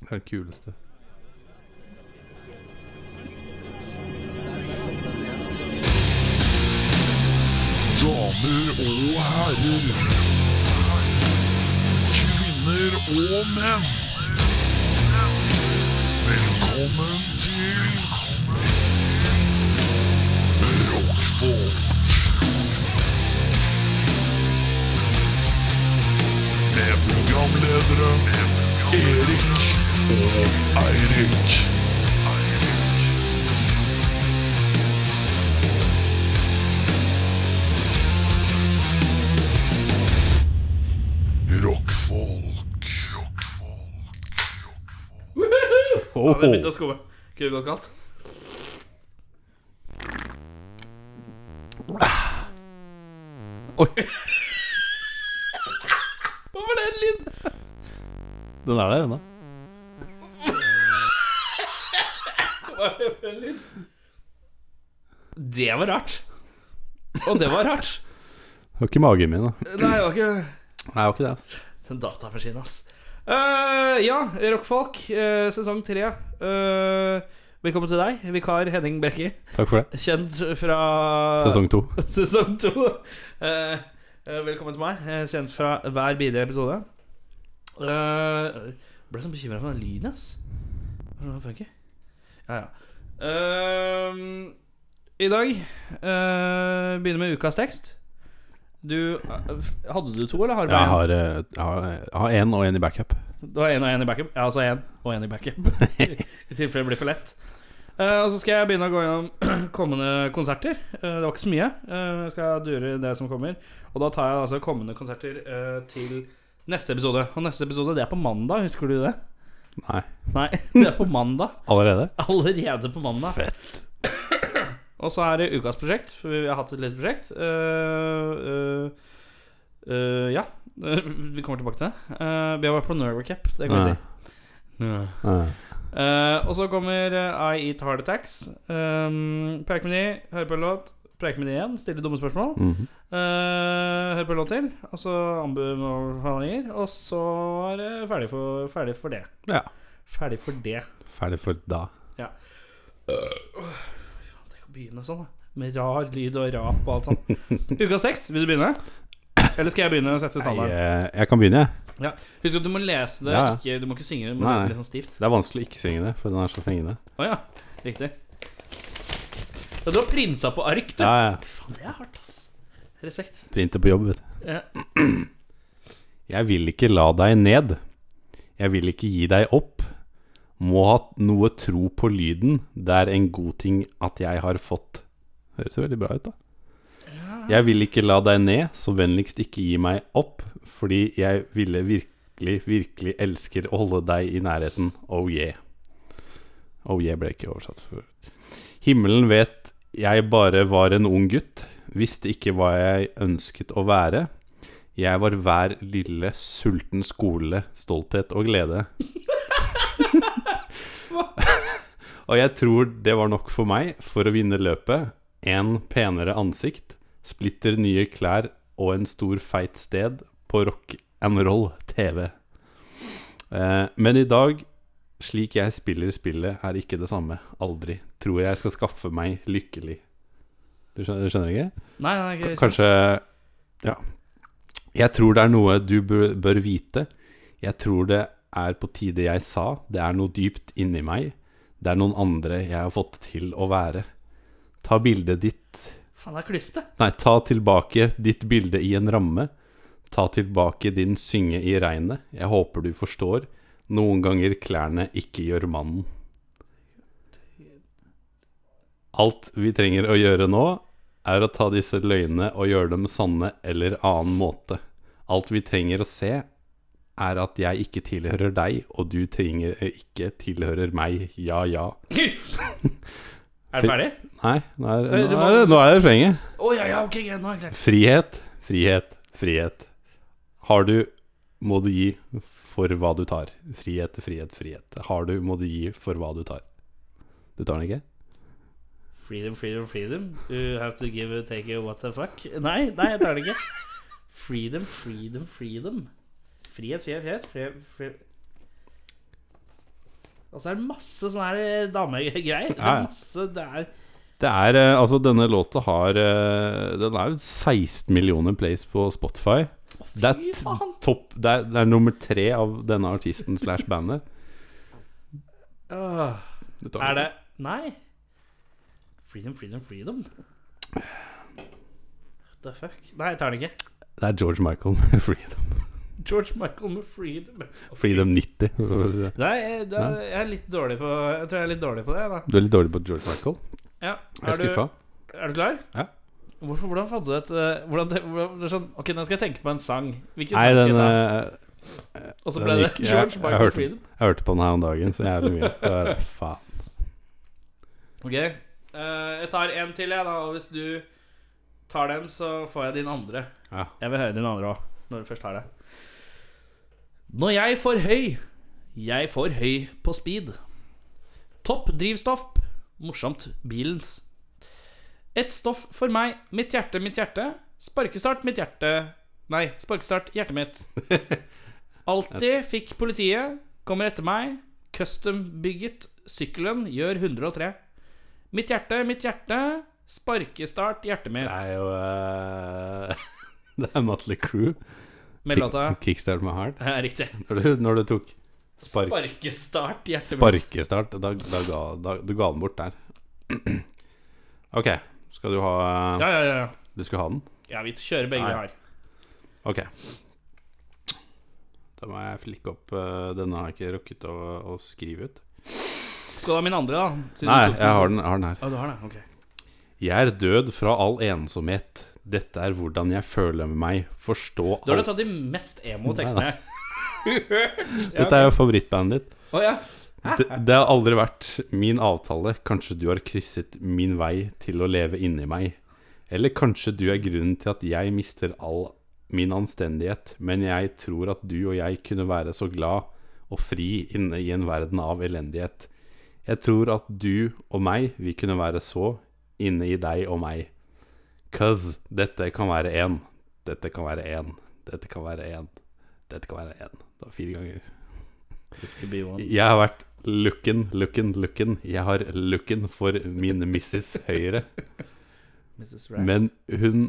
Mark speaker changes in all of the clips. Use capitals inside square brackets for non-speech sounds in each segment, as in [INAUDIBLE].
Speaker 1: Det er det kuleste.
Speaker 2: Damer og herrer. Kvinner og menn. Velkommen til Rockfolk. Med programledere Erik og Eirik. Rockfolk.
Speaker 1: Oh,
Speaker 3: Det er litt av skoet. Kunne det gått galt?
Speaker 1: Oi.
Speaker 3: Hva var det en lyd?
Speaker 1: Den er der ennå.
Speaker 3: Hva var det for en lyd? Det var rart. Og det var rart.
Speaker 1: Det var ikke magen min, da.
Speaker 3: Nei, det var ikke
Speaker 1: Nei, det var ikke det. altså. ass.
Speaker 3: Den datamaskinen, ass. Eh, ja, Rockfolk, eh, sesong tre. Eh, velkommen til deg, vikar Henning Brekke.
Speaker 1: Takk for det.
Speaker 3: Kjent fra
Speaker 1: Sesong to.
Speaker 3: [LAUGHS] Sesong to. Eh, eh, velkommen til meg, eh, kjent fra hver bidige episode. Eh, ble så bekymra for den lyden, ass. Hva er det for noe? Ja, ja. Ehm, I dag eh, begynner med ukas tekst. Du eh, f- Hadde du to, eller har du
Speaker 1: Jeg
Speaker 3: bare én?
Speaker 1: har, eh, jeg har- jeg har én og én i backup.
Speaker 3: Du har én og én i backup? Jeg har altså én og én i backup. I tilfelle det blir for lett. Eh, og så skal jeg begynne å gå gjennom [CLEARS THROAT] kommende konserter. Eh, det var ikke så mye. Eh, jeg skal dure det som kommer. Og da tar jeg altså kommende konserter eh, til neste episode. Og neste episode, det er på mandag, husker du det?
Speaker 1: Nei.
Speaker 3: Nei, [LAUGHS] det er på mandag.
Speaker 1: Allerede?
Speaker 3: [LAUGHS] Allerede på mandag.
Speaker 1: Fett.
Speaker 3: [CLEARS THROAT] Og så er det ukas prosjekt, for vi har hatt et lite prosjekt. Eh, eh, eh, ja, [LAUGHS] vi kommer tilbake til det. Eh, vi har vært på Nerver Cup, det kan vi
Speaker 1: Ja.
Speaker 3: si. Ja.
Speaker 1: Ja.
Speaker 3: Eh, og så kommer eh, I Eat Heart Attacks. Um, preik med de, hør på en låt. Preik med de igjen, stille dumme spørsmål.
Speaker 1: Mhm.
Speaker 3: Eh, hør på en låt til, og så anbefalinger. Og så er det ferdig for, ferdig for det.
Speaker 1: ja.
Speaker 3: Ferdig for det.
Speaker 1: Ferdig for da.
Speaker 3: Tenk å begynne sånn, da. Med rar lyd og rap og alt sånt. Ukas tekst, vil du begynne? Eller skal jeg begynne å sette
Speaker 1: Nei,
Speaker 3: standarden?
Speaker 1: eh, jeg kan begynne, jeg.
Speaker 3: Ja. Husk at du må lese det,
Speaker 1: Ja, ja.
Speaker 3: ikke, du må ikke synge det. Du må
Speaker 1: Nei,
Speaker 3: lese
Speaker 1: nei.
Speaker 3: litt sånn stivt.
Speaker 1: Det er vanskelig å ikke synge det, for den er så fengende.
Speaker 3: Å ja, riktig. Ja, du har printa på ark, du.
Speaker 1: Ja, ja.
Speaker 3: Faen, det er hardt, ass. Respekt.
Speaker 1: Printer på jobb, vet du.
Speaker 3: Ja.
Speaker 1: Jeg vil ikke la deg ned. Jeg vil ikke gi deg opp. Må ha noe tro på lyden. Det er en god ting at jeg har fått. Høres jo veldig bra ut, da. Jeg vil ikke la deg ned, så vennligst ikke gi meg opp, fordi jeg ville virkelig, virkelig elsker å holde deg i nærheten. Oh yeah. Oh yeah ble ikke oversatt for Himmelen vet jeg bare var en ung gutt, visste ikke hva jeg ønsket å være. Jeg var hver lille sulten skole, stolthet og glede. og jeg tror det var nok for meg for å vinne løpet. En penere ansikt, splitter nye klær og en stor feit sted på rock and roll TV. Eh, men i dag, slik jeg spiller spillet, er ikke det samme. Aldri. Tror jeg skal skaffe meg lykkelig. Du skjønner, du skjønner ikke?
Speaker 3: Nei, nei, ikke,
Speaker 1: Kanskje Ja. Jeg tror det er noe du bør, bør vite. Jeg tror det er på tide jeg sa. Det er noe dypt inni meg. Det er noen andre jeg har fått til å være. Ta bildet ditt
Speaker 3: Faen, det er klyste. [LAUGHS]
Speaker 1: Nei, ta tilbake ditt bilde i en ramme. Ta tilbake din synge i regnet. Jeg håper du forstår. Noen ganger klærne ikke gjør mannen. Alt vi trenger å gjøre nå, er å ta disse løgnene og gjøre dem sanne eller annen måte. Alt vi trenger å se, er at jeg ikke tilhører deg, og du trenger eh, ikke tilhører meg. Ja, ja.
Speaker 3: er du ferdig?
Speaker 1: Nei, nå er,
Speaker 3: Nei, du
Speaker 1: nå
Speaker 3: må-
Speaker 1: er, det- nå er det refrenget.
Speaker 3: Å ja, ja, ok, greit. Nå er jeg klar.
Speaker 1: Frihet, frihet, frihet. Har du, må du gi for hva du tar. Frihet, frihet, frihet. Har du, må du gi for hva du tar. Du tar den ikke?
Speaker 3: Freedom, freedom, freedom. You have to give and take a what the fuck. Nei, nei, jeg tar det ikke. Freedom, freedom, freedom. Frihet, frihet, frihet. frihet, frihet. Og så er Altså, det masse sånne her eh, damegreier. Det
Speaker 1: Ja, ja.
Speaker 3: er masse Det er
Speaker 1: Det er, eh, altså Denne låta har eh, Den er jo 16 millioner plays på Spotify. Det er, t-
Speaker 3: faen.
Speaker 1: topp, det, er, det er nummer tre av denne artisten slash bandet.
Speaker 3: [LAUGHS] øh,
Speaker 1: Du tar
Speaker 3: Er det Nei. Freedom, freedom, freedom. What the fuck? Nei, jeg tar den ikke.
Speaker 1: Det er George Michael [LAUGHS] med Freedom.
Speaker 3: George Michael med freedom.
Speaker 1: Freedom [LAUGHS] 90. for å si det.
Speaker 3: Nei, jeg, da, jeg er litt dårlig på Jeg tror jeg er litt dårlig på det, da.
Speaker 1: Du er litt dårlig på George Michael.
Speaker 3: Ja,
Speaker 1: Jeg er skuffa.
Speaker 3: Du, er du klar?
Speaker 1: Ja.
Speaker 3: Hvorfor, hvordan fant du et eh, hvordan, det- hvordan, det er sånn, Ok, nå skal jeg tenke på en sang. Hvilken
Speaker 1: Nei,
Speaker 3: sang skal
Speaker 1: den
Speaker 3: jeg ta?
Speaker 1: eh,
Speaker 3: Og så
Speaker 1: den
Speaker 3: ble det
Speaker 1: gikk- jeg-
Speaker 3: George
Speaker 1: jeg
Speaker 3: Michael
Speaker 1: hørte den.
Speaker 3: Freedom.
Speaker 1: Jeg hørte på den her om dagen, så jævlig mye. Det var, faen.
Speaker 3: Ok, eh, jeg tar en til, jeg, da. Og hvis du tar den, så får jeg din andre.
Speaker 1: Ja.
Speaker 3: Jeg vil høre din andre òg, når du først har det. Når jeg får høy, jeg får høy på speed. Topp drivstoff, morsomt bilens. Et stoff for meg, mitt hjerte, mitt hjerte. Sparkestart, mitt hjerte. Nei, sparkestart, hjertet mitt. Alltid fikk politiet, kommer etter meg. Custom bygget, sykkelen gjør 103. Mitt hjerte, mitt hjerte. Sparkestart, hjertet mitt.
Speaker 1: Det er jo eh, [LAUGHS] Det er Motley Crew.
Speaker 3: Med låta
Speaker 1: Kickstart My Heart.
Speaker 3: Ja, Riktig.
Speaker 1: Når du, når du tok spark
Speaker 3: Sparkestart, hjertet mitt.
Speaker 1: Sparkestart. Da, da ga, da, du ga den bort der. [CLEARS THROAT] Ok, skal du ha
Speaker 3: Ja, ja, ja. ja.
Speaker 1: Du skal ha den?
Speaker 3: Ja, vi kjører begge
Speaker 1: Nei.
Speaker 3: vi har.
Speaker 1: Ok. Da må jeg flikke opp eh, Denne har jeg ikke rukket å, å skrive ut.
Speaker 3: Skal du ha min andre, da? Siden
Speaker 1: Nei,
Speaker 3: du tok
Speaker 1: jeg har
Speaker 3: sånn.
Speaker 1: den, jeg har den her.
Speaker 3: Ja, du har den, ok
Speaker 1: Jeg er død fra all ensomhet. Dette er hvordan jeg føler meg. Forstå
Speaker 3: Du har da
Speaker 1: alt.
Speaker 3: tatt de mest emo tekstene jeg har hørt. Ja,
Speaker 1: Dette er jo favorittbandet ditt.
Speaker 3: Å ja.
Speaker 1: Det, det har aldri vært min avtale. Kanskje du har krysset min vei til å leve inni meg. Eller kanskje du er grunnen til at jeg mister all min anstendighet, men jeg tror at du og jeg kunne være så glad og fri inne i en verden av elendighet. Jeg tror at du og meg, vi kunne være så inne i deg og meg. Cuz dette kan være én. Dette kan være én. Dette kan være én. Dette kan være én. Det var fire ganger. Jeg har vært looken, looken, looken. Jeg har looken for min Mrs. Høyre.
Speaker 3: Mrs. Rapp.
Speaker 1: Men hun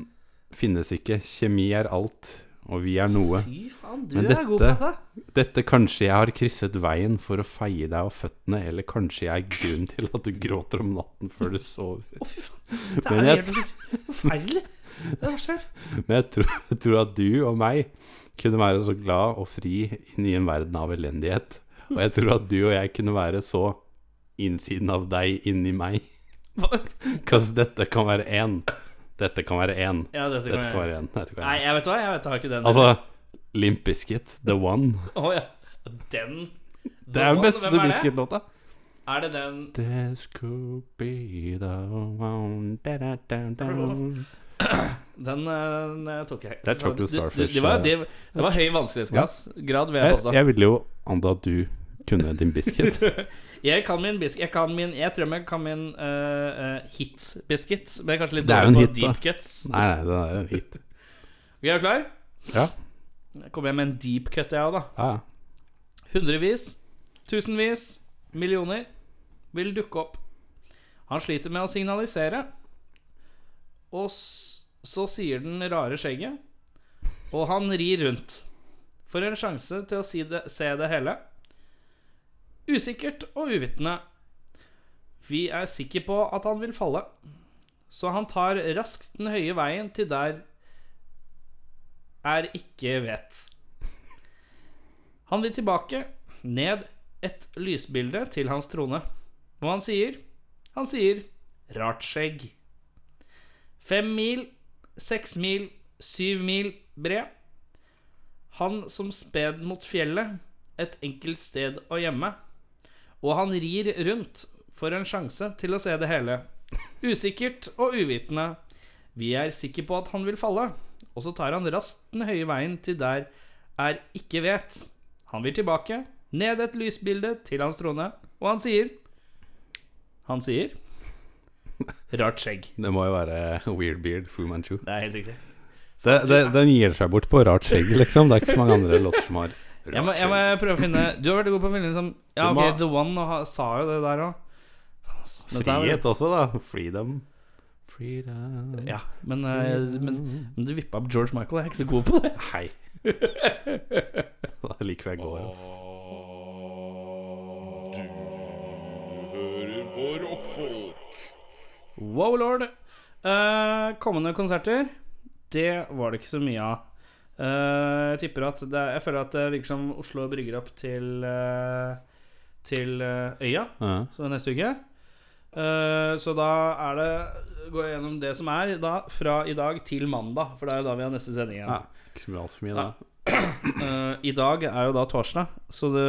Speaker 1: finnes ikke. Kjemi er alt, og vi er noe.
Speaker 3: Fy faen, du
Speaker 1: Men
Speaker 3: er god på
Speaker 1: dette-
Speaker 3: dette.
Speaker 1: Dette kanskje jeg har krysset veien for å feie deg av føttene, eller kanskje jeg er grunnen til at du gråter om natten før du sover.
Speaker 3: Å, fy faen. Det
Speaker 1: Men
Speaker 3: er
Speaker 1: jeg-
Speaker 3: helt for- forferdelig. Det er verst jeg har hørt.
Speaker 1: Men jeg tror, jeg tror at du og meg kunne være så glad og fri inn i en verden av elendighet. Og jeg tror at du og jeg kunne være så innsiden av deg inni meg.
Speaker 3: Hva?
Speaker 1: Kanskje dette kan være én. Dette kan være én.
Speaker 3: Ja, dette
Speaker 1: Dette kan
Speaker 3: kan jeg
Speaker 1: være én. Dette kan
Speaker 3: Nei,
Speaker 1: være én.
Speaker 3: jeg vet hva, jeg vet, jeg har ikke den.
Speaker 1: Altså, Limp Bizkit, The One.
Speaker 3: Å, ja. Den
Speaker 1: Det er
Speaker 3: Hvem
Speaker 1: den beste
Speaker 3: er det?
Speaker 1: Bizkit-låta.
Speaker 3: Er det den
Speaker 1: This could be the one da, da, da, da.
Speaker 3: Den eh, tok jeg.
Speaker 1: Det er Chocolate
Speaker 3: Du- du-
Speaker 1: Starfish, eh.
Speaker 3: Det var, det, det var høy vanskelighetsgrad, grad, vil jeg
Speaker 1: Jeg,
Speaker 3: påstå.
Speaker 1: jeg ville jo anta at du kunne din
Speaker 3: [LAUGHS]
Speaker 1: Bizkit.
Speaker 3: Jeg kan min biscuit Jeg kan min Jeg tror jeg kan min uh, hits-biscuit. Men jeg er kanskje litt
Speaker 1: Det er jo en
Speaker 3: dårlig på
Speaker 1: hit, da.
Speaker 3: deep cuts.
Speaker 1: Nei, nei, det er en hit.
Speaker 3: Vi er klar?
Speaker 1: Ja,
Speaker 3: Jeg kommer jeg med en deep cut, jeg òg, da.
Speaker 1: ja. ja.
Speaker 3: Hundrevis, tusenvis, millioner vil dukke opp. Han sliter med å signalisere, og s så sier den rare skjegget, og han rir rundt. For en sjanse til å si det, se det hele. Usikkert og uvitende. Vi er sikre på at han vil falle, så han tar raskt den høye veien til der er ikke vet. Han vil tilbake, ned et lysbilde til hans trone. Hva han sier? Han sier rart skjegg. Fem mil, seks mil, syv mil bred. Han som sped mot fjellet, et enkelt sted å gjemme. Og han rir rundt for en sjanse til å se det hele. Usikkert og uvitende. Vi er sikre på at han vil falle, og så tar han raskt den høye veien til der er ikke vet. Han vil tilbake, ned et lysbilde til hans trone, og han sier Han sier
Speaker 1: [LAUGHS]
Speaker 3: Rart skjegg.
Speaker 1: Det må jo være Weird Beard, Fu Manchu.
Speaker 3: Det er helt riktig.
Speaker 1: Det, det, den gir seg bort på rart skjegg, liksom. Det er ikke så mange andre låter som har
Speaker 3: Jeg må, jeg må prøve å finne Du har vært god på å finne liksom
Speaker 1: Du
Speaker 3: Ja, ok,
Speaker 1: må-
Speaker 3: The One og ha, sa jo det der òg.
Speaker 1: Frihet også, da. Freedom. Freedom
Speaker 3: Ja, men, eh, men, men du vippa opp George Michael. Jeg er ikke så god på det.
Speaker 1: [LAUGHS] Hei. Da liker jeg går, altså.
Speaker 2: Du hører på rockfolk.
Speaker 3: Wow, lord. Eh, kommende konserter, det var det ikke så mye av. Eh, jeg tipper at det, Jeg føler at det virker som Oslo brygger opp til eh, Til eh, Øya,
Speaker 1: Ja.
Speaker 3: så neste uke. Eh, så da er det Går jeg gjennom det som er da, fra i dag til mandag, for det er jo da vi har neste sending igjen.
Speaker 1: ja. Ikke så mye altfor mye, da.
Speaker 3: Eh, I dag er jo da torsdag, så det,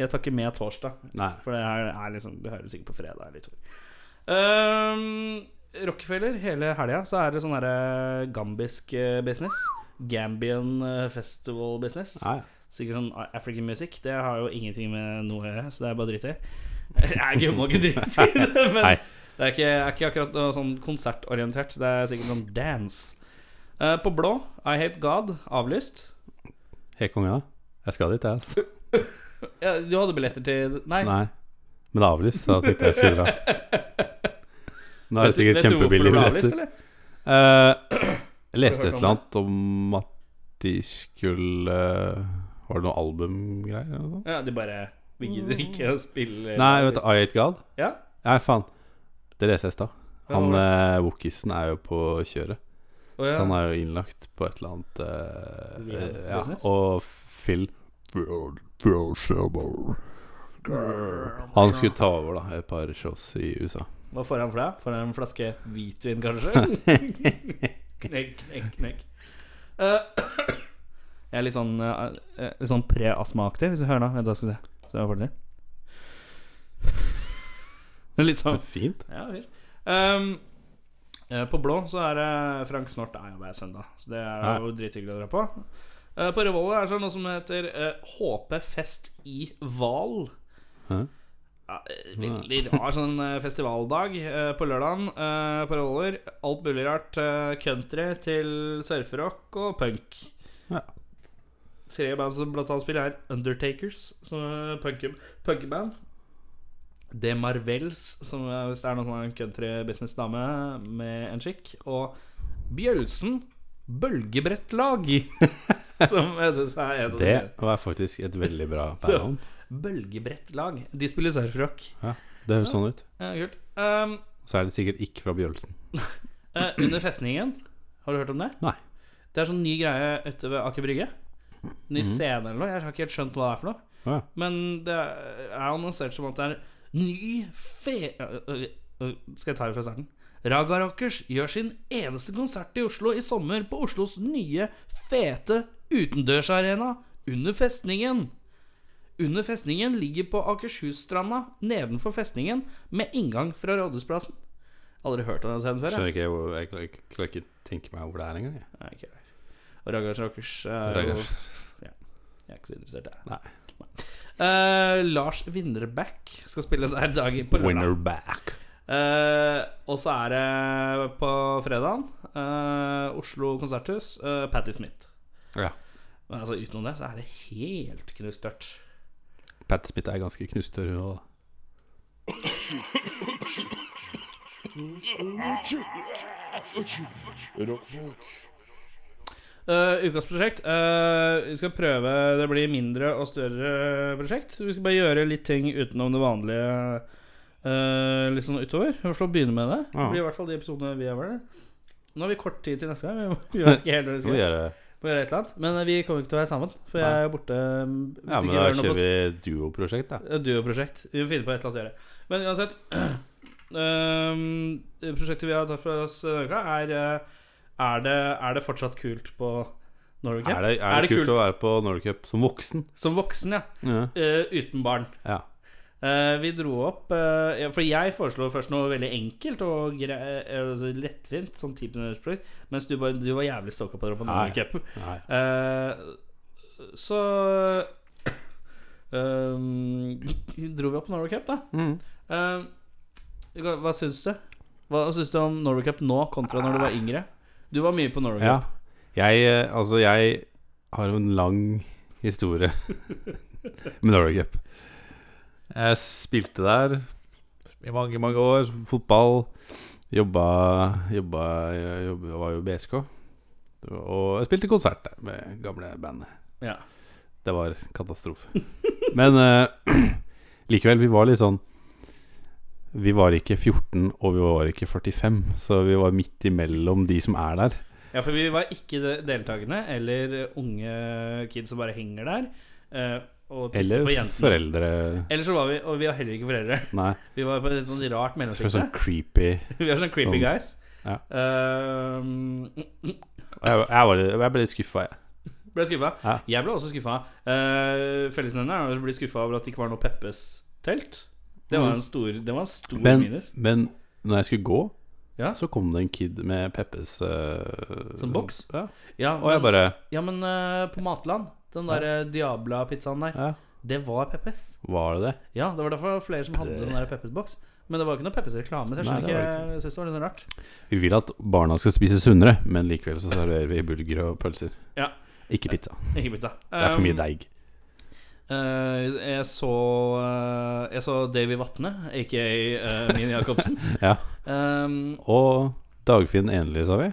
Speaker 3: jeg tar ikke med torsdag.
Speaker 1: Nei.
Speaker 3: For det her er liksom Du hører sikkert på fredag eller to. sånn. Ehm, Rockefeller, hele helga så er det sånn derre gambisk eh, business. Gambian eh, festival business.
Speaker 1: Nei.
Speaker 3: Sikkert sånn African music. Det har jo ingenting med noe å gjøre, så det er bare dritt i. [LAUGHS] Jeg må ikke drite i det, men
Speaker 1: [LAUGHS] Nei.
Speaker 3: det er ikke, er ikke akkurat noe sånn konsertorientert. Det er sikkert sånn dance. Eh, på blå, I Hate God, avlyst.
Speaker 1: Helt konge, da. Jeg skal dit, jeg. Altså.
Speaker 3: Ja, du hadde billetter til Nei.
Speaker 1: Nei. Men det er avlyst, så da tenkte jeg
Speaker 3: [LAUGHS]
Speaker 1: skulle dra. Da er det sikkert
Speaker 3: Vet du hvorfor
Speaker 1: kjempebillige
Speaker 3: det ble avlyst,
Speaker 1: billetter.
Speaker 3: eller?
Speaker 1: Eh, jeg leste
Speaker 3: Har du hørt
Speaker 1: et eller annet om at de skulle eh, Var det noe albumgreier? eller noe sånt?
Speaker 3: Ja, de bare Vi gidder ikke å spille
Speaker 1: Nei, vet du, I Hate God?
Speaker 3: Eh, Ja.
Speaker 1: Nei, faen. Det leste jeg i stad. Han
Speaker 3: Ja,
Speaker 1: eh, Wokisen er jo på kjøret.
Speaker 3: Å,
Speaker 1: Så
Speaker 3: ja.
Speaker 1: han er jo innlagt på et eller annet eh,
Speaker 3: Rehab
Speaker 1: eh, ja.
Speaker 3: business?
Speaker 1: Og Phil Han skulle ta over, da, et par shows i USA.
Speaker 3: Hva får han for det? Får han en flaske hvitvin,
Speaker 1: [LAUGHS]
Speaker 3: kanskje? knekk, knekk, knekk. Eh, jeg er litt sånn, eh, eh, litt sånn pre-astmaaktig, hvis du hører nå. Vent, da skal vi se. Så jeg får det til. Litt sånn
Speaker 1: Fint.
Speaker 3: Ja, fint. Ehm, eh, på blå så er det Frank Snort er jo hver søndag, så det er
Speaker 1: Ja.
Speaker 3: jo drithyggelig å dra på. Eh, på Revolver er det noe som heter eh, HP fest i Val.
Speaker 1: Hæ?
Speaker 3: Ja, eh, veldig rar sånn eh, festivaldag eh, på lørdagen eh, på Revolver. Alt mulig rart. eh, country til surferock og punk.
Speaker 1: Ja.
Speaker 3: Tre band som blant annet spiller, er Undertakers, som er punke- punkeband. De Marvels, som er- hvis det er noen sånn countrybusiness-dame med en skikk. Og Bjølsen Bølgebrettlag, [LAUGHS] som jeg syns er et av de
Speaker 1: Det
Speaker 3: bedre.
Speaker 1: var faktisk et veldig
Speaker 3: [LAUGHS]
Speaker 1: bra bandnavn.
Speaker 3: Bølgebrettlag. De spiller surfrock.
Speaker 1: Ja, det høres sånn ut.
Speaker 3: Ja, kult. Um,
Speaker 1: Så er det sikkert ikke fra Bjølsen.
Speaker 3: eh, under festningen, har du hørt om det?
Speaker 1: Nei.
Speaker 3: Det er sånn ny greie ute ved Aker Brygge. Ny scene eller noe. Jeg har ikke helt skjønt hva det er for noe.
Speaker 1: Å ja.
Speaker 3: Men det er annonsert som at det er ny fe... Øh, øh, øh, Skal jeg ta det fra starten? Raga Rockers gjør sin eneste konsert i Oslo i sommer på Oslos nye, fete utendørsarena under festningen. Under festningen ligger på Akershusstranda nedenfor festningen med inngang fra Rådhusplassen. Aldri hørt om den scenen før. jeg.
Speaker 1: Skjønner ikke hvor Jeg klarer ikke- klarer ikke tenke meg hvor det er engang. jeg.
Speaker 3: Nei, ikke jeg. Og Ragars Rockers er jo
Speaker 1: Raggers.
Speaker 3: Jeg er ikke så interessert, jeg.
Speaker 1: Nei.
Speaker 3: Eh, Lars Winnerback skal spille der dagen på lørdag.
Speaker 1: Winner back.
Speaker 3: Eh, og så er det på fredagen eh, Oslo konserthus, eh, Patti Smith.
Speaker 1: Ja.
Speaker 3: Men altså utenom det så er det helt knust tørt.
Speaker 1: Pat Smith er ganske knustørr. og-
Speaker 2: Rockfolk.
Speaker 3: Eh, ukas prosjekt eh, Vi skal prøve Det blir mindre og større prosjekt. Vi skal bare gjøre litt ting utenom det vanlige eh, litt sånn utover. I hvert fall begynne med det. Det
Speaker 1: Ja.
Speaker 3: blir i hvert fall de episodene vi har vært Nå har vi kort tid til neste gang. Vi vet ikke helt hva vi
Speaker 1: [LAUGHS] Skal
Speaker 3: skal
Speaker 1: vi
Speaker 3: gjøre.
Speaker 1: gjøre
Speaker 3: Må gjøre et eller annet. Men eh, vi kommer ikke til å være sammen, for
Speaker 1: Nei.
Speaker 3: jeg er borte. mm, hvis
Speaker 1: Ja, men
Speaker 3: ikke vi
Speaker 1: da
Speaker 3: gjør noe på-
Speaker 1: kjører vi duoprosjekt, da.
Speaker 3: et duoprosjekt. Vi må finne på et eller annet å gjøre. Men uansett [CLEARS THROAT] ehm, Prosjektet vi har tatt for oss denne uka, er eh, er det, er det fortsatt kult på Norway Cup?
Speaker 1: Er det, er det kult å være på Norway Cup som voksen?
Speaker 3: Som voksen, ja.
Speaker 1: Ja.
Speaker 3: Eh, uten barn.
Speaker 1: ja.
Speaker 3: Eh, vi dro opp eh, ja, For jeg foreslo først noe veldig enkelt og gre eh, altså lettvint, sånn 10 minutters prosjekt, mens du, bare, du var jævlig stalka på det på
Speaker 1: Nei.
Speaker 3: Norway Cup.
Speaker 1: Nei.
Speaker 3: Eh, så ehm, dro vi opp Norway Cup, da.
Speaker 1: Mm.
Speaker 3: Eh, hva- hva syns du? Hva syns du om Norway Cup nå kontra når du var yngre? Du var mye på Norway
Speaker 1: Ja.
Speaker 3: Cup.
Speaker 1: Jeg, eh, altså, jeg har jo en lang historie med Norway Cup. Jeg spilte der i mange, mange år. Fotball. Jobba, jobba, jobba jeg var jo i BSK. Og jeg spilte konsert der med gamle bandet.
Speaker 3: Ja.
Speaker 1: Det var katastrofe. Men eh, [CLEARS THROAT] likevel, vi var litt sånn Vi var ikke 14, og vi var ikke 45, så vi var midt imellom de som er der.
Speaker 3: Ja, for vi var ikke de- deltakende eller unge kids som bare henger der. eh, og titter
Speaker 1: Eller
Speaker 3: på jentene.
Speaker 1: foreldre
Speaker 3: Eller så var vi Og vi var heller ikke foreldre.
Speaker 1: Nei,
Speaker 3: Vi var på et sånn rart
Speaker 1: det var
Speaker 3: mellomsjikt.
Speaker 1: sånn creepy
Speaker 3: [LAUGHS] Vi var sånn creepy
Speaker 1: Sånn.
Speaker 3: guys.
Speaker 1: Ja.
Speaker 3: Eh,
Speaker 1: Og Jeg, jeg, var, jeg ble litt skuffa, jeg.
Speaker 3: ble skuffa.
Speaker 1: Ja.
Speaker 3: Jeg ble også skuffa. Uh, Fellesnevneren er å bli skuffa over at det ikke var noe Peppes-telt. Det var en stor, det var en stor
Speaker 1: Mm. Men,
Speaker 3: minus.
Speaker 1: men når jeg skulle gå,
Speaker 3: Ja.
Speaker 1: så kom det en kid med Peppes eh,
Speaker 3: Sånn boks?
Speaker 1: Ja.
Speaker 3: Ja,
Speaker 1: Og jeg
Speaker 3: men,
Speaker 1: bare
Speaker 3: ja, men eh, på Matland, den der eh, Diabla-pizzaen der,
Speaker 1: Ja,
Speaker 3: det var Peppes.
Speaker 1: var det det?
Speaker 3: Ja, det var derfor flere som hadde sånn der Peppers-boks. Men det var jo ikke noe Peppers-reklame. så Jeg
Speaker 1: Nei,
Speaker 3: skjønner
Speaker 1: det var det
Speaker 3: ikke, jeg synes det var litt sånn rart.
Speaker 1: Vi vil at barna skal spise sunnere, men likevel så serverer vi bulger og pølser.
Speaker 3: Ja. Um.
Speaker 1: Ikke pizza.
Speaker 3: Ikke pizza. Eh,
Speaker 1: Det er for mye deig.
Speaker 3: jeg så eh, Jeg så Davy Vatne, aka eh, Min
Speaker 1: [LAUGHS]
Speaker 3: Jacobsen.
Speaker 1: Ja.
Speaker 3: Um,
Speaker 1: Og Dagfinn Enli, sa vi.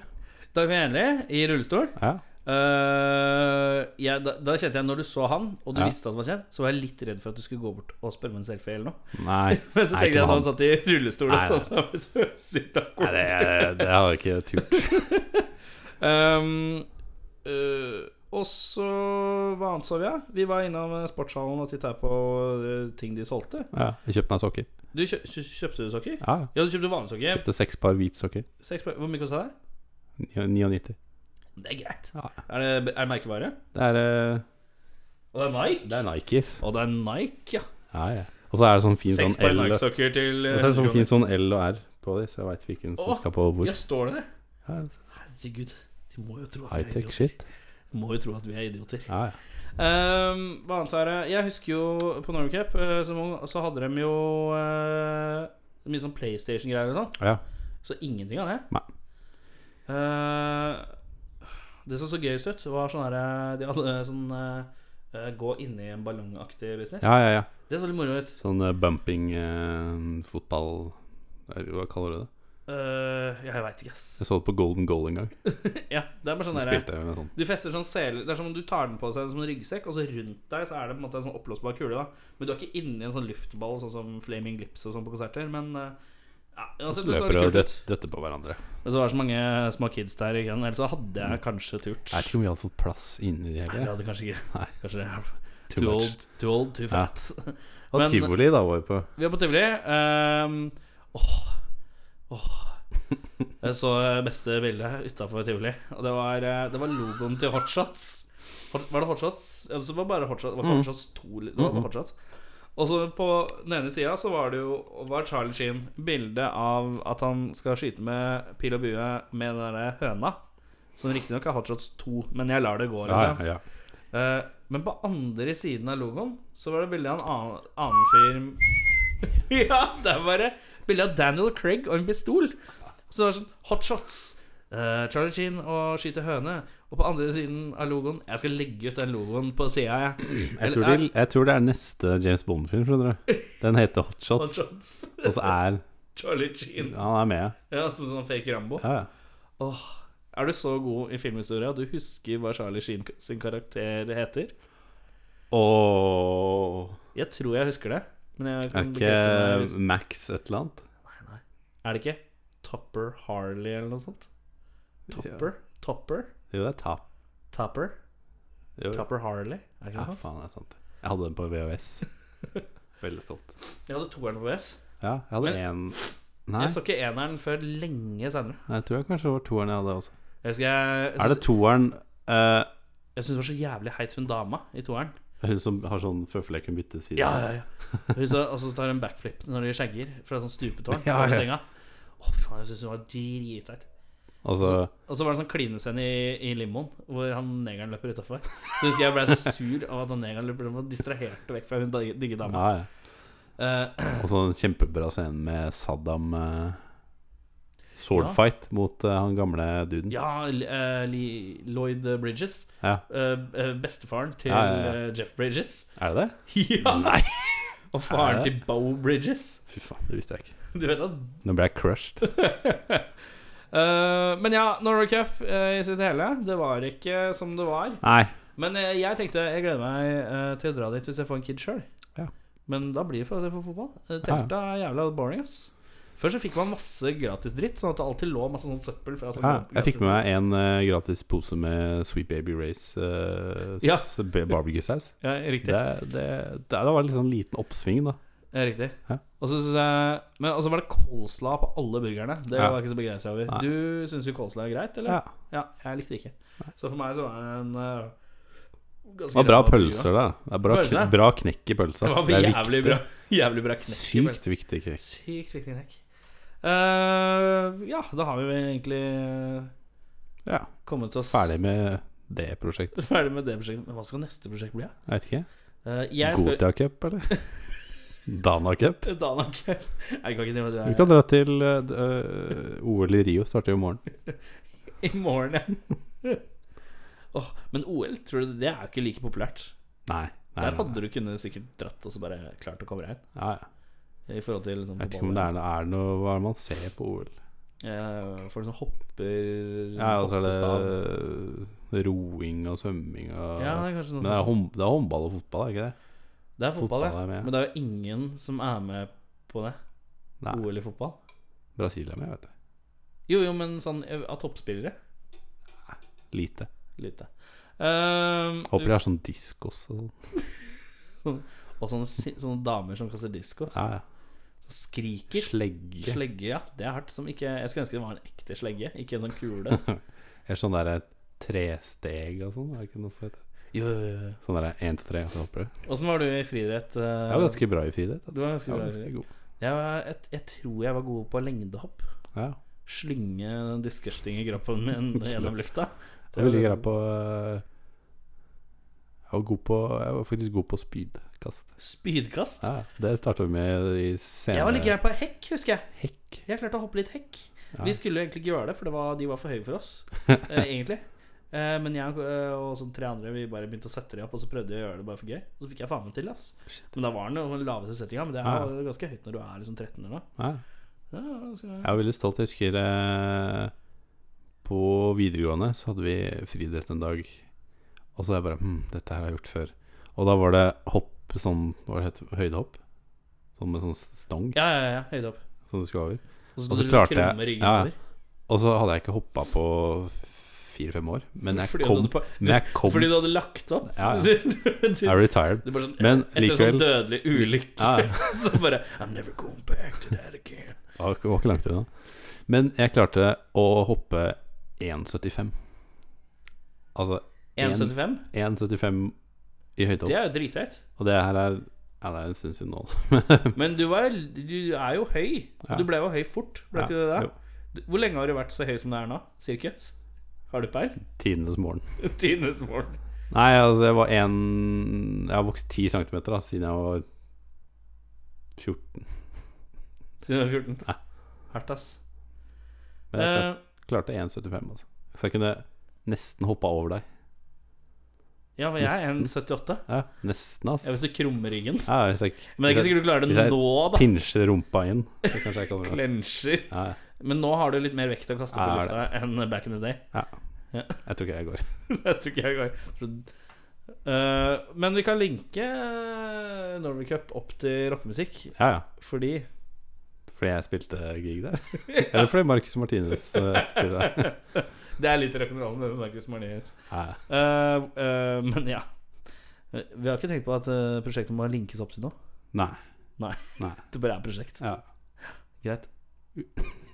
Speaker 3: Dagfinn Henlie i rullestol.
Speaker 1: Ja.
Speaker 3: Eh, jeg, da, da kjente jeg Når du så han, og du
Speaker 1: Ja.
Speaker 3: visste at han var kjent, så var jeg litt redd for at du skulle gå bort og spørre om en selfie eller noe. [LAUGHS]
Speaker 1: Nei.
Speaker 3: Men så
Speaker 1: Nei,
Speaker 3: tenkte
Speaker 1: ikke
Speaker 3: jeg at
Speaker 1: han.
Speaker 3: han satt i rullestol og
Speaker 1: Nei, nei.
Speaker 3: sånn, så, så, sitter
Speaker 1: Nei,
Speaker 3: han kort.
Speaker 1: det, det har jeg ikke turt.
Speaker 3: Um, eh, og så Hva annet så vi? Ja? Vi var innom eh, sportshallen og titta på eh, ting de solgte.
Speaker 1: Ja, jeg kjøpte meg sokker.
Speaker 3: Du kjø kjø kjøpte du sokker?
Speaker 1: Ja, jeg
Speaker 3: Ja, du kjøpte vanlige sokker.
Speaker 1: kjøpte seks par hvit sokker.
Speaker 3: Seks par- Hvor mye kosta det?
Speaker 1: 99.
Speaker 3: Det er greit.
Speaker 1: Ja.
Speaker 3: Er det er det merkevare?
Speaker 1: Det er, eh,
Speaker 3: Og det er Nike.
Speaker 1: det er Nikes.
Speaker 3: Og det er Nike, ja.
Speaker 1: Ja, ja. Og så er det sånn fin sånn
Speaker 3: Seks par
Speaker 1: L og så
Speaker 3: Nike-sokker til eh,
Speaker 1: er det sånn
Speaker 3: 100
Speaker 1: fin sånn L og R på dem, så jeg veit hvilken som
Speaker 3: Å,
Speaker 1: skal på
Speaker 3: kroner.
Speaker 1: hvor.
Speaker 3: Ja, står det det?
Speaker 1: Ja,
Speaker 3: Herregud. De må jo tro at vi er
Speaker 1: High-tech
Speaker 3: idioter.
Speaker 1: shit.
Speaker 3: De Må jo tro at vi er idioter.
Speaker 1: Ja, ja.
Speaker 3: Ehm, hva annet er det? Jeg husker jo på Norway Cup eh, så, må- så hadde de jo eh, mye sånn PlayStation-greier og sånn.
Speaker 1: ja.
Speaker 3: Så ingenting av det.
Speaker 1: Nei.
Speaker 3: Eh, det som så gøyest ut, var sånn herre De hadde eh, sånn eh, eh, gå inni en ballongaktig business.
Speaker 1: ja, ja, ja.
Speaker 3: Det så litt moro ut.
Speaker 1: Sånn eh, bumping eh, fotball Nei, Hva kaller du det?
Speaker 3: Eh, jeg veit ikke, ass.
Speaker 1: Jeg så det på Golden Goal en gang.
Speaker 3: Ja, det er bare sånn
Speaker 1: Da
Speaker 3: derre
Speaker 1: spilte jeg med sånn.
Speaker 3: Du fester sånn sele Det er som om du tar den på seg som en ryggsekk, og så rundt deg så er det på en måte en sånn oppblåsbar kule. da Men du er ikke inni en sånn luftball, sånn som Flaming Lips og sånn på konserter. Men eh, ja, altså, det
Speaker 1: Løper
Speaker 3: så litt
Speaker 1: og
Speaker 3: kult ut.
Speaker 1: døt- døtter på hverandre.
Speaker 3: Men så var det så mange små kids der, ikke? sant? ellers så hadde
Speaker 1: Mm.
Speaker 3: jeg kanskje turt.
Speaker 1: Jeg vet ikke om vi hadde fått plass inni det
Speaker 3: Jeg
Speaker 1: hele.
Speaker 3: hadde kanskje ikke
Speaker 1: Nei.
Speaker 3: Kanskje det er
Speaker 1: Too
Speaker 3: too
Speaker 1: much.
Speaker 3: old, too old, too
Speaker 1: Ja.
Speaker 3: fat.
Speaker 1: Og
Speaker 3: Men-
Speaker 1: tivoli da var vi på.
Speaker 3: Vi er på tivoli. ehm, Åh åh. Jeg så eh, beste bildet utafor tivoli, og det var, eh, det var logoen til Hotshots. Hot- Var det Hotshots? Eller så var det bare Hotshots, var det
Speaker 1: Mm.
Speaker 3: Hotshots 2 Det var bare Hotshots. Og så på den ene sida så var det jo Var Charlie Sheen bilde av at han skal skyte med pil og bue med den derre høna. Som riktignok er Hotshots 2, men jeg lar det
Speaker 1: Ja,
Speaker 3: gå,
Speaker 1: ja,
Speaker 3: liksom.
Speaker 1: ja.
Speaker 3: Eh, men på andre siden av logoen så var det bilde av en annen, annen fyr [LAUGHS] Ja, der var det bilde av Daniel Craig og en pistol. Så det var sånn hotshots. Uh, Charlie Sheen og skyter høne. Og på andre siden av logoen Jeg skal legge ut den logoen på sida, jeg.
Speaker 1: Jeg, tror de, jeg tror det er neste James Bond-film, skjønner
Speaker 3: [LAUGHS]
Speaker 1: du. Den heter Hot Shots,
Speaker 3: Hotshots.
Speaker 1: og så er
Speaker 3: [LAUGHS] Charlie Sheen.
Speaker 1: han er med.
Speaker 3: Ja, som sånn fake Rambo.
Speaker 1: Ja, ja.
Speaker 3: Åh, er du så god i filmhistorie at du husker hva Charlie Sheen sin karakter heter?
Speaker 1: Og
Speaker 3: Jeg tror jeg husker det. Men jeg
Speaker 1: Er
Speaker 3: kan
Speaker 1: det
Speaker 3: bekrefte meg hvis-
Speaker 1: ikke Max et eller annet?
Speaker 3: Er det ikke Topper Harley eller noe sånt? Topper? Topper?
Speaker 1: Jo, det er Tap.
Speaker 3: Topper?
Speaker 1: Jo,
Speaker 3: Topper Harley? Er det
Speaker 1: ja,
Speaker 3: ikke noe sånt?
Speaker 1: faen, det er sant. Jeg hadde den på VHS.
Speaker 3: [LAUGHS]
Speaker 1: Veldig stolt.
Speaker 3: Jeg hadde toeren på VS.
Speaker 1: Ja, jeg hadde én Nei,
Speaker 3: Jeg så ikke eneren før lenge senere.
Speaker 1: jeg tror jeg kanskje det var toeren jeg hadde også.
Speaker 3: Jeg husker jeg, jeg
Speaker 1: Er det
Speaker 3: syns-
Speaker 1: toeren eh,
Speaker 3: jeg syns det var så jævlig heit hun dama i toeren.
Speaker 1: Hun som har sånn føfleken bytte side?
Speaker 3: Ja, ja, ja. Hun så, og så tar hun backflip når de skjegger fra sånn stupetårn
Speaker 1: Ja,
Speaker 3: over
Speaker 1: ja.
Speaker 3: senga. Å, faen, jeg syns hun var drithett.
Speaker 1: Altså,
Speaker 3: Og så var det en sånn klinescene i, i limoen hvor han negeren løper utafor. Så husker jeg ble så sur av at han negeren løper utenfor, distraherte vekk fra hun digge digge dama.
Speaker 1: ja, ja.
Speaker 3: Eh,
Speaker 1: Og så en kjempebra scene med Saddam eh, Swordfight mot eh, han gamle duden.
Speaker 3: Ja, eh, Lee- Lloyd Bridges.
Speaker 1: Ja.
Speaker 3: eh, eh, Bestefaren til
Speaker 1: Ja, ja, ja.
Speaker 3: eh, Jeff Bridges. [LAUGHS]
Speaker 1: Er det det?
Speaker 3: ja!
Speaker 1: Nei!
Speaker 3: Og faren
Speaker 1: Er det?
Speaker 3: til Bo Bridges.
Speaker 1: Fy faen, det visste jeg ikke.
Speaker 3: Du vet at
Speaker 1: Nå ble jeg crushed.
Speaker 3: [LAUGHS] Eh, Men ja, Norway Cup eh, i sitt hele. Det var ikke som det var.
Speaker 1: Nei.
Speaker 3: Men eh, jeg tenkte jeg gleder meg eh, til å dra dit hvis jeg får en kid sjøl.
Speaker 1: Ja.
Speaker 3: Men da blir det for å se på fotball. Eh, Telta er jævla boring, ass. Før så fikk man masse gratis dritt, sånn at det alltid lå masse sånn søppel fra sånn
Speaker 1: Ja, Ah, jeg fikk med meg en eh, gratis pose med Sweet Baby Race uh,
Speaker 3: Ja.
Speaker 1: barbecue-saus.
Speaker 3: Ja, riktig.
Speaker 1: Det, det, det, det var litt sånn liten oppsving, da.
Speaker 3: Ja, riktig.
Speaker 1: Ja.
Speaker 3: Og så synes jeg Men og så var det coleslaw på alle burgerne. Det
Speaker 1: Ja.
Speaker 3: var jeg ikke så begeistra over.
Speaker 1: Nei.
Speaker 3: Du syns jo coleslaw er greit, eller?
Speaker 1: Ja.
Speaker 3: Ja, jeg likte det ikke. Så for meg så var det en eh, ganske
Speaker 1: Det var bra
Speaker 3: ræva burger.
Speaker 1: pølser, da. Det er bra,
Speaker 3: Pølser, ja.
Speaker 1: kn bra knekk i pølsa.
Speaker 3: Det var
Speaker 1: er
Speaker 3: jævlig
Speaker 1: viktig.
Speaker 3: bra. [LAUGHS] Jævlig bra knekk. i pølsa.
Speaker 1: Sykt viktig knekk.
Speaker 3: Sykt viktig knekk. Eh, ja, da har vi vel egentlig eh,
Speaker 1: Ja.
Speaker 3: kommet oss
Speaker 1: Ferdig med det prosjektet.
Speaker 3: [LAUGHS] ferdig med det prosjektet. Men hva skal neste prosjekt bli? da?
Speaker 1: Jeg vet ikke.
Speaker 3: Eh, jeg spør [LAUGHS]
Speaker 1: Gotia Cup, eller? Dana Cup?
Speaker 3: Dana [LAUGHS] Cup. Jeg kan ikke drive med
Speaker 1: Du
Speaker 3: det
Speaker 1: kan dra til eh, d- eh, OL i Rio, starter jo i morgen. [LAUGHS]
Speaker 3: her i morgen. ja. [LAUGHS] Åh, men OL, tror du det er jo ikke like populært?
Speaker 1: Nei. nei,
Speaker 3: Der
Speaker 1: nei,
Speaker 3: hadde
Speaker 1: nei.
Speaker 3: du kunnet sikkert dratt og så bare klart å komme deg inn.
Speaker 1: Ja, ja.
Speaker 3: I forhold til liksom,
Speaker 1: Jeg vet ikke om det er noe, er det noe Hva er det man ser på OL?
Speaker 3: Eh, folk som hopper
Speaker 1: Ja, og så er
Speaker 3: hoppestav.
Speaker 1: det roing og svømming og
Speaker 3: Ja, det er kanskje noe
Speaker 1: Men det er,
Speaker 3: sånt.
Speaker 1: hånd, det er håndball og fotball, er det ikke det?
Speaker 3: Det er fotball, ja.
Speaker 1: er med.
Speaker 3: Men det er jo ingen som er med på det.
Speaker 1: Nei.
Speaker 3: OL i fotball.
Speaker 1: Brasil er med, vet du.
Speaker 3: Jo, jo, men sånn eh, av toppspillere
Speaker 1: Lite.
Speaker 3: Lite. Ehm,
Speaker 1: Håper det er sånn diskos og sånn.
Speaker 3: og sånne, si- sånne damer som kaster disko.
Speaker 1: Ja,
Speaker 3: Som
Speaker 1: ja.
Speaker 3: skriker.
Speaker 1: Slegge.
Speaker 3: Slegge, ja. Det er hardt. Som ikke, jeg skulle ønske det var en ekte slegge, ikke en sånn kule.
Speaker 1: Eller sånn derre tresteg og sånn. Er det ikke noe som heter
Speaker 3: Jo, jo, jo, jo.
Speaker 1: Sånn derre én til tre, og så hopper du.
Speaker 3: Åssen var du i friidrett? eh?
Speaker 1: Jeg var ganske bra i friidrett.
Speaker 3: Du
Speaker 1: Altså. Jeg var
Speaker 3: var ganske bra i
Speaker 1: ganske
Speaker 3: friidrett.
Speaker 1: god.
Speaker 3: Jeg, var- jeg, jeg tror jeg var god på lengdehopp.
Speaker 1: Ja.
Speaker 3: Slynge den disgusting i kroppen
Speaker 1: [LAUGHS]
Speaker 3: min gjennom lufta.
Speaker 1: Det var veldig greit på eh, Jeg var god på Jeg var faktisk god på spydkast.
Speaker 3: Spydkast.
Speaker 1: Ja, det starta vi med i senere
Speaker 3: Jeg var litt grei på hekk, husker jeg.
Speaker 1: Hekk.
Speaker 3: Jeg klarte å hoppe litt hekk.
Speaker 1: Ja.
Speaker 3: Vi skulle jo egentlig ikke gjøre det, for det var, de var for høye for oss.
Speaker 1: [LAUGHS]
Speaker 3: eh, egentlig. Eh, men jeg eh, og sånn tre andre Vi bare begynte å sette dem opp, og så prøvde jeg å gjøre det bare for gøy. Og så fikk jeg faen meg til. ass
Speaker 1: Shit.
Speaker 3: Men da var den jo den laveste settinga, men det er
Speaker 1: Ja.
Speaker 3: jo ganske høyt når du er liksom 13 eller noe.
Speaker 1: [LAUGHS] Ja.
Speaker 3: Ja, ja, skal jeg-
Speaker 1: Jeg var veldig stolt. Jeg husker eh, på videregående så hadde vi friidrett en dag. Og så er jeg bare hm, dette her har jeg gjort før. Og da var det hopp sånn Hva det het høydehopp? Sånn med sånn stang
Speaker 3: ja, ja, ja høyde opp.
Speaker 1: som du skal over.
Speaker 3: Og
Speaker 1: Og så
Speaker 3: Altså, du
Speaker 1: klarte jeg-
Speaker 3: krummer ryggen
Speaker 1: ja, ja.
Speaker 3: over.
Speaker 1: Og så hadde jeg ikke hoppa på fire-fem år, men jeg
Speaker 3: Fordi du
Speaker 1: kom.
Speaker 3: hadde på-
Speaker 1: Men jeg kom
Speaker 3: Fordi du hadde lagt opp.
Speaker 1: Ja, ja.
Speaker 3: [LAUGHS] Du, du, du,
Speaker 1: Jeg er retired.
Speaker 3: du bare sånn,
Speaker 1: Men
Speaker 3: etter en
Speaker 1: likevel
Speaker 3: sånn dødelig ulykke, [LAUGHS]
Speaker 1: Ja, ja.
Speaker 3: så bare I'm never going back to that again.
Speaker 1: Det var ikke- var ikke langt unna. Men jeg klarte å hoppe 1,75. Altså
Speaker 3: 1,75?
Speaker 1: 1,75 i høydehopp.
Speaker 3: Det er jo drithøyt.
Speaker 1: Og det her er Ja, det er en stund siden nå. [LAUGHS]
Speaker 3: Men du, var, du er jo høy.
Speaker 1: Ja.
Speaker 3: Du ble jo høy fort, ble
Speaker 1: Ja,
Speaker 3: ikke du det?
Speaker 1: jo.
Speaker 3: Du- Hvor lenge har du vært så høy som du er nå? Sirkus? Har du peil? [LAUGHS]
Speaker 1: Tidenes morgen.
Speaker 3: Tidenes morgen.
Speaker 1: Nei, altså jeg var en Jeg har vokst 10 cm da, siden jeg var 14
Speaker 3: Siden du var 14?
Speaker 1: Ja.
Speaker 3: Hardt, ass.
Speaker 1: Men jeg klarte, klarte
Speaker 3: Eh,
Speaker 1: 1,75 altså Så jeg kunne nesten hoppa over deg
Speaker 3: ja, men jeg er
Speaker 1: nesten.
Speaker 3: 1,78.
Speaker 1: Ja, nesten
Speaker 3: Ja,
Speaker 1: altså
Speaker 3: hvis du krummer ryggen.
Speaker 1: Ja, hvis jeg,
Speaker 3: Men
Speaker 1: hvis
Speaker 3: det er ikke
Speaker 1: jeg
Speaker 3: sikkert du klarer
Speaker 1: hvis
Speaker 3: det
Speaker 1: jeg-
Speaker 3: nå, da.
Speaker 1: pinsjer rumpa inn Så kanskje jeg kan ja,
Speaker 3: Klensjer.
Speaker 1: ja.
Speaker 3: Men nå har du litt mer vekt å kaste på
Speaker 1: Ja, det
Speaker 3: lufta enn back in the day. [LAUGHS]
Speaker 1: Jeg tror ikke jeg går
Speaker 3: Det tror ikke jeg går. Tror- Eh, men vi kan linke eh, Norway Cup opp til rockemusikk,
Speaker 1: Ja, ja
Speaker 3: fordi [LAUGHS]
Speaker 1: Fordi jeg spilte gig der [LAUGHS] Eller fordi Marcus Martinez eh, spiller der
Speaker 3: Det er litt rock'n'roll med Marcus Martinez.
Speaker 1: ja, ja.
Speaker 3: Eh, eh, men ja. Vi har ikke tenkt på at eh, prosjektet må linkes opp til noe.
Speaker 1: Nei
Speaker 3: Det bare er prosjekt.
Speaker 1: ja.
Speaker 3: Greit.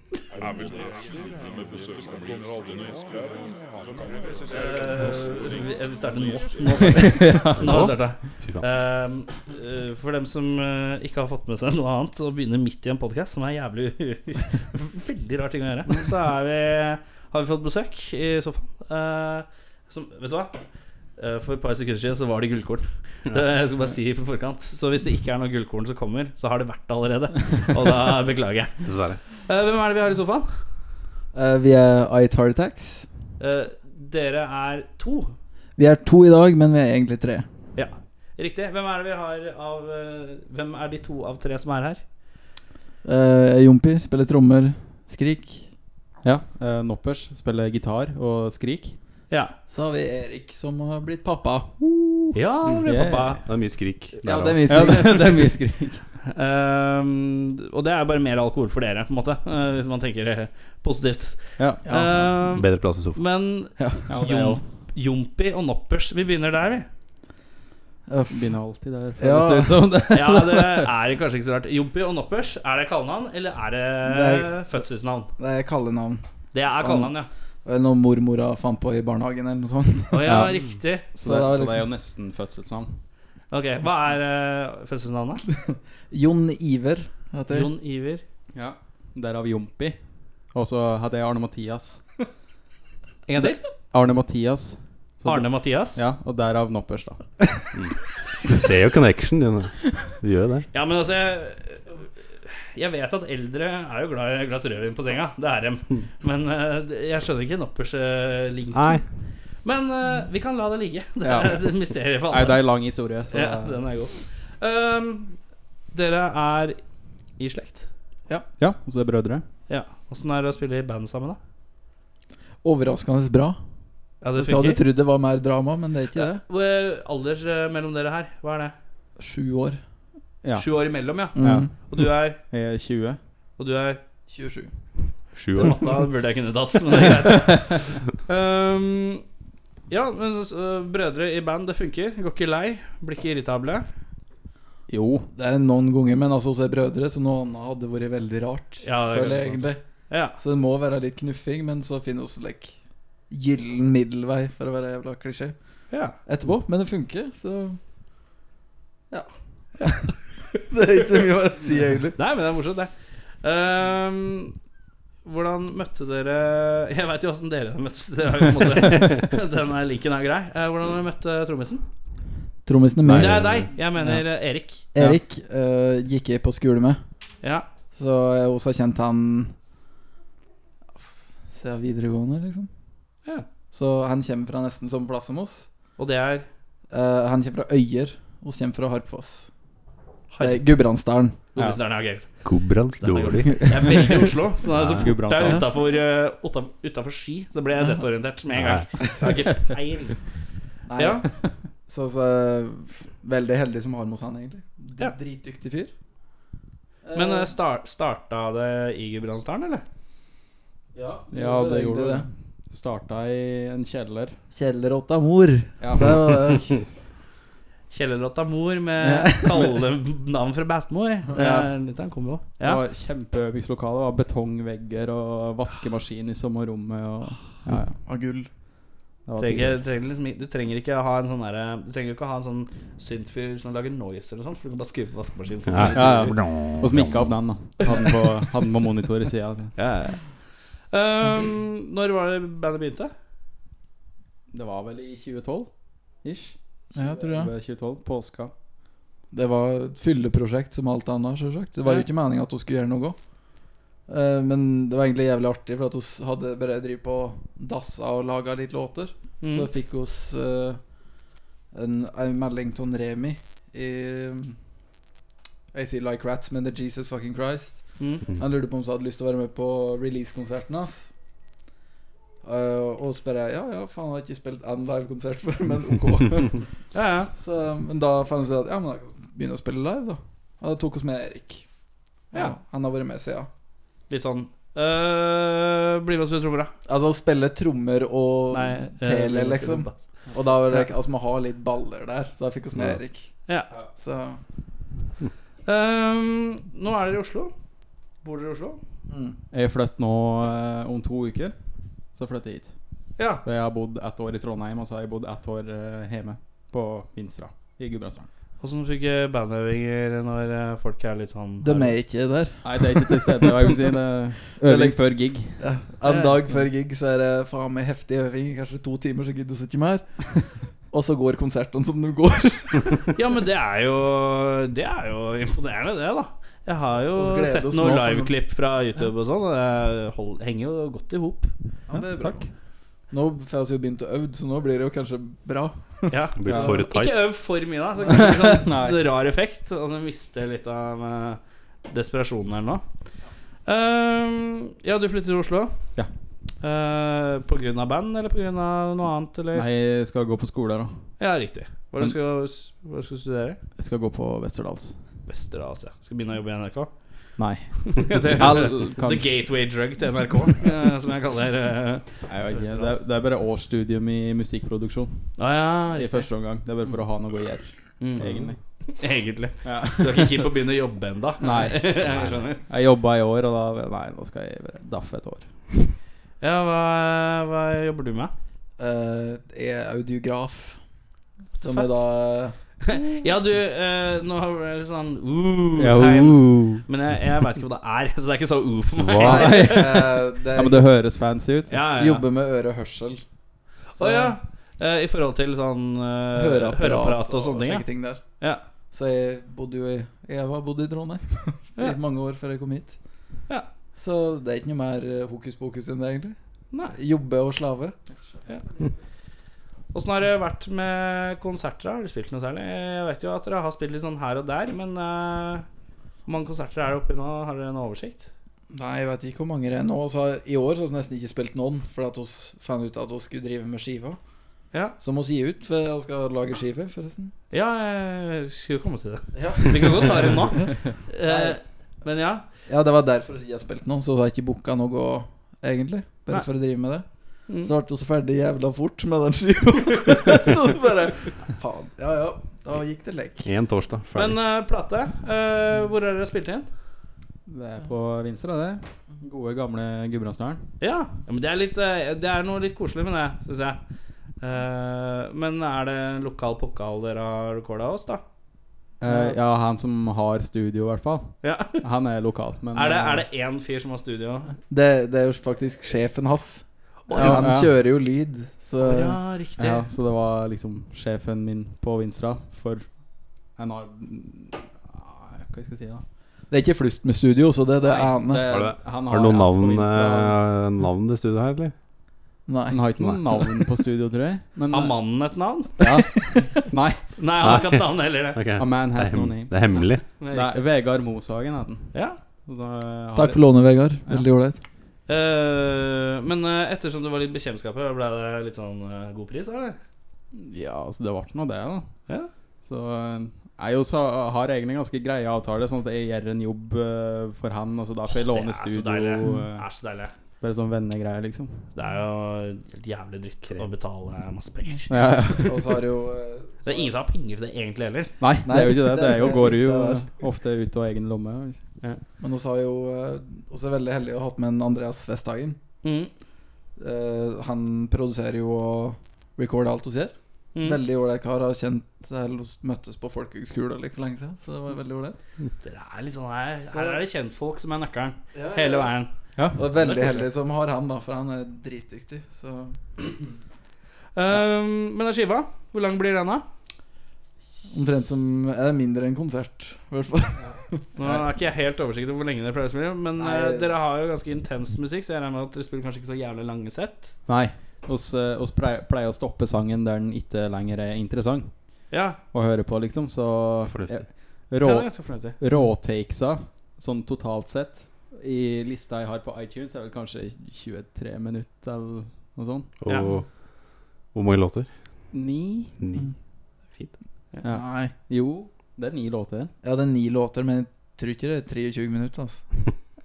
Speaker 2: Er vi neste med besøksmål?
Speaker 3: Eh, vi, vi starter nå. Nå starter vi. Nå starter jeg.
Speaker 1: Fy faen
Speaker 3: Ehm, eh, for dem som eh, ikke har fått med seg noe annet, og begynner midt i en podkast, som er jævlig [LAUGHS] Veldig rar ting å gjøre, Men så er vi, har vi fått besøk i sofaen. eh, som, vet du hva? Eh, For et par sekunder siden så var det gullkorn. Det jeg skal bare si på forkant Så hvis det ikke er noe gullkorn som kommer, så har det vært det allerede. Og da beklager jeg.
Speaker 1: Dessverre
Speaker 3: Eh, Hvem er det vi har i sofaen?
Speaker 4: Eh, vi er Itar Attacks.
Speaker 3: Eh, dere er to.
Speaker 4: Vi er to i dag, men vi er egentlig tre.
Speaker 3: Ja, riktig. Hvem er det vi har av eh, Hvem er de to av tre som er her?
Speaker 4: Eh, Jompi spiller trommer. Skrik.
Speaker 5: Ja, eh, Noppers spiller gitar og skrik.
Speaker 3: Ja.
Speaker 4: Så har vi Erik, som har blitt pappa.
Speaker 3: Ja, det ble
Speaker 5: Yeah.
Speaker 3: pappa.
Speaker 1: Mm. Det er mye skrik. der
Speaker 4: Ja,
Speaker 1: også.
Speaker 4: det er mye
Speaker 5: Ja,
Speaker 4: skrik.
Speaker 5: det, det er mye
Speaker 4: [LAUGHS]
Speaker 5: skrik.
Speaker 3: Ehm, og det er bare mer alkohol for dere, på en måte. eh, hvis man tenker eh, positivt.
Speaker 5: Ja.
Speaker 3: Ehm,
Speaker 1: Bedre plass i sofaen.
Speaker 3: men
Speaker 5: ja det er jo
Speaker 3: Jom- Jompi og Noppers, vi begynner
Speaker 5: [LAUGHS]
Speaker 3: der, vi.
Speaker 4: Uff.
Speaker 5: Begynner alltid der. føles
Speaker 4: Ja.
Speaker 5: det ut som det.
Speaker 3: Ja, det er kanskje ikke så rart. Jompi og Noppers, er det kallenavn, eller er det,
Speaker 4: Det
Speaker 3: fødselsnavn?
Speaker 4: Det er kallenavn.
Speaker 3: Det er kallenavn, ja.
Speaker 4: Det er noe mormora fant på i barnehagen, eller noe sånt.
Speaker 3: Å ja,
Speaker 5: Ja.
Speaker 3: riktig.
Speaker 5: Så, det,
Speaker 4: da
Speaker 5: så det er
Speaker 4: liksom-
Speaker 5: jo nesten fødselsnavn.
Speaker 3: Ok, Hva er eh, fødselsnavnet?
Speaker 4: liksom Jon Iver heter jeg.
Speaker 3: Jon Iver.
Speaker 5: Ja. Derav Jompi. Og så hadde jeg Arne Mathias.
Speaker 3: En gang til.
Speaker 5: Arne Mathias. Så det-
Speaker 3: Arne Mathias.
Speaker 5: Ja, og derav Noppers, da.
Speaker 1: Du ser jo connection. Jon. Du gjør jo det.
Speaker 3: Ja, men altså jeg, jeg vet at eldre er jo glad i et glass rødvin på senga. Det er dem. Men eh, jeg skjønner ikke Noppers eh, link.
Speaker 1: Nei.
Speaker 3: Men eh, vi kan la det ligge. Det
Speaker 5: Ja.
Speaker 3: er et mysterium for
Speaker 5: Nei, det
Speaker 3: alle.
Speaker 5: er en lang historie, så
Speaker 3: ja, den er god. Ehm, dere er i slekt.
Speaker 5: Ja, og så er brødre.
Speaker 3: Ja. Åssen er det å spille i band sammen, da?
Speaker 4: Overraskende bra.
Speaker 3: Ja, det
Speaker 4: Så hadde du
Speaker 3: funker.
Speaker 4: trodd det var mer drama, men det er ikke det.
Speaker 3: Hvor er Alders eh, mellom dere her, hva er det?
Speaker 4: Sju år.
Speaker 5: Ja.
Speaker 3: Sju år imellom, ja.
Speaker 5: Ja.
Speaker 4: Mm.
Speaker 3: Og du er
Speaker 5: Jeg er 20.
Speaker 3: Og du er
Speaker 4: 27.
Speaker 1: Sju
Speaker 3: Den
Speaker 1: år.
Speaker 3: matta burde jeg kunne tatt, men det er greit. Ehm, ja, men så, så, brødre i band, det funker. Går ikke lei. Blir ikke irritable.
Speaker 5: Jo.
Speaker 4: Det er noen ganger, men altså også er brødre, så noe annet hadde vært veldig rart.
Speaker 3: Ja, det er
Speaker 4: føler jeg
Speaker 3: kanskje
Speaker 4: egentlig.
Speaker 3: Ja.
Speaker 4: Så det må være litt knuffing, men så finner vi like, gyllen middelvei, for å være jævla klisjé,
Speaker 3: ja.
Speaker 4: etterpå. Men det funker, så Ja. [LAUGHS] det er ikke så mye å si, egentlig.
Speaker 3: Nei, men det er morsomt, det. Ehm, hvordan møtte dere [LAUGHS] Jeg veit jo åssen dere møttes. Dere har jo på en måte, den her linken er grei. Eh, hvordan dere møtte trommisen?
Speaker 4: Trommisen er
Speaker 1: Nei.
Speaker 4: min.
Speaker 3: Det er deg. Jeg mener eh, Erik.
Speaker 4: Erik eh, gikk jeg på skole med.
Speaker 3: Ja.
Speaker 4: Så jeg har også kjent han siden videregående, liksom.
Speaker 3: Ja.
Speaker 4: Så han kommer fra nesten samme plass som oss.
Speaker 3: Og det er
Speaker 4: Eh, han kommer fra Øyer, oss kommer fra Harpfoss. Det
Speaker 3: Harry.
Speaker 4: er Gudbrandsdalen.
Speaker 3: Ja. Ja, greit.
Speaker 1: Kobrans dårlig.
Speaker 3: Jeg er veldig i Oslo, så, det er så
Speaker 5: Ja,
Speaker 3: fort det er
Speaker 5: Gudbrandsdalen.
Speaker 3: utafor, eh, uta- utafor Ski, så ble jeg desorientert med en gang. Jeg har ikke peil.
Speaker 4: Nei,
Speaker 3: Ja,
Speaker 4: Så, så veldig heldig som har med oss han, egentlig. D-
Speaker 3: Ja.
Speaker 4: Dritdyktig fyr.
Speaker 3: Men
Speaker 4: Eh,
Speaker 3: eh, star starta det i Gudbrandsdalen, eller?
Speaker 4: ja,
Speaker 5: Ja, det gjorde det. Starta i en kjeller.
Speaker 4: Kjellerotta mor.
Speaker 5: Ja.
Speaker 4: Det var
Speaker 5: [LAUGHS]
Speaker 4: det.
Speaker 3: Kjellerrotta mor med kallenavn fra bestemor. Det er
Speaker 5: Ja.
Speaker 3: litt av en kombo.
Speaker 5: Det
Speaker 3: Ja.
Speaker 5: var kjempeøvingslokale. Det var betongvegger og vaskemaskin i samme rommet. Og, ja, ja.
Speaker 4: Av gull.
Speaker 5: Det var
Speaker 3: Trenger,
Speaker 5: tidlig. trenger.
Speaker 3: trenger liksom, ikke- du trenger ikke ha en sånn derre Du trenger ikke ha en sånn synth-fyr som lager noise eller sånn, for du kan bare skru på vaskemaskinen. så
Speaker 1: Ja,
Speaker 3: sier-
Speaker 5: Ja, ja. Og smikka opp den, da. Hadde den på, hadde den på monitor i sida.
Speaker 3: Ja, ja. Ehm, når var det bandet begynte?
Speaker 5: Det var vel i 2012? Ish.
Speaker 4: Ja, jeg tror det.
Speaker 5: 2012, Påska.
Speaker 4: Det var et fylleprosjekt som alt annet, selvsagt. Det var jo ikke meninga at hun skulle gjøre noe. Eh, Men det var egentlig jævlig artig, for at oss hadde bare drevet på og dassa og laga litt låter.
Speaker 3: Mm.
Speaker 4: Så fikk oss eh, en, en melding til en Remi i Jeg sier Like Rats, men det er Jesus Fucking Christ.
Speaker 3: Mm.
Speaker 4: Han lurte på om vi hadde lyst til å være med på release-konserten hans. Eh, og så bare Ja, ja, faen, jeg har ikke spilt en livekonsert før, [LAUGHS] men ok.
Speaker 3: Ja, ja.
Speaker 4: Så, men da fant vi ut at ja, men da kan vi begynne å spille live, da. Og da tok oss med Erik.
Speaker 3: Ja.
Speaker 4: Ja, Han har vært med siden.
Speaker 3: Litt sånn eh, Bli med og spille trommer, da.
Speaker 4: Altså å spille trommer og
Speaker 3: Nei, eh,
Speaker 4: tele,
Speaker 3: bli med og
Speaker 4: liksom.
Speaker 3: spille bass.
Speaker 4: Og da var det altså, må ha litt baller der, så da fikk oss med
Speaker 1: Ja.
Speaker 4: Erik.
Speaker 3: Ja.
Speaker 4: Så
Speaker 3: Ehm, nå er dere i Oslo. Bor dere i Oslo?
Speaker 4: mm.
Speaker 5: Jeg flytter nå eh, om to uker. Så flytter jeg hit.
Speaker 3: Ja.
Speaker 5: Og Jeg har bodd ett år i Trondheim, og så har jeg bodd ett år eh, hjemme på Vinstra i Gudbrandsdalen.
Speaker 3: Åssen funker bandøvinger når eh, folk er litt sånn
Speaker 4: De er ikke der.
Speaker 5: Nei, det er ikke til stede, hva jeg vil si. Det er øving før gig.
Speaker 4: Ja.
Speaker 3: Ja.
Speaker 4: En dag før gig så er det faen meg heftig øving, kanskje to timer, så gidder vi ikke mer. [LAUGHS] Og så går konsertene som de går.
Speaker 3: Ja, men det er jo Det er jo imponerende, det, da. Jeg har jo
Speaker 4: Og så glede
Speaker 3: sett
Speaker 4: oss
Speaker 3: noen
Speaker 4: nå for-
Speaker 3: liveklipp fra YouTube og sånn, og det hold- henger jo godt i hop.
Speaker 4: Ja, det er bra.
Speaker 5: Takk.
Speaker 4: Nå får vi jo begynt å øve, så nå blir det jo kanskje bra.
Speaker 3: Ja.
Speaker 1: Det blir
Speaker 4: Ja.
Speaker 1: for
Speaker 3: Ikke
Speaker 1: tight.
Speaker 3: øv for mye, da. Så det kan bli sånn
Speaker 5: [LAUGHS] Nei.
Speaker 3: rar effekt. Og den mister litt av eh, desperasjonen eller noe. Ehm, ja, du flytter til Oslo.
Speaker 5: Ja.
Speaker 3: Eh, på grunn av band, eller på grunn av noe annet? Eller?
Speaker 5: Nei, jeg skal gå på skole her, da.
Speaker 3: Ja, riktig. Hva er det du skal, hva er det du skal studere?
Speaker 5: Jeg skal gå på Westerdals.
Speaker 3: Vesterålen, ja. Skal begynne å jobbe i NRK.
Speaker 5: [LAUGHS] Nei.
Speaker 3: det,
Speaker 5: Ja,
Speaker 3: the
Speaker 5: kanskje.
Speaker 3: gateway drug til NRK, eh, som jeg kaller eh,
Speaker 5: Nei, jeg vet ikke. Det, er, det er bare årsstudium i musikkproduksjon
Speaker 3: ah, ja,
Speaker 5: i
Speaker 3: riktig.
Speaker 5: første omgang. Det er bare for å ha noe å gjøre,
Speaker 3: Mm.
Speaker 5: egentlig.
Speaker 3: Egentlig.
Speaker 5: Ja.
Speaker 3: Du er ikke keen på å begynne å jobbe ennå?
Speaker 5: Nei.
Speaker 3: [LAUGHS] jeg skjønner.
Speaker 5: Jeg jobba i år, og da Nei, nå skal jeg bare daffe et år.
Speaker 3: Ja, hva, hva jobber du med? [LAUGHS]
Speaker 4: Eh, jeg er audiograf, som
Speaker 3: Fuck.
Speaker 4: er da
Speaker 3: Ja, du, eh, nå har jeg litt sånn
Speaker 5: Ja,
Speaker 3: uh-tegn.
Speaker 5: uh.
Speaker 3: Men jeg, jeg veit ikke hva det er, [LAUGHS] så det er ikke så uh for meg.
Speaker 5: Hva?
Speaker 4: Nei, eh, det
Speaker 5: ja, men det høres fancy ut.
Speaker 3: [LAUGHS] Ja, ja.
Speaker 4: jobber med ørehørsel.
Speaker 3: Å ja. Eh, I forhold til sånn eh,
Speaker 4: høreapparat,
Speaker 3: og sånne ting.
Speaker 4: ting der.
Speaker 3: Ja.
Speaker 4: Så jeg bodde jo i Jeg har bodd i Trondheim [LAUGHS]
Speaker 3: Ja.
Speaker 4: i mange år før jeg kom hit.
Speaker 3: Ja.
Speaker 4: Så det er ikke noe mer eh, hokus pokus enn det, egentlig.
Speaker 3: ja. Nei.
Speaker 4: Jobbe og slave.
Speaker 3: Åssen har det vært med konserter? da? Har du spilt noe særlig? Jeg vet jo at dere har spilt litt sånn her og der, men eh, hvor mange konserter er det oppi nå? Har dere en oversikt?
Speaker 4: Nei, jeg vet ikke hvor mange det er nå. Så har- I år så har vi nesten ikke spilt noen, fordi at oss fant ut at vi skulle drive med skiva.
Speaker 3: Ja.
Speaker 4: Som vi gir ut, for jeg skal lage skive, forresten.
Speaker 3: Ja, jeg skulle komme til det.
Speaker 4: Ja.
Speaker 3: Vi kan godt ta det nå. Eh,
Speaker 4: Nei.
Speaker 3: men ja.
Speaker 4: Ja, det var derfor jeg ikke har spilt noen, så jeg har ikke booka noe egentlig. Bare
Speaker 3: Nei.
Speaker 4: for å drive med det.
Speaker 3: Mm.
Speaker 4: Så ble vi ferdig jævla fort med den skiva. [LAUGHS] så bare Faen. Ja ja, da gikk det lekk.
Speaker 1: Én torsdag,
Speaker 3: Men
Speaker 1: ferdig.
Speaker 3: eh, plate, eh, hvor har dere spilt inn?
Speaker 5: Det er på Vinstra, det. Gode, gamle Gudbrandsdalen.
Speaker 3: Ja, ja, men det er, litt, eh, det er noe litt koselig med det, syns jeg. Eh, men er det en lokal pokal dere har recorda oss, da?
Speaker 5: Eh, ja, han som har studio, i hvert fall.
Speaker 3: Ja. [LAUGHS]
Speaker 5: Han er lokal, men eh,
Speaker 3: Er det, er det én fyr som har studio?
Speaker 4: Det, det er jo faktisk sjefen hans.
Speaker 3: Å,
Speaker 4: ja, han
Speaker 5: ja.
Speaker 4: kjører jo lyd, så
Speaker 3: Å, ja, riktig.
Speaker 5: Eh, Ja, så det var liksom sjefen min på Vinstra for en har Hva skal jeg si, da?
Speaker 4: Det er ikke flust med studio, så det, det er
Speaker 5: Nei,
Speaker 4: Ane.
Speaker 1: Har du-
Speaker 3: eh,
Speaker 5: han
Speaker 1: Har du noen
Speaker 5: hatt på
Speaker 1: navn,
Speaker 5: Vinstra.
Speaker 1: eh, navn i studioet her, eller?
Speaker 5: Han
Speaker 4: Nei.
Speaker 5: har ikke noe navn på studio, tror jeg. Men,
Speaker 3: Har mannen et navn?
Speaker 5: ja. [LAUGHS] Nei,
Speaker 3: Nei, han har ikke hatt navn heller, det.
Speaker 1: Ok.
Speaker 5: eh, a man
Speaker 1: Det er,
Speaker 5: has no
Speaker 1: hem
Speaker 5: name.
Speaker 1: det er hemmelig.
Speaker 3: Men
Speaker 5: Det er Vegard Moshagen heter han.
Speaker 3: riktig. Ja.
Speaker 5: Da har-
Speaker 4: Takk for lånet, Vegard. Veldig ålreit.
Speaker 3: Eh, men eh, ettersom det var litt bekjentskaper, ble det litt sånn eh, god pris, eller?
Speaker 5: Ja, altså det ble nå det, da.
Speaker 3: Ja.
Speaker 5: Så eh, jeg også har egentlig en ganske greie avtale, sånn at jeg gjør en jobb eh, for han. Altså da får jeg
Speaker 3: det
Speaker 5: låne
Speaker 3: er så deilig.
Speaker 5: studio.
Speaker 3: Det
Speaker 5: eh,
Speaker 3: er så deilig.
Speaker 5: Bare sånn vennegreier, liksom.
Speaker 3: Det er jo helt jævlig dritt å betale masse penger.
Speaker 5: Ja, ja.
Speaker 4: Og så har jo eh,
Speaker 3: Det er ingen som har penger til det egentlig heller.
Speaker 5: Nei, det er jo ikke det. Det
Speaker 4: det
Speaker 5: [LAUGHS] er jo,
Speaker 4: er
Speaker 5: går
Speaker 4: litt
Speaker 5: jo
Speaker 4: av
Speaker 5: ofte ut av egen lomme. altså.
Speaker 4: Men vi har jo eh, oss er veldig heldige å ha hatt med en Andreas Vesthagen.
Speaker 3: Mm.
Speaker 4: Eh, han produserer jo og recorder alt vi gjør.
Speaker 3: Mm.
Speaker 4: Veldig ålreit kar. Har kjent eller oss møttes på folkehøgskolen like for lenge siden, så det var veldig ålreit.
Speaker 3: Dere er litt sånn her, her er det kjentfolk som er nøkkelen
Speaker 4: Ja,
Speaker 3: hele veien.
Speaker 4: Og er veldig heldig som har han, da, for han er dritdyktig. Så
Speaker 3: Um, men den skiva, hvor lang blir den, da?
Speaker 4: omtrent som Er det mindre enn konsert, i hvert fall.
Speaker 3: Nå er ikke jeg helt oversiktlig over hvor lenge dere pleier å spille, men
Speaker 4: Nei.
Speaker 3: eh, dere har jo ganske intens musikk, så jeg regner med at dere spiller kanskje ikke så jævlig lange sett.
Speaker 5: Nei. Oss, eh, oss pleier, pleier å stoppe sangen der den ikke lenger er interessant
Speaker 3: Ja,
Speaker 5: å høre på, liksom. Så
Speaker 1: Fornuftig.
Speaker 5: eh,
Speaker 3: det
Speaker 5: rå,
Speaker 3: er jeg ganske fornøyd til.
Speaker 5: råtakesa, sånn totalt sett, i lista jeg har på iTunes, er vel kanskje 23 minutter eller noe sånt.
Speaker 1: Og
Speaker 3: Ja.
Speaker 1: hvor mange låter?
Speaker 5: Ni?
Speaker 1: Ni.
Speaker 4: Mm.
Speaker 5: Ja.
Speaker 4: Nei.
Speaker 5: Jo, det er ni låter.
Speaker 4: Ja, det er ni låter, men jeg tror ikke det er 23 minutter. Altså.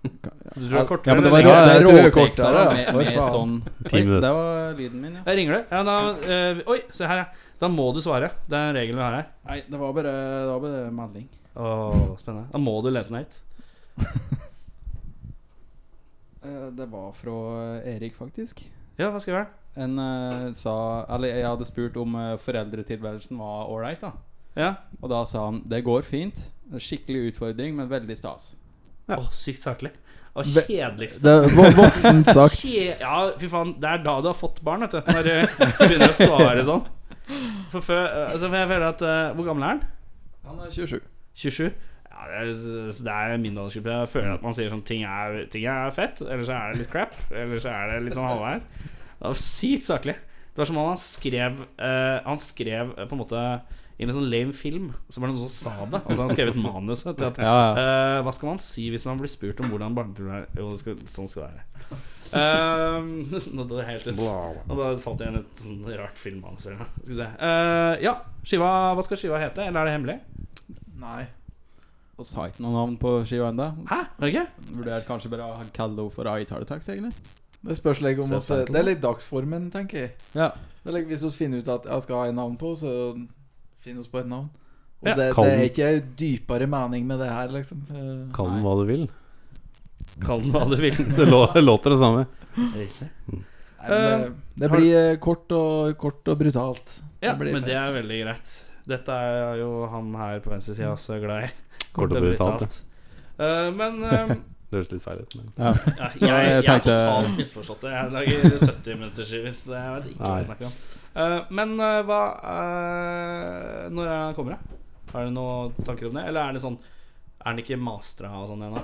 Speaker 3: Du tror det er kortere?
Speaker 5: Ja, men
Speaker 3: eller?
Speaker 5: det var
Speaker 4: Ja,
Speaker 5: rå- det
Speaker 4: jeg
Speaker 5: er
Speaker 4: tror det er
Speaker 5: råteksa
Speaker 4: kortere,
Speaker 5: da,
Speaker 4: ja.
Speaker 5: med,
Speaker 4: For
Speaker 5: med
Speaker 4: faen.
Speaker 5: sånn
Speaker 1: Ti
Speaker 5: Oi,
Speaker 1: minutter.
Speaker 5: Det var lyden min, ja.
Speaker 3: Jeg ringer du? Ja, da, eh, oi, se her, ja. Da må du svare. Det er en regel vi har her.
Speaker 5: Nei, det var bare, det var bare melding.
Speaker 3: Å, spennende. Da må du lese den høyt.
Speaker 5: Eh, Det var fra eh, Erik, faktisk.
Speaker 3: Ja, hva skal jeg gjøre?
Speaker 5: En eh, sa Eller jeg hadde spurt om eh, foreldretilværelsen var ålreit, da.
Speaker 3: Ja.
Speaker 5: Og da sa han det går fint. Det er Skikkelig utfordring, men veldig stas.
Speaker 3: Å, sykt saklig. Å,
Speaker 4: Ve-
Speaker 3: kjedeligste.
Speaker 4: Det er vo- voksent [LAUGHS] sagt.
Speaker 3: Kje- Ja, fy faen, det er da du har fått barn, vet du. Når du begynner å svare sånn. For før, altså, for jeg føler at eh, Hvor gammel er han?
Speaker 4: Han er 27.
Speaker 3: 27? Ja, det er, så det er min aldersgruppe. Jeg føler at man sier sånn ting er, ting er fett, eller så er det litt crap. Eller så er det litt sånn halvveis. Det var sykt saklig. Det var som om han skrev eh, Han skrev eh, på en måte i en sånn lame film, så var det noen som sa det. Altså Han skrev et manus til at
Speaker 5: Ja, ja.
Speaker 3: Eh, hva skal man si hvis man blir spurt om hvordan barneturen er? Jo, det skal, sånn skal det være. Eh, [LAUGHS] nå døde det helt ut. Nå bare falt jeg inn i et sånn rart filmmanus. eller noe. Skal vi se. Eh, ja, skiva, hva skal skiva hete? Eller er det hemmelig?
Speaker 4: Nei.
Speaker 5: Og så har jeg ikke noe navn på skiva ennå.
Speaker 3: Hæ? Er det ikke?
Speaker 5: Vurderte kanskje bare å kalle henne for Itar Attacks, egentlig.
Speaker 4: Det spørs litt om
Speaker 3: Så
Speaker 4: oss Det er litt dagsformen, tenker jeg.
Speaker 5: Ja.
Speaker 4: Det er litt, hvis vi finner ut at jeg skal ha et navn på, så finner vi på et navn. Og
Speaker 3: Ja.
Speaker 4: det,
Speaker 1: Kall
Speaker 4: det er
Speaker 1: den-
Speaker 4: ikke dypere mening med det her, liksom. Eh,
Speaker 1: Kall den hva du vil. [LAUGHS]
Speaker 3: Kall den hva du vil.
Speaker 1: Det lå- låter det samme.
Speaker 3: [LAUGHS] Riktig.
Speaker 4: Nei, men det, det
Speaker 3: har-
Speaker 4: blir eh, kort og, kort og brutalt.
Speaker 3: Ja,
Speaker 4: blir
Speaker 3: men det
Speaker 4: fett.
Speaker 3: er veldig greit. Dette er jo han her på venstresida også glad i.
Speaker 1: Kort og brutalt, ja.
Speaker 3: Eh, men eh,
Speaker 1: Det høres litt feil ut. Men.
Speaker 5: ja.
Speaker 3: Ja, jeg,
Speaker 5: Ja, jeg
Speaker 3: jeg, har
Speaker 5: tenkte-
Speaker 3: totalt misforstått det. Jeg lager 70-minutterskiver, så det jeg vet ikke hva
Speaker 1: Nei.
Speaker 3: jeg snakker om. Eh, men eh, hva eh, Når er han kommer, da? Har du noen tanker om det? Eller er det sånn Er den ikke mastra og sånn ennå?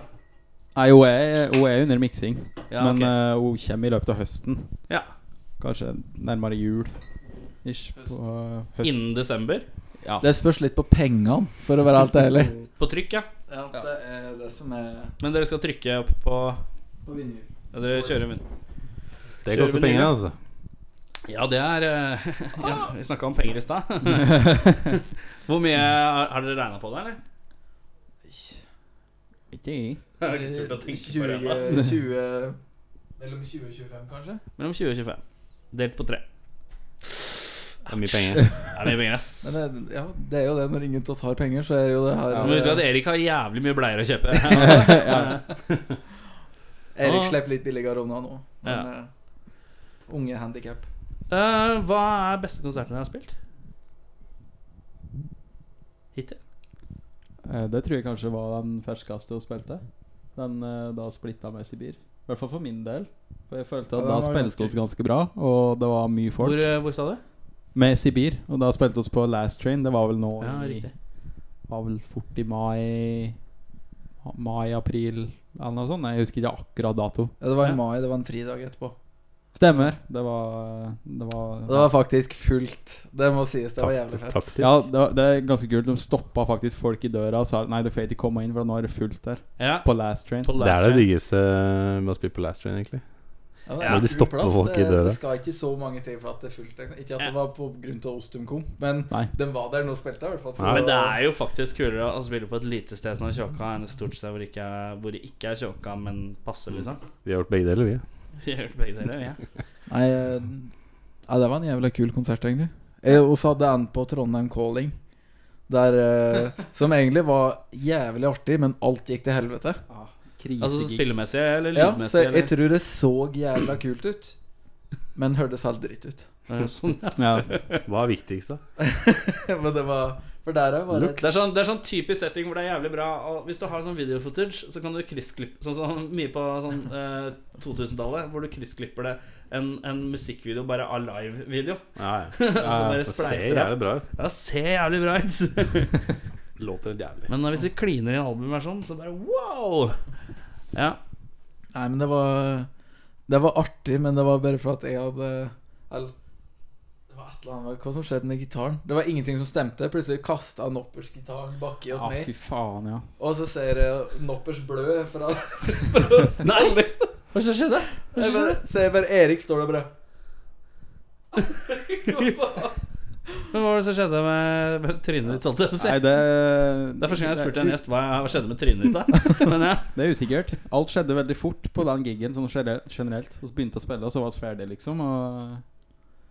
Speaker 5: Nei, hun er, hun er under miksing,
Speaker 3: Ja,
Speaker 5: men
Speaker 3: ok.
Speaker 5: eh, hun kommer i løpet av høsten.
Speaker 3: Ja.
Speaker 5: Kanskje nærmere jul. Ish. På høst.
Speaker 3: Innen desember?
Speaker 5: Ja.
Speaker 4: Det spørs litt på pengene, for å være helt ærlig.
Speaker 3: På trykk, ja.
Speaker 4: Ja, det er det som er
Speaker 3: Men dere skal trykke opp på
Speaker 4: på
Speaker 3: [LAUGHS]
Speaker 4: vinner.
Speaker 3: ja, Dere kjører vin-
Speaker 1: Det
Speaker 3: Kjører
Speaker 1: koster
Speaker 3: vi
Speaker 1: penger,
Speaker 3: nye?
Speaker 1: altså.
Speaker 3: Ja, det er eh, [LAUGHS] ja, Vi snakka om penger i stad. [LAUGHS] Hvor mye Har har dere regna på det, eller?
Speaker 5: Ikke jeg.
Speaker 3: Jeg har ikke turt å tenke på det ennå. [LAUGHS]
Speaker 4: 20, 20 Mellom 20 og 25, kanskje?
Speaker 3: Mellom 20 og 25. Delt på tre.
Speaker 1: Det er mye penger.
Speaker 3: Det er mye penger, ass.
Speaker 4: Men eh, det, ja, det er jo det når ingen av oss har penger, så er jo det her
Speaker 3: Så må du huske at
Speaker 4: eh,
Speaker 3: Erik har jævlig mye bleier å
Speaker 4: [LAUGHS]
Speaker 3: kjøpe.
Speaker 4: Erik
Speaker 3: Ah.
Speaker 4: slipper litt billigere unna nå. Men eh, unge handikap.
Speaker 3: [LAUGHS] Eh, hva er beste konserten dere har spilt? Hittil?
Speaker 5: Eh, Det tror jeg kanskje var den ferskeste hun spilte. Den eh, da splitta med Sibir. I hvert fall for min del. For jeg følte
Speaker 4: Ja,
Speaker 5: at
Speaker 4: den
Speaker 5: da
Speaker 4: var
Speaker 5: spilte
Speaker 4: ganske-
Speaker 5: vi oss ganske bra, og det var mye folk.
Speaker 3: Hvor, eh, hvor sa du?
Speaker 5: Med Sibir, og da spilte vi oss på Last Train. Det var vel nå
Speaker 3: Ja,
Speaker 5: i-
Speaker 3: riktig.
Speaker 5: var vel fort i mai Mai-april eller noe sånt. Nei, Jeg husker ikke akkurat dato.
Speaker 4: Ja, det var i
Speaker 3: Ja.
Speaker 4: mai, det var en fridag etterpå.
Speaker 5: Stemmer. Det var Det var,
Speaker 4: Og det var faktisk fullt. Det må sies, det var jævlig
Speaker 1: Taktisk.
Speaker 4: fett.
Speaker 1: taktisk.
Speaker 5: ja, det, var, det er ganske kult. De stoppa faktisk folk i døra og sa nei, du får ikke komme inn, for nå er det fullt der.
Speaker 3: Ja.
Speaker 5: På Last Train.
Speaker 3: på
Speaker 1: Det
Speaker 3: Last
Speaker 1: er det
Speaker 3: Train.
Speaker 1: diggeste med å spille på last train, egentlig.
Speaker 4: Ja, det
Speaker 3: Ja.
Speaker 4: er en
Speaker 1: De
Speaker 4: kul
Speaker 1: stopper
Speaker 4: plass.
Speaker 1: folk i
Speaker 4: det,
Speaker 1: døra.
Speaker 4: Det skal ikke så mange til for at det er fullt. Liksom. Ikke at
Speaker 3: Ja.
Speaker 4: det var på grunn av Ostum kom, men
Speaker 5: Nei.
Speaker 4: de var der nå og spilte. i hvert fall, så-
Speaker 3: Men det er jo faktisk kulere å spille på et lite sted som er kjåka, enn et stort sted hvor, det ikke er, hvor det ikke er kjåka, men passer,
Speaker 4: [LAUGHS]
Speaker 3: liksom.
Speaker 1: Vi har gjort begge
Speaker 3: [LAUGHS]
Speaker 1: deler, vi.
Speaker 3: Vi har gjort begge deler, ja.
Speaker 4: Nei, eh, ja, det var en jævla kul konsert, egentlig. Eh, Og så hadde jeg en på Trondheim Calling, der, eh, som egentlig var jævlig artig, men alt gikk til helvete.
Speaker 3: Altså
Speaker 5: Krisegig.
Speaker 3: spillemessig eller
Speaker 4: Ja, så
Speaker 3: lydmessig?
Speaker 4: jeg, jeg tror det så jævla kult ut, men hørtes helt dritt ut.
Speaker 3: eller? Sånn, ja.
Speaker 4: [LAUGHS]
Speaker 5: Ja.
Speaker 1: Hva er
Speaker 3: [LAUGHS]
Speaker 1: viktigst, da?
Speaker 4: men det var For der òg var
Speaker 3: Det er,
Speaker 4: det
Speaker 3: sånn, det er sånn typisk setting hvor det er jævlig bra. Og hvis du har sånn videofootage, så kan du kryssklippe Sånn som mye på sånn, eh, 2000-tallet, hvor du kryssklipper det en, en musikkvideo bare av live-video. [LAUGHS]
Speaker 1: Ja, ja.
Speaker 3: Så bare
Speaker 1: Det ser
Speaker 3: spleiser det.
Speaker 1: jævlig bra ut.
Speaker 3: Ja, det ser jævlig bra ut. [LAUGHS]
Speaker 1: Låter helt jævlig.
Speaker 3: Men hvis vi kliner i en albumversjon, sånn, så bare wow! Ja.
Speaker 4: Nei, men det var Det var artig, men det var bare for at jeg hadde eller, Det var et eller annet med- Hva som skjedde med gitaren? Det var ingenting som stemte. Plutselig kasta Noppers gitaren bakki
Speaker 5: Ja,
Speaker 4: og meg.
Speaker 5: Ah, fy faen, ja.
Speaker 4: Og så ser jeg Noppers blø fra
Speaker 3: Nei! [LAUGHS] Hva som skjedde? Hva
Speaker 4: Jeg
Speaker 3: som skjedde?
Speaker 4: bare, ser jeg bare Erik står der bare
Speaker 3: Men hva var det som skjedde med, med trynet ditt? holdt jeg på å si?
Speaker 5: Nei, det
Speaker 3: Det er første gang jeg spurte en gjest hva, hva skjedde med trynet ditt. da Men ja,
Speaker 5: Det er usikkert. Alt skjedde veldig fort på den gigen sånn gene- generelt. Vi begynte å spille, og så var vi ferdig, liksom. Og
Speaker 4: [LAUGHS]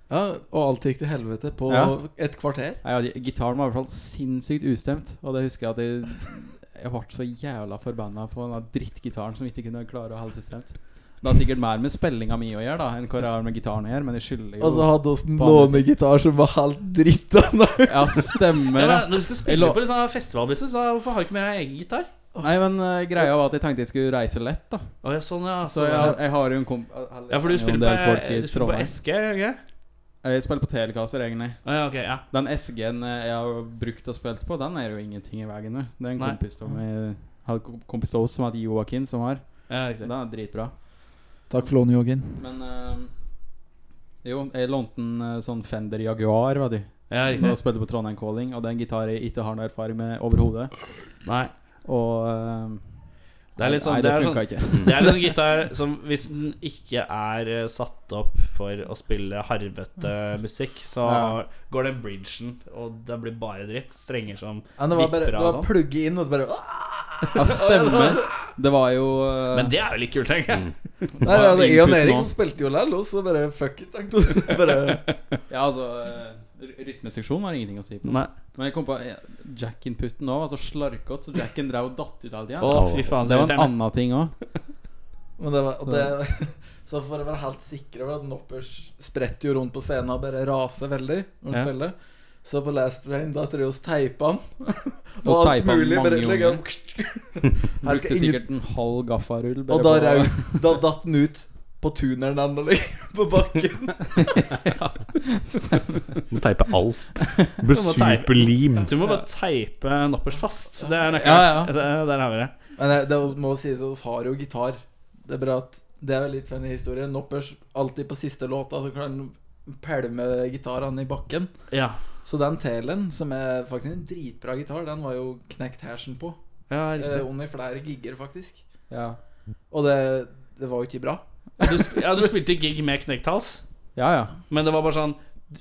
Speaker 4: Ja, og alt gikk til helvete på
Speaker 5: Ja.
Speaker 4: et kvarter.
Speaker 5: Nei, ja, Gitaren var i hvert fall sinnssykt ustemt, og det husker jeg at jeg, jeg ble så jævla forbanna på den der drittgitaren som ikke kunne klare å holde seg stemt. Det har sikkert mer med spillinga mi å gjøre da enn hva det har med gitaren å gjøre, men jeg skylder
Speaker 4: Og så
Speaker 5: jo
Speaker 4: hadde vi en lånegitar som var helt dritt [LAUGHS] av
Speaker 5: Ja,
Speaker 3: ja,
Speaker 5: stemmer,
Speaker 3: men
Speaker 5: da.
Speaker 3: Når du skal
Speaker 5: Jeg
Speaker 3: spille
Speaker 5: lå-
Speaker 3: på en sånn festivalbusiness, så hvorfor har du ikke med deg egen gitar?
Speaker 5: Nei, men eh, greia var at jeg tenkte jeg skulle reise lett, da.
Speaker 3: Å ja, sånn ja.
Speaker 5: Så jeg, jeg har jo en komp...
Speaker 3: Ja, for du
Speaker 5: en
Speaker 3: spiller
Speaker 5: del
Speaker 3: på,
Speaker 5: folk i
Speaker 3: du spiller på
Speaker 5: Trondheim.
Speaker 3: Eske, gjør du ikke?
Speaker 5: Jeg spiller på telekasser, egentlig.
Speaker 3: Å, ja, ok, ja.
Speaker 5: Den SG-en eh, jeg har brukt og spilt på, den er jo ingenting i veien med. Det er en
Speaker 3: Nei.
Speaker 5: kompis av meg- har en kompis av oss som heter Joakim, som har.
Speaker 3: ja
Speaker 5: Den
Speaker 3: riktig.
Speaker 5: er dritbra.
Speaker 4: Takk for lånet, Joggen.
Speaker 5: Men eh, jo, jeg lånte en eh, sånn Fender Jaguar, vet du.
Speaker 3: Ja,
Speaker 5: Når
Speaker 3: riktig.
Speaker 5: jeg spilte på Trondheim Calling, og det er en gitar jeg ikke har noe erfaring med overhodet.
Speaker 3: Nei.
Speaker 5: Og eh,
Speaker 3: Det er litt sånn-
Speaker 5: Nei,
Speaker 3: det
Speaker 5: det
Speaker 3: er
Speaker 5: funka ikke.
Speaker 3: Det er en sånn gitar som hvis den ikke er eh, satt opp for å spille harvete musikk, så
Speaker 5: Ja.
Speaker 3: går den bridgen, og det blir bare dritt. Strenger som
Speaker 4: Men det var bare
Speaker 3: Vipper
Speaker 4: det
Speaker 3: av
Speaker 4: var
Speaker 3: sånn.
Speaker 4: plugge inn, og så bare Åh!
Speaker 5: Ja, stemmer. Det var jo eh,
Speaker 3: Men det er jo litt kult, tenker
Speaker 5: Mm.
Speaker 3: jeg.
Speaker 4: Nei, ja, det, jeg og
Speaker 5: input
Speaker 4: Erik
Speaker 5: nå.
Speaker 4: han spilte jo lell, og så bare fuck it, tenkte du. [LAUGHS] Bare
Speaker 5: Ja, altså eh, ry- Rytmeseksjon var ingenting å si på.
Speaker 3: Nei.
Speaker 5: Men jeg kom på eh, jack-inputen òg, altså slarkott, så jacken drev og datt ut hele tida.
Speaker 3: Å, fy faen,
Speaker 5: det
Speaker 3: så
Speaker 5: var en
Speaker 3: irriterende.
Speaker 5: annen ting òg.
Speaker 4: Men det var, og det, så for å være helt sikre over at Noppers spretter jo rundt på scenen og bare raser veldig når han
Speaker 3: Ja.
Speaker 4: spiller, så på Last Rain da tror jeg vi teipa han.
Speaker 5: Og teipa han mange
Speaker 4: bare legger [LAUGHS]
Speaker 5: ganger.
Speaker 4: han- Her
Speaker 5: Brukte
Speaker 4: skal ingen,
Speaker 5: sikkert en halv gaffarull. bare
Speaker 4: og da,
Speaker 5: på-
Speaker 4: rau- da datt han ut på tuneren ennå, liksom, på bakken.
Speaker 1: Må teipe alt. Det blir
Speaker 3: Du må teipe.
Speaker 1: superlim.
Speaker 3: Du må bare teipe noppers fast. Det er nøkkelen.
Speaker 5: Ja, ja.
Speaker 3: Det- Der har vi det.
Speaker 4: [LAUGHS] Men det, det må sies at vi har jo gitar. Det er bra at det er litt funny historie. Noppers alltid på siste låta så kan han pælme gitarene i bakken.
Speaker 3: Ja,
Speaker 4: Så den telen, som er faktisk en dritbra gitar, den var jo knekt hersen på.
Speaker 3: ja
Speaker 4: Eh,
Speaker 3: riktig.
Speaker 4: under flere gigger, faktisk.
Speaker 5: Ja.
Speaker 4: Og det, det var jo ikke bra.
Speaker 3: Du, sp- ja, du spilte gig med knekt hals,
Speaker 5: ja, ja.
Speaker 3: men det var bare sånn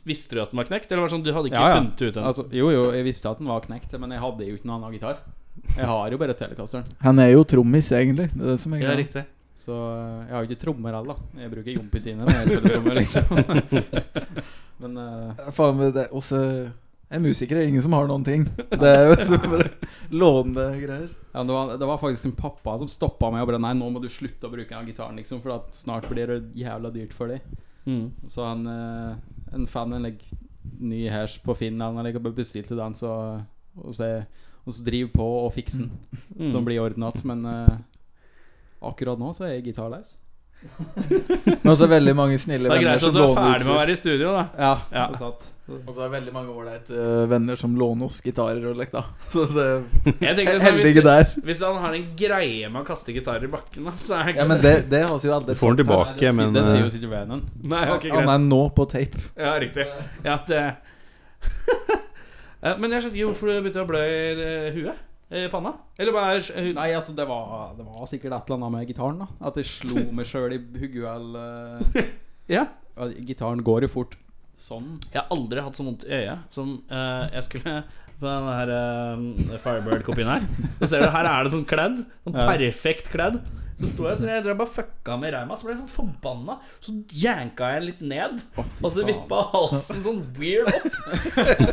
Speaker 3: Visste du at den var knekt, eller var det sånn du hadde ikke
Speaker 5: Ja, ja.
Speaker 3: funnet ut den?
Speaker 5: Altså, jo, jo, jeg visste at den var knekt, men jeg hadde jo ikke noen annen gitar. Jeg har jo bare telekasteren,
Speaker 4: Han er jo trommis, egentlig. Det er det som er
Speaker 3: ja,
Speaker 4: greia.
Speaker 3: riktig.
Speaker 5: så eh, jeg har jo ikke trommer heller. da. Jeg bruker jompisine når jeg spiller trommer, liksom. [LAUGHS] men eh,
Speaker 4: Faen, men det oss er er musikere. Ingen som har noen
Speaker 3: [LAUGHS]
Speaker 4: ting. Det er jo så bare lånende greier.
Speaker 5: Ja, det, var, det var faktisk en pappa som stoppa meg og bare Nei, nå må du slutte å bruke den gitaren, liksom, for at snart blir det jævla dyrt for deg.
Speaker 3: Mm.
Speaker 5: Så han eh, En fan en like, ny hash på Finn, han like, bestilte den, så Og så, og så driv på og fikse den,
Speaker 3: Mm.
Speaker 5: som blir ordnet. Men eh, akkurat nå så er jeg gitarlaus.
Speaker 4: Men også veldig mange snille
Speaker 3: Det er
Speaker 4: venner
Speaker 3: greit
Speaker 4: som
Speaker 3: at du er
Speaker 4: låner
Speaker 3: ferdig med å
Speaker 4: utstyr.
Speaker 3: være i studio, da.
Speaker 5: Ja,
Speaker 3: Ja.
Speaker 5: det er sant.
Speaker 4: Og så er det veldig mange ålreite eh, venner som låner oss gitarer og lek, da. [LAUGHS] Så det
Speaker 3: Jeg tenker
Speaker 4: er
Speaker 3: sånn,
Speaker 4: heldige
Speaker 3: hvis,
Speaker 4: der.
Speaker 3: hvis han har en greie med å kaste gitarer i bakken, da, så er det
Speaker 4: Ja,
Speaker 3: ikke
Speaker 4: men det, det har vi jo
Speaker 1: Du
Speaker 4: aldri
Speaker 1: får den
Speaker 4: sagt her.
Speaker 1: tilbake, men
Speaker 5: det sier
Speaker 1: eh,
Speaker 5: jo sikkert vennen.
Speaker 3: Nei, ok,
Speaker 4: Han
Speaker 3: greit.
Speaker 4: er nå på tape.
Speaker 3: Ja, riktig. Ja, det [LAUGHS] Eh, Men jeg skjønner ikke hvorfor du begynte å blø i eh, huet? I panna? Eller bare eh, er hu-
Speaker 5: Nei, altså, det var, det var sikkert et eller annet med gitaren, da. At jeg slo [LAUGHS] meg sjøl i hugget eller
Speaker 3: Ja.
Speaker 5: [LAUGHS] Ja, Gitaren går jo fort sånn.
Speaker 3: Jeg har aldri hatt så vondt i øyet som eh, jeg skulle på den her eh, Firebird-kopien her. Så ser du, her er det sånn kledd. Sånn
Speaker 5: Ja.
Speaker 3: perfekt kledd. Så sto jeg så jeg drev bare fucka med reima, så ble jeg sånn forbanna. Så janka jeg litt ned, og så
Speaker 5: faen.
Speaker 3: vippa halsen sånn weird opp.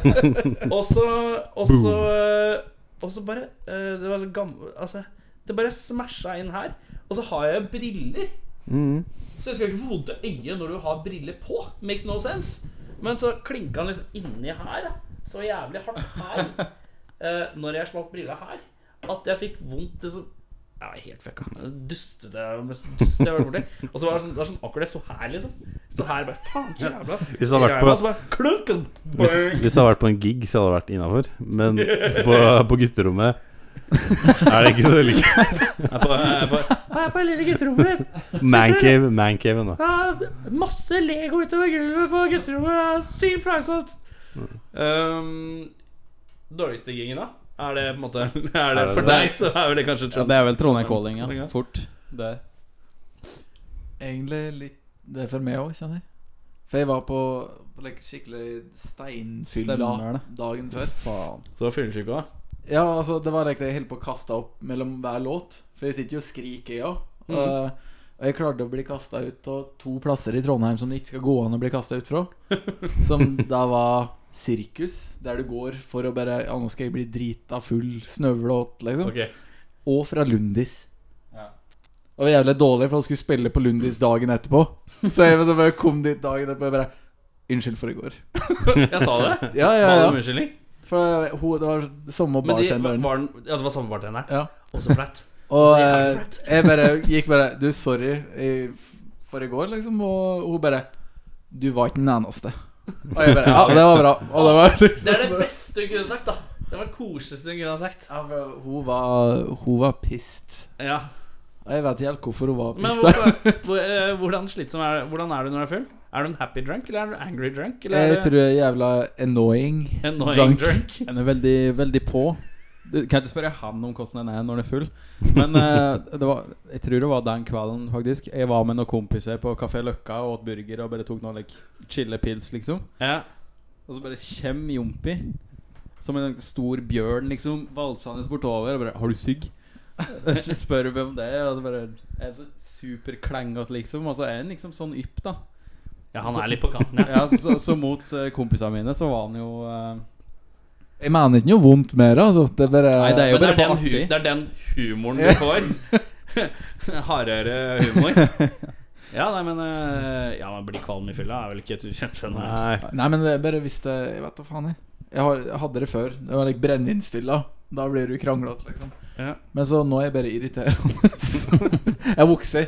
Speaker 5: [LAUGHS]
Speaker 3: og så Og så eh, Og så bare eh, Det var så gammel Altså, det bare smasha inn her. Og så har jeg briller.
Speaker 5: Mm.
Speaker 3: Så jeg skal ikke få vondt i øyet når du har briller på. Makes no sense. Men så klinka han liksom inni her, da. så jævlig hardt her, [LAUGHS] eh, når jeg slapp brilla her, at jeg fikk vondt liksom Jeg var helt fucka. Dustete mest dustete jeg har vært borti. Og så var det sånn, det var sånn akkurat jeg sto her, liksom. Sto her og bare faen, [LAUGHS] jævla
Speaker 1: Hvis det hadde vært på-
Speaker 3: Og så bare klunk! og så
Speaker 1: Hvis,
Speaker 3: bang.
Speaker 1: hvis det hadde vært på en gig, så hadde det vært innafor. Men på, på gutterommet er det ikke så like
Speaker 3: Jeg er på, jeg er på, jeg er på lille gutterommet mitt.
Speaker 1: Mancave, mancaven, da.
Speaker 3: Ja, masse Lego utover gulvet på gutterommet. Det er Sykt plagsomt. Um, dårligste gingen, da? Er det på en måte [LAUGHS] Er det,
Speaker 1: Er det
Speaker 3: for
Speaker 1: det?
Speaker 3: deg, så er vel det kanskje
Speaker 5: Ja,
Speaker 3: Trond.
Speaker 5: det er vel Trondheim Calling,
Speaker 3: Ja.
Speaker 5: ja. Fort. Det.
Speaker 4: Egentlig litt Det er for meg òg, kjenner jeg. For jeg var på på, like, skikkelig
Speaker 5: Stemmer
Speaker 4: steinfylla
Speaker 5: det.
Speaker 4: dagen før.
Speaker 5: Faen.
Speaker 3: Så fyllesyk òg, da.
Speaker 4: Ja, altså, det var like, jeg holdt på å kaste opp mellom hver låt. For jeg sitter jo og skriker, jeg òg.
Speaker 3: Mhm.
Speaker 4: Eh, Og jeg klarte å bli kasta ut av to plasser i Trondheim som det ikke skal gå an å bli kasta ut fra.
Speaker 3: [LAUGHS]
Speaker 4: Som da var sirkus, der du går for å bare Ja, nå skal jeg bli drita full, snøvlete, liksom.
Speaker 3: Ok.
Speaker 4: Og fra Lundis.
Speaker 5: Ja.
Speaker 4: Det var jævlig dårlig, for han skulle spille på Lundis dagen etterpå. Så jeg så bare kom dit dagen etterpå og bare Unnskyld for i går.
Speaker 3: Jeg sa det.
Speaker 4: Ja, ja,
Speaker 3: Sa det om
Speaker 4: ja.
Speaker 3: unnskyldning?
Speaker 4: For hun, det var samme
Speaker 3: Men de, var,
Speaker 4: bartenderen.
Speaker 3: den- ja, det var samme bartenderen.
Speaker 4: Ja.
Speaker 3: Også flaut. Så
Speaker 4: Og
Speaker 3: jævlig
Speaker 4: eh,
Speaker 3: flaut.
Speaker 4: jeg bare gikk bare Du, sorry i, for i går, liksom. Og hun bare Du var ikke den eneste. Og jeg bare, ja, det var bra. Og det var
Speaker 3: Det er det beste hun kunne sagt, da. Det var det koseligste hun kunne ha sagt.
Speaker 4: ja, for hun var Hun var pissed.
Speaker 3: Ja.
Speaker 4: Og Jeg vet ikke helt hvorfor hun var
Speaker 3: Men
Speaker 4: pissed.
Speaker 3: hvor, hvor, eh, hvordan slitsom er Hvordan er du når du er full? Er du en happy drunk, eller er du en angry drunk? Eller
Speaker 4: Jeg
Speaker 3: er du
Speaker 4: tror jeg er jævla annoying.
Speaker 3: annoying
Speaker 4: drunk.
Speaker 3: drunk?
Speaker 5: Den er veldig, veldig på. Du kan ikke spørre han om hvordan den er når den er full. Men eh, det var, jeg tror det var den kvelden, faktisk. Jeg var med noen kompiser på Kafé Løkka og åt burger og bare tok noen like, chillepils, liksom.
Speaker 3: Ja.
Speaker 5: Og så bare kjem Jompi som en stor bjørn, liksom, valsende bortover og bare 'Har du sigg?' Så spør vi om det, og så bare er han så superklengete, liksom. Og så er han liksom sånn ypp, da.
Speaker 3: ja, han er litt på kanten,
Speaker 4: [LAUGHS]
Speaker 3: ja.
Speaker 5: Ja, så, så, så mot eh, kompisene mine så var han jo eh,
Speaker 4: Jeg mener ikke noe vondt med det, altså. Det er bare
Speaker 5: Nei, det er jo
Speaker 3: Men det
Speaker 5: bare
Speaker 3: er,
Speaker 5: på
Speaker 3: den hu
Speaker 5: artig.
Speaker 3: det er den humoren du får. [LAUGHS] Hardere humor. Ja, nei, men eh, Ja, man blir kvalm i fylla, er vel ikke et ukjent fenomen.
Speaker 1: Nei.
Speaker 4: Nei, men det er bare hvis det Jeg vet da faen, jeg. Jeg, har, jeg hadde det før. Det var like brennevinsfylla. Da blir du kranglete, liksom.
Speaker 3: Ja.
Speaker 4: Men så nå er jeg bare irriterende. [LAUGHS] jeg vokser.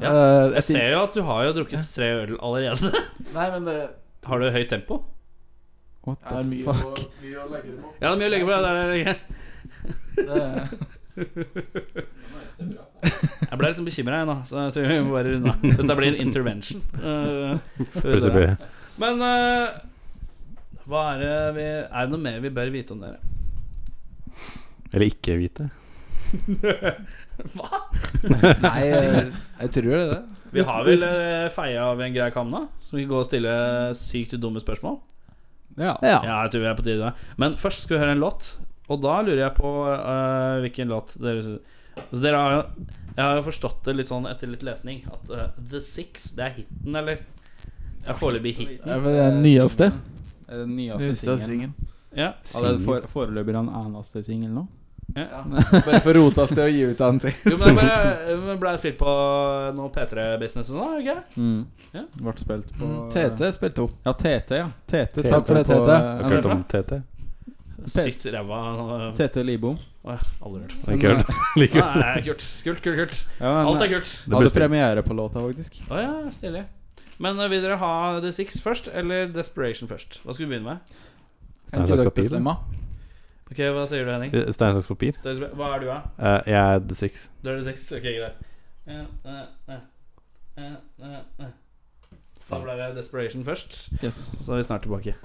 Speaker 3: Ja,
Speaker 4: Eh,
Speaker 3: Jeg ser jo at du har jo drukket tre øl allerede.
Speaker 4: Nei, men det
Speaker 3: Har du høyt tempo?
Speaker 5: What
Speaker 4: er
Speaker 5: the
Speaker 4: mye
Speaker 5: fuck?
Speaker 4: å, mye å legge det på.
Speaker 3: Ja, det er mye å legge på. Det er det er-
Speaker 5: [LAUGHS]
Speaker 4: Det,
Speaker 3: Jeg ble liksom bekymra, jeg nå. Så jeg tror vi må bare [LAUGHS] runde av. Dette blir en intervention. eh, for dere.
Speaker 1: Plutselig blir
Speaker 3: Men eh, hva er det vi Er det noe mer vi bør vite om dere?
Speaker 1: Eller ikke vite.
Speaker 3: Hva?
Speaker 4: nei, jeg, jeg tror det er det.
Speaker 3: Vi har vel eh, feia av en grei kam nå, så vi går og stiller sykt dumme spørsmål.
Speaker 5: Ja.
Speaker 4: Ja.
Speaker 3: Ja, jeg tror vi er på tide. Men først skal vi høre en låt, og da lurer jeg på eh, hvilken låt dere Så dere har jo Jeg har jo forstått det litt sånn etter litt lesning at eh, The Six, det er hiten, eller? Det er foreløpig hit.
Speaker 4: Det er vel den nyeste.
Speaker 5: Det er Den nyeste singelen.
Speaker 3: Ja.
Speaker 5: Ja, det er for, foreløpig den eneste singelen nå.
Speaker 3: [LAUGHS]
Speaker 4: Ja. Bare for rotas til å gi ut en ting.
Speaker 3: Jo, men det ble, ble spilt på noe P3-business og sånn, er det ikke?
Speaker 5: Mm.
Speaker 3: Ja. Mm,
Speaker 5: Ble spilt på
Speaker 4: TT spilte opp.
Speaker 5: Ja, TT, ja. TT
Speaker 4: Takk for det,
Speaker 5: spilte på,
Speaker 4: TT.
Speaker 5: eh,
Speaker 1: Har ikke hørt om TT?
Speaker 3: Sykt ræva øh,
Speaker 5: TT Libom.
Speaker 3: Åh, Aldri hørt.
Speaker 1: Har ikke hørt. [LAUGHS] Like
Speaker 3: Nei,
Speaker 1: kult.
Speaker 3: nei, kult. Kult, kult, kult.
Speaker 5: Ja,
Speaker 3: Alt
Speaker 5: men,
Speaker 3: er kult.
Speaker 1: Det ble
Speaker 5: hadde
Speaker 1: spilt.
Speaker 5: premiere på låta, faktisk.
Speaker 3: Å ja, stilig. Men øh, vil dere ha The Six først, eller Desperation først? Hva skal vi begynne med?
Speaker 4: Kan
Speaker 1: Nei, det
Speaker 4: ikke dere
Speaker 1: skal pile.
Speaker 4: bestemme?
Speaker 3: Ok, Hva sier du, Henning?
Speaker 1: Eh, Stein, saks, papir.
Speaker 3: Hva er du, da?
Speaker 1: Eh, jeg er The Six.
Speaker 3: Du er The Six? Ok, greit. Ja, eh, eh, eh, eh, eh. Da ble det Desperation først.
Speaker 5: Yes.
Speaker 3: Så er vi snart tilbake.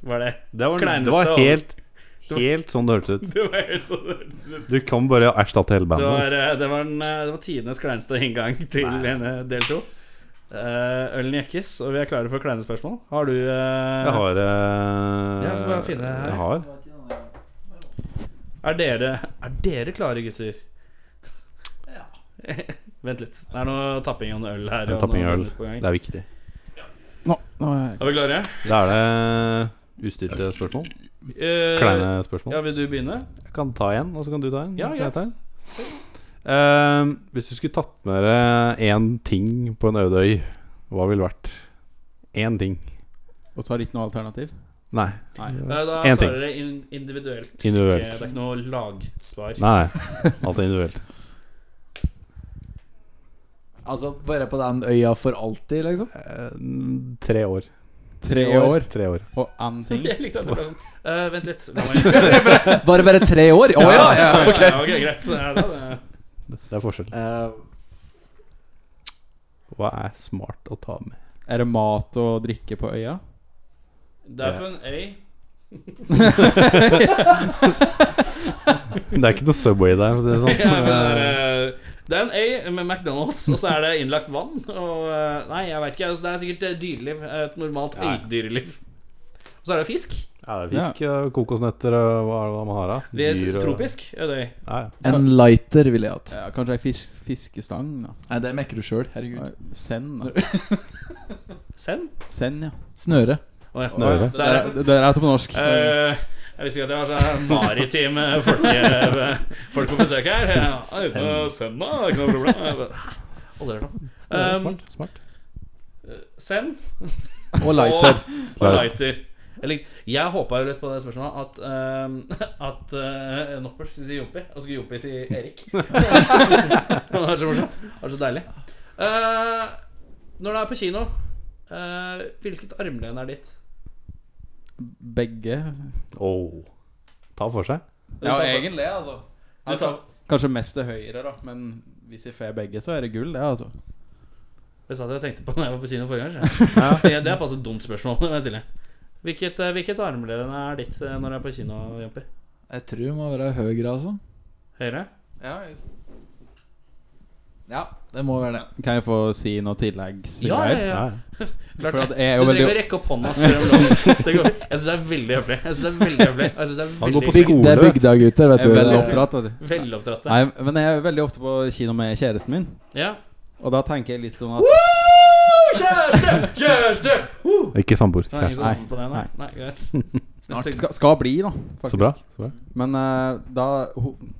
Speaker 3: Var det
Speaker 1: Det var,
Speaker 3: Kleineste
Speaker 1: det var
Speaker 3: av-
Speaker 1: helt, helt sånn det hørtes ut.
Speaker 3: [LAUGHS] Det var helt sånn
Speaker 1: Du kan bare erstatte hele
Speaker 3: Det
Speaker 1: bandet.
Speaker 3: var, eh, det var, en, eh, det var tidenes kleineste inngang til eh, del to. Eh, ølen jekkes, og vi er klare for kleine spørsmål. Har du eh,
Speaker 1: Jeg har eh,
Speaker 3: Ja, så bare finne her.
Speaker 1: Jeg har.
Speaker 3: Er dere, er dere klare, gutter? Ja. [LAUGHS] Vent litt. Det er noe tapping av noe øl her.
Speaker 1: Det er
Speaker 3: og
Speaker 1: tapping
Speaker 3: noe
Speaker 1: av øl.
Speaker 3: på gang.
Speaker 1: Det er viktig.
Speaker 5: Nå, nå er jeg
Speaker 3: Er vi klare?
Speaker 1: Da er det ustilte spørsmål.
Speaker 3: Eh,
Speaker 1: Kleine spørsmål.
Speaker 3: Ja, Vil du begynne?
Speaker 1: Jeg kan ta en, og så kan du ta en.
Speaker 3: Ja,
Speaker 1: så kan jeg ta en.
Speaker 3: greit.
Speaker 1: Ehm, hvis du skulle tatt med deg én ting på en øde øy, hva ville vært? Én ting.
Speaker 5: Og så har det ikke noe alternativ?
Speaker 1: Nei.
Speaker 5: Nei.
Speaker 3: Eh, Da
Speaker 1: En ting.
Speaker 3: svarer dere in individuelt.
Speaker 1: Individuelt.
Speaker 3: Ikke, det er ikke noe lagsvar.
Speaker 1: Nei, nei. Alt er individuelt.
Speaker 4: Altså, Være på den øya for alltid, liksom?
Speaker 1: Ehm, tre år.
Speaker 5: Tre
Speaker 4: år.
Speaker 5: år
Speaker 1: Tre år.
Speaker 5: og én ting?
Speaker 3: [LAUGHS] Jeg likte at det ble sånn. Eh, vent litt. La
Speaker 4: [LAUGHS]
Speaker 3: meg se.
Speaker 4: Bare
Speaker 3: [LAUGHS]
Speaker 4: bare tre år? Å ja! ja.
Speaker 3: ok. Ja, ok, greit. Ja, da, det-
Speaker 1: Det er forskjell.
Speaker 4: Eh,
Speaker 1: Hva er smart å ta med?
Speaker 5: Er det mat og drikke på øya?
Speaker 3: Det er på en øy.
Speaker 1: Det er ikke noe Subway der. for å si det sånn.
Speaker 3: [LAUGHS] Ja, men det, er, eh, det er en øy med McDonald's, og så er det innlagt vann. Og, eh, nei, jeg vet ikke. Altså, det er sikkert eh, dyreliv. Et normalt
Speaker 1: Nei.
Speaker 3: øydyreliv. Og så er det fisk.
Speaker 1: Ja, det er fisk og kokosnøtter og hva er det man har da?
Speaker 3: Det er
Speaker 1: Dyr
Speaker 3: et
Speaker 1: og-
Speaker 3: tropisk øydøy.
Speaker 1: Ja, ja.
Speaker 4: en lighter ville jeg hatt.
Speaker 5: Ja, kanskje ei fisk, fiskestang? da
Speaker 4: Nei, det mekker du sjøl. Herregud.
Speaker 5: Nei, Send, da.
Speaker 3: Send.
Speaker 5: Send, ja.
Speaker 4: Snøre.
Speaker 3: Å, ja.
Speaker 1: Snøre.
Speaker 3: Så er det
Speaker 5: Det der er på norsk.
Speaker 3: Eh, jeg visste ikke at det var så maritime folk, eh, folk på besøk her. Ja, eh, Send, da. det er Ikke noe problem. Jeg bare, Hæ? [LAUGHS] Aldri hørt om.
Speaker 1: Ja,
Speaker 3: Um,
Speaker 1: smart. smart.
Speaker 3: Send
Speaker 4: Og lighter.
Speaker 3: og lighter. Jeg, lik- jeg håpa jo litt på det spørsmålet at, eh, at eh, Noppers skulle si Jompi, og så skulle Jompi si [LAUGHS] Erik. det hadde vært så morsomt. Det hadde vært så deilig. Eh, når du er på kino, eh, hvilket armlen er ditt?
Speaker 5: Begge.
Speaker 1: Åh. Ta for seg.
Speaker 3: Du tar for-
Speaker 5: altså.
Speaker 3: Du tar,
Speaker 5: Kanskje mest til høyre, da. Men hvis jeg får begge, så er det gull, det, altså.
Speaker 3: Det sa jeg at jeg tenkte på når jeg var på kino forrige gang. så. [LAUGHS] Det, det er passe dumt spørsmål. [LAUGHS] må jeg stille. Hvilket, eh, hvilket armlen er ditt eh, når du er på kino, Jompi?
Speaker 4: Jeg tror det må være høyre, altså.
Speaker 3: Høyre?
Speaker 4: Ja, ja, det må være det.
Speaker 5: Kan jeg få si noe tilleggs?
Speaker 3: Ja, ja, ja.
Speaker 1: Ja, ja.
Speaker 3: Klart
Speaker 5: For
Speaker 3: det.
Speaker 5: at jeg
Speaker 3: Du
Speaker 5: er jo
Speaker 3: trenger
Speaker 5: veldig
Speaker 3: ikke å rekke opp hånda og spørre
Speaker 5: [LAUGHS]
Speaker 3: om lov. Det går fint. Jeg syns det er veldig høflig. Jeg synes det er veldig høflig. Jeg synes det
Speaker 1: Han
Speaker 3: er
Speaker 1: går på
Speaker 3: veldig
Speaker 1: skole.
Speaker 4: Det er bygdagutter, vet du.
Speaker 5: Jeg er veldig
Speaker 4: Det-
Speaker 5: oppdratt. vet du.
Speaker 3: [LAUGHS] Veloppdratte.
Speaker 5: Nei, men jeg er veldig ofte på kino med kjæresten min.
Speaker 3: Ja.
Speaker 5: Og da tenker jeg litt sånn at
Speaker 3: Woo, Kjæreste! Kjæreste! Woo!
Speaker 1: Ikke samboer.
Speaker 3: Det er ingen
Speaker 1: Kjæreste.
Speaker 3: som håper på det, nei. Nei,
Speaker 5: [LAUGHS]
Speaker 3: greit.
Speaker 5: Snart skal, skal bli, da. Faktisk.
Speaker 1: Så bra. Så bra.
Speaker 5: Men eh, da hun,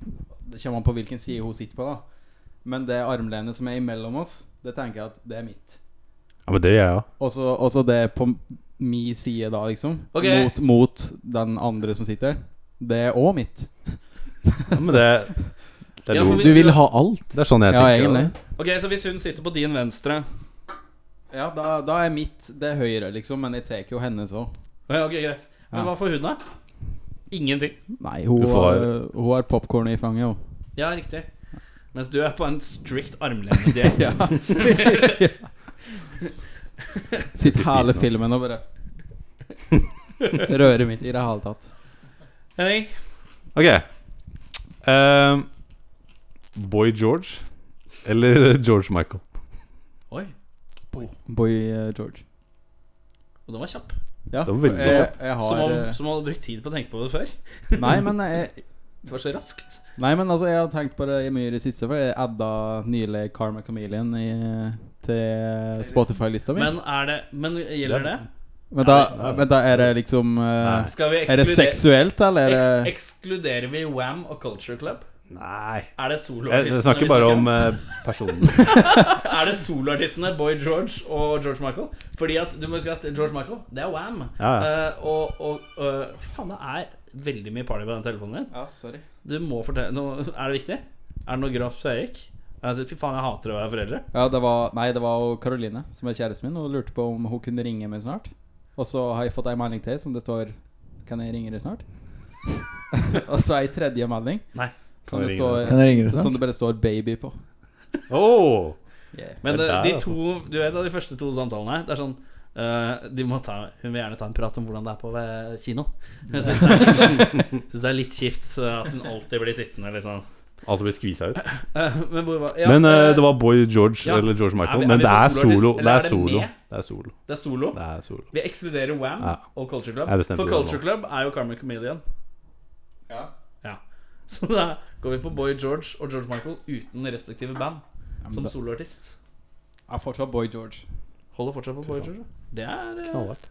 Speaker 5: Det kommer an på hvilken side hun sitter på, da. Men det armlenet som er imellom oss, det tenker jeg at det er mitt.
Speaker 1: Ja, men det gjør jeg òg.
Speaker 5: Og så og så det på mi side da, liksom.
Speaker 3: Ok.
Speaker 5: Mot, mot den andre som sitter. Det er òg mitt.
Speaker 1: Ja, men det, det, er
Speaker 3: Ja, for
Speaker 1: lov.
Speaker 3: hvis
Speaker 4: Du vil ha alt.
Speaker 1: det er sånn jeg
Speaker 5: Ja,
Speaker 1: tenker.
Speaker 5: egentlig.
Speaker 3: Ok, Så hvis hun sitter på din venstre
Speaker 5: Ja, da, da er mitt det er høyre, liksom. Men jeg tar jo hennes òg.
Speaker 3: Ja, Ok, greit. Men hva får hun, da? Ingenting.
Speaker 5: Nei, hun,
Speaker 1: Du får-
Speaker 5: har- hun har popkorn i fanget, hun.
Speaker 3: Ja, riktig. Mens du er på en strict
Speaker 1: [LAUGHS]
Speaker 3: armlenediett.
Speaker 5: [LAUGHS] Sitter
Speaker 1: spis
Speaker 5: hele
Speaker 1: nå.
Speaker 5: filmen og bare Rører mitt i det hele tatt.
Speaker 3: Henning?
Speaker 1: Ok. Ehm, Boy George eller [LAUGHS] George Michael?
Speaker 3: Oi,
Speaker 5: Boy eh, George.
Speaker 3: og den var kjapp.
Speaker 5: Ja,
Speaker 1: Det var veldig
Speaker 5: jeg,
Speaker 1: kjapt.
Speaker 5: jeg
Speaker 3: Som
Speaker 5: har
Speaker 3: om,
Speaker 5: eh,
Speaker 3: som om du hadde brukt tid på å tenke på det før.
Speaker 5: Nei, men jeg,
Speaker 3: Det var så raskt.
Speaker 5: nei, men altså, jeg har tenkt på det mye i det siste, for jeg adda nylig Karma Chameleon i, til Spotify-lista mi.
Speaker 3: Men, er det, men gjelder det?
Speaker 5: Men da, men da er det liksom eh,
Speaker 1: Nei.
Speaker 3: Skal vi
Speaker 5: Er det
Speaker 3: ekskludere
Speaker 5: seksuelt, eller? er
Speaker 3: eks
Speaker 5: det-
Speaker 3: Ekskluderer vi Wam og Culture Club?
Speaker 1: Nei
Speaker 3: Er det
Speaker 1: Jeg, jeg
Speaker 3: soloartistene?
Speaker 1: Eh, snakker
Speaker 3: vi
Speaker 1: bare om
Speaker 3: om?
Speaker 1: eh, personen.
Speaker 3: Er det soloartistene Boy George og George Michael? Fordi at du må huske at George Michael, det er Wam.
Speaker 1: Ja, ja.
Speaker 3: og og eh, Fy faen, det er veldig mye party på den telefonen din.
Speaker 5: Ja, sorry.
Speaker 3: Du må fortelle nå, Er det viktig? Er det noe grovt fra Erik? Altså, fy faen, jeg hater å være foreldre.
Speaker 5: Ja, det var, nei, det var jo Karoline, som er kjæresten min, og lurte på om hun kunne ringe meg snart. Og så har jeg fått ei melding til som det står 'Kan jeg ringe deg snart?' [LAUGHS] og så ei tredje melding
Speaker 3: Nei.
Speaker 5: som
Speaker 1: Kan
Speaker 5: det,
Speaker 1: jeg ringe
Speaker 5: står,
Speaker 4: Kan jeg ringe deg snart?
Speaker 5: som det bare står 'baby' på.
Speaker 1: [LAUGHS] Oh,
Speaker 3: Men
Speaker 1: Det er der,
Speaker 3: eh, de
Speaker 1: altså.
Speaker 3: to Du vet da, de første to samtalene her Det er sånn eh, de må ta, Hun vil gjerne ta en prat om hvordan det er på eh, kino Hun synes det er litt, sånn- synes det er [LAUGHS] litt kjipt eh, At hun alltid blir sittende liksom
Speaker 1: altså blir skvisa ut.
Speaker 3: Eh, Men hvor var ja,
Speaker 1: Men eh,
Speaker 3: eh,
Speaker 1: det var Boy George
Speaker 3: ja.
Speaker 1: eller George
Speaker 3: Er
Speaker 1: Michael.
Speaker 3: vi- er
Speaker 1: men
Speaker 3: vi
Speaker 1: det
Speaker 3: på
Speaker 1: er
Speaker 3: soloartist,
Speaker 1: solo. Det
Speaker 3: eller er
Speaker 1: er
Speaker 3: det
Speaker 1: solo.
Speaker 3: med?
Speaker 1: Det er solo.
Speaker 3: Det er solo
Speaker 1: Det er solo.
Speaker 3: Vi ekskluderer Wham
Speaker 1: Ja.
Speaker 3: og Culture
Speaker 1: Jeg
Speaker 3: Club
Speaker 1: bestemte
Speaker 3: For
Speaker 1: det nå.
Speaker 3: Culture Club er jo Carmen Chameleon
Speaker 5: Ja.
Speaker 3: Ja [LAUGHS] Så da går vi på Boy George og George Michael uten respektive band
Speaker 5: Ja, men
Speaker 3: som
Speaker 5: da-
Speaker 3: soloartist.
Speaker 5: Ja, fortsatt Boy George.
Speaker 3: Holder fortsatt på
Speaker 1: Fy
Speaker 3: Boy
Speaker 1: faen.
Speaker 3: George. da. Det er eh,
Speaker 1: Knallhardt.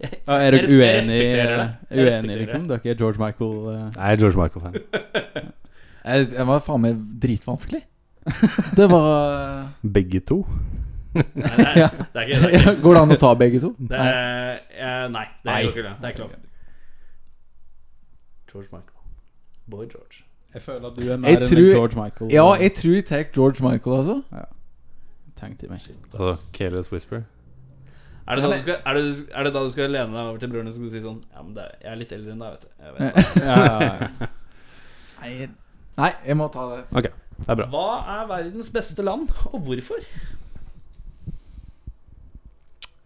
Speaker 5: Ja, er
Speaker 3: Jeg
Speaker 5: dere
Speaker 3: res- jeg
Speaker 5: uenig,
Speaker 3: respekterer det. Jeg
Speaker 5: uenig
Speaker 3: respekterer
Speaker 5: liksom? Du er ikke George Michael eh,
Speaker 1: Jeg er George Michael-fan.
Speaker 4: Jeg, jeg var faen meg dritvanskelig. [LAUGHS] Det var eh,
Speaker 1: Begge to.
Speaker 3: Nei, det er, det er ikke det. Er ikke.
Speaker 4: [LAUGHS] Går det an å ta begge to?
Speaker 3: Det er, eh, nei, det er
Speaker 5: Nei.
Speaker 3: ikke lov. Det er ikke lov. George Michael. Boy George.
Speaker 5: Jeg føler at du er
Speaker 4: Jeg
Speaker 5: mer enn
Speaker 4: tror-
Speaker 5: George Michael. eh,
Speaker 4: Ja, jeg tror jeg tar George Michael, altså.
Speaker 5: Tenk til meg.
Speaker 1: Altså, Careless Whisper.
Speaker 3: Er det, da
Speaker 4: Nei,
Speaker 3: du skal, er, det, er det da du skal lene deg over til broren din og si sånn Ja, men det, er- jeg er litt eldre enn deg, vet du. Jeg vet. det».
Speaker 5: [LAUGHS] Ja, ja, ja.
Speaker 4: Nei, Nei jeg må ta det.
Speaker 1: Det er bra.
Speaker 3: Hva er verdens beste land, og hvorfor?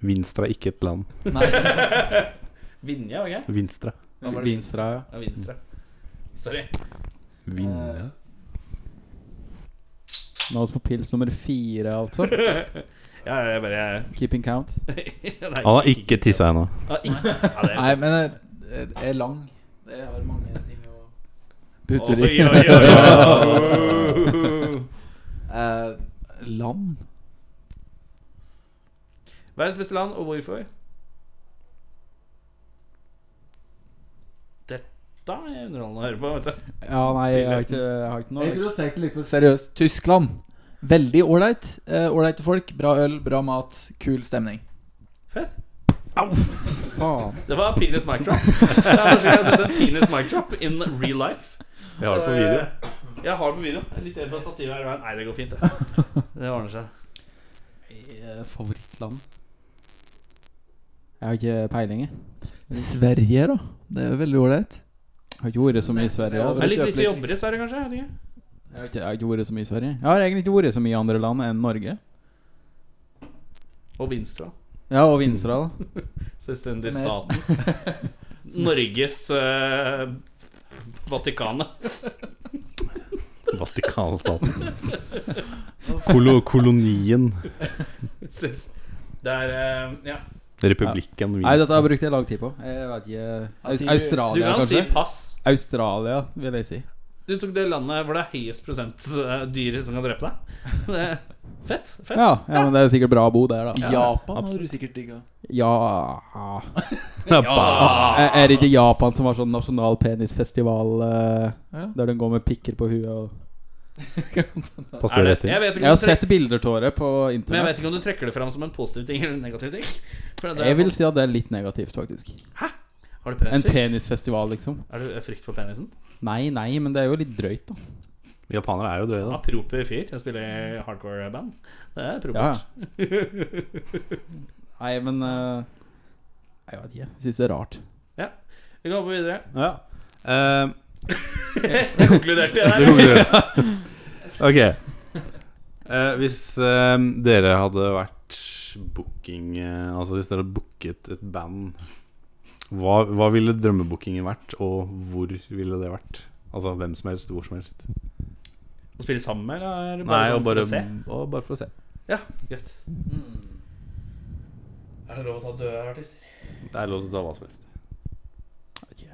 Speaker 1: Vinstra er ikke et land.
Speaker 4: Nei.
Speaker 3: Vinje, OK?
Speaker 1: Vinstra.
Speaker 3: Hva var det?
Speaker 5: Vinstra, ja.
Speaker 3: Ja, Vinstra. Sorry.
Speaker 1: Vinne.
Speaker 5: Nå er vi på pils nummer fire, altså.
Speaker 3: Ja, jeg bare jeg, [LAUGHS]
Speaker 5: Keeping count.
Speaker 3: Nei,
Speaker 1: Han har ikke tissa ennå.
Speaker 3: Ja, ikke- Ja, det er-
Speaker 4: Nei, men jeg, jeg er lang. Jeg har mange ting å putte i.
Speaker 3: Oi, oi, oi, Oh. oi.
Speaker 4: [LAUGHS] Eh, land?
Speaker 3: Verdens beste land, og hvorfor? Dette er underholdende å høre på, vet du.
Speaker 5: Ja, nei, jeg har ikke, jeg har ikke
Speaker 4: Jeg
Speaker 5: noe
Speaker 4: tror jeg tenkte litt for seriøst. Tyskland. Veldig ålreit. Eh, Ålreite folk, bra øl, bra mat, kul stemning.
Speaker 3: Fett.
Speaker 5: Faen.
Speaker 3: Det var penis mic
Speaker 1: [LAUGHS]
Speaker 3: drop. Det er første gang jeg har sett en penis mic drop in real life.
Speaker 1: Jeg har det på video.
Speaker 3: Eh, Jeg har det på video. Jeg er litt redd for at stativet er i veien. Nei, det går fint, det. Det ordner seg.
Speaker 5: Eh, Favorittland? Jeg har ikke peiling, jeg.
Speaker 3: Mm.
Speaker 4: Sverige, da. Det er jo veldig ålreit.
Speaker 5: Jeg Har ikke vært så mye i Sverige.
Speaker 3: Det
Speaker 5: Altså.
Speaker 3: er litt lite jobber i Sverige, kanskje? Jeg vet ikke.
Speaker 5: Jeg har ikke- jeg har ikke vært så mye i Sverige. Jeg har egentlig ikke vært så mye i andre land enn Norge.
Speaker 3: Og Vinstra.
Speaker 5: Ja, og Vinstra,
Speaker 3: Mm.
Speaker 5: da.
Speaker 3: Selvstendig
Speaker 4: Som er-
Speaker 3: staten. Norges eh, Vatikanet. [LAUGHS]
Speaker 1: Vatikanstaten. Kolo kolonien.
Speaker 3: Selvst- Det er eh, Ja.
Speaker 1: Republikken
Speaker 5: Nei, dette
Speaker 1: Vinstra.
Speaker 5: har jeg brukt lang tid på. Jeg vet ikke Aus-
Speaker 4: Altså,
Speaker 3: Du
Speaker 5: Australia,
Speaker 3: kan si
Speaker 5: kanskje?
Speaker 3: pass.
Speaker 5: Australia, vil jeg si.
Speaker 3: Du tok det landet hvor det er høyest prosent eh, dyr som kan drepe deg. Det er Fett. fett
Speaker 5: Ja, ja, men det er sikkert bra å bo der, da.
Speaker 4: Japan har du sikkert digga.
Speaker 5: Ja
Speaker 1: Ja.
Speaker 5: Eh, Er er det ikke Japan som har sånn nasjonal penisfestival eh,
Speaker 4: Ah. Ja.
Speaker 5: der de går med pikker på huet og
Speaker 1: Passer
Speaker 3: Er
Speaker 1: rett
Speaker 3: det, jeg,
Speaker 1: inn.
Speaker 3: vet ikke
Speaker 5: Jeg
Speaker 3: om
Speaker 5: har
Speaker 3: du trek-
Speaker 5: sett bilder av det på
Speaker 3: men jeg vet
Speaker 5: internett.
Speaker 3: ikke om du trekker det fram som en positiv ting eller en negativ ting. For det er
Speaker 5: Jeg vil
Speaker 3: folk-
Speaker 5: si at det er litt negativt, faktisk.
Speaker 3: Har du
Speaker 5: En
Speaker 3: penisfrykt?
Speaker 5: penisfestival, liksom.
Speaker 3: Er du frykt for penisen?
Speaker 5: Nei, nei, men det er jo litt drøyt, da.
Speaker 1: Japanere er jo drøye,
Speaker 3: Ja.
Speaker 1: da.
Speaker 3: Proper fyr til å spille i hardcore band. Det er
Speaker 5: Ja,
Speaker 3: [LAUGHS] propert.
Speaker 5: ja. Nei, men eh, Jeg vet ikke. Jeg syns det er rart.
Speaker 3: Vi kan hoppe videre. [LAUGHS]
Speaker 1: Ja. Eh,
Speaker 3: Jeg konkluderte
Speaker 1: Det
Speaker 3: der.
Speaker 1: gjorde dere. Ok. Eh, hvis eh, dere hadde vært booking eh, Altså hvis dere hadde booket et band, hva, hva ville drømmebookingen vært, og hvor ville det vært? Altså hvem som helst, hvor som helst.
Speaker 3: Å spille sammen, eller? er det
Speaker 1: Nei,
Speaker 3: sånn
Speaker 1: og bare,
Speaker 3: for å
Speaker 5: mm.
Speaker 3: se?
Speaker 1: og bare for å se.
Speaker 3: Ja, greit. Er det lov å ta døde artister?
Speaker 1: Det er lov til å ta hva som helst.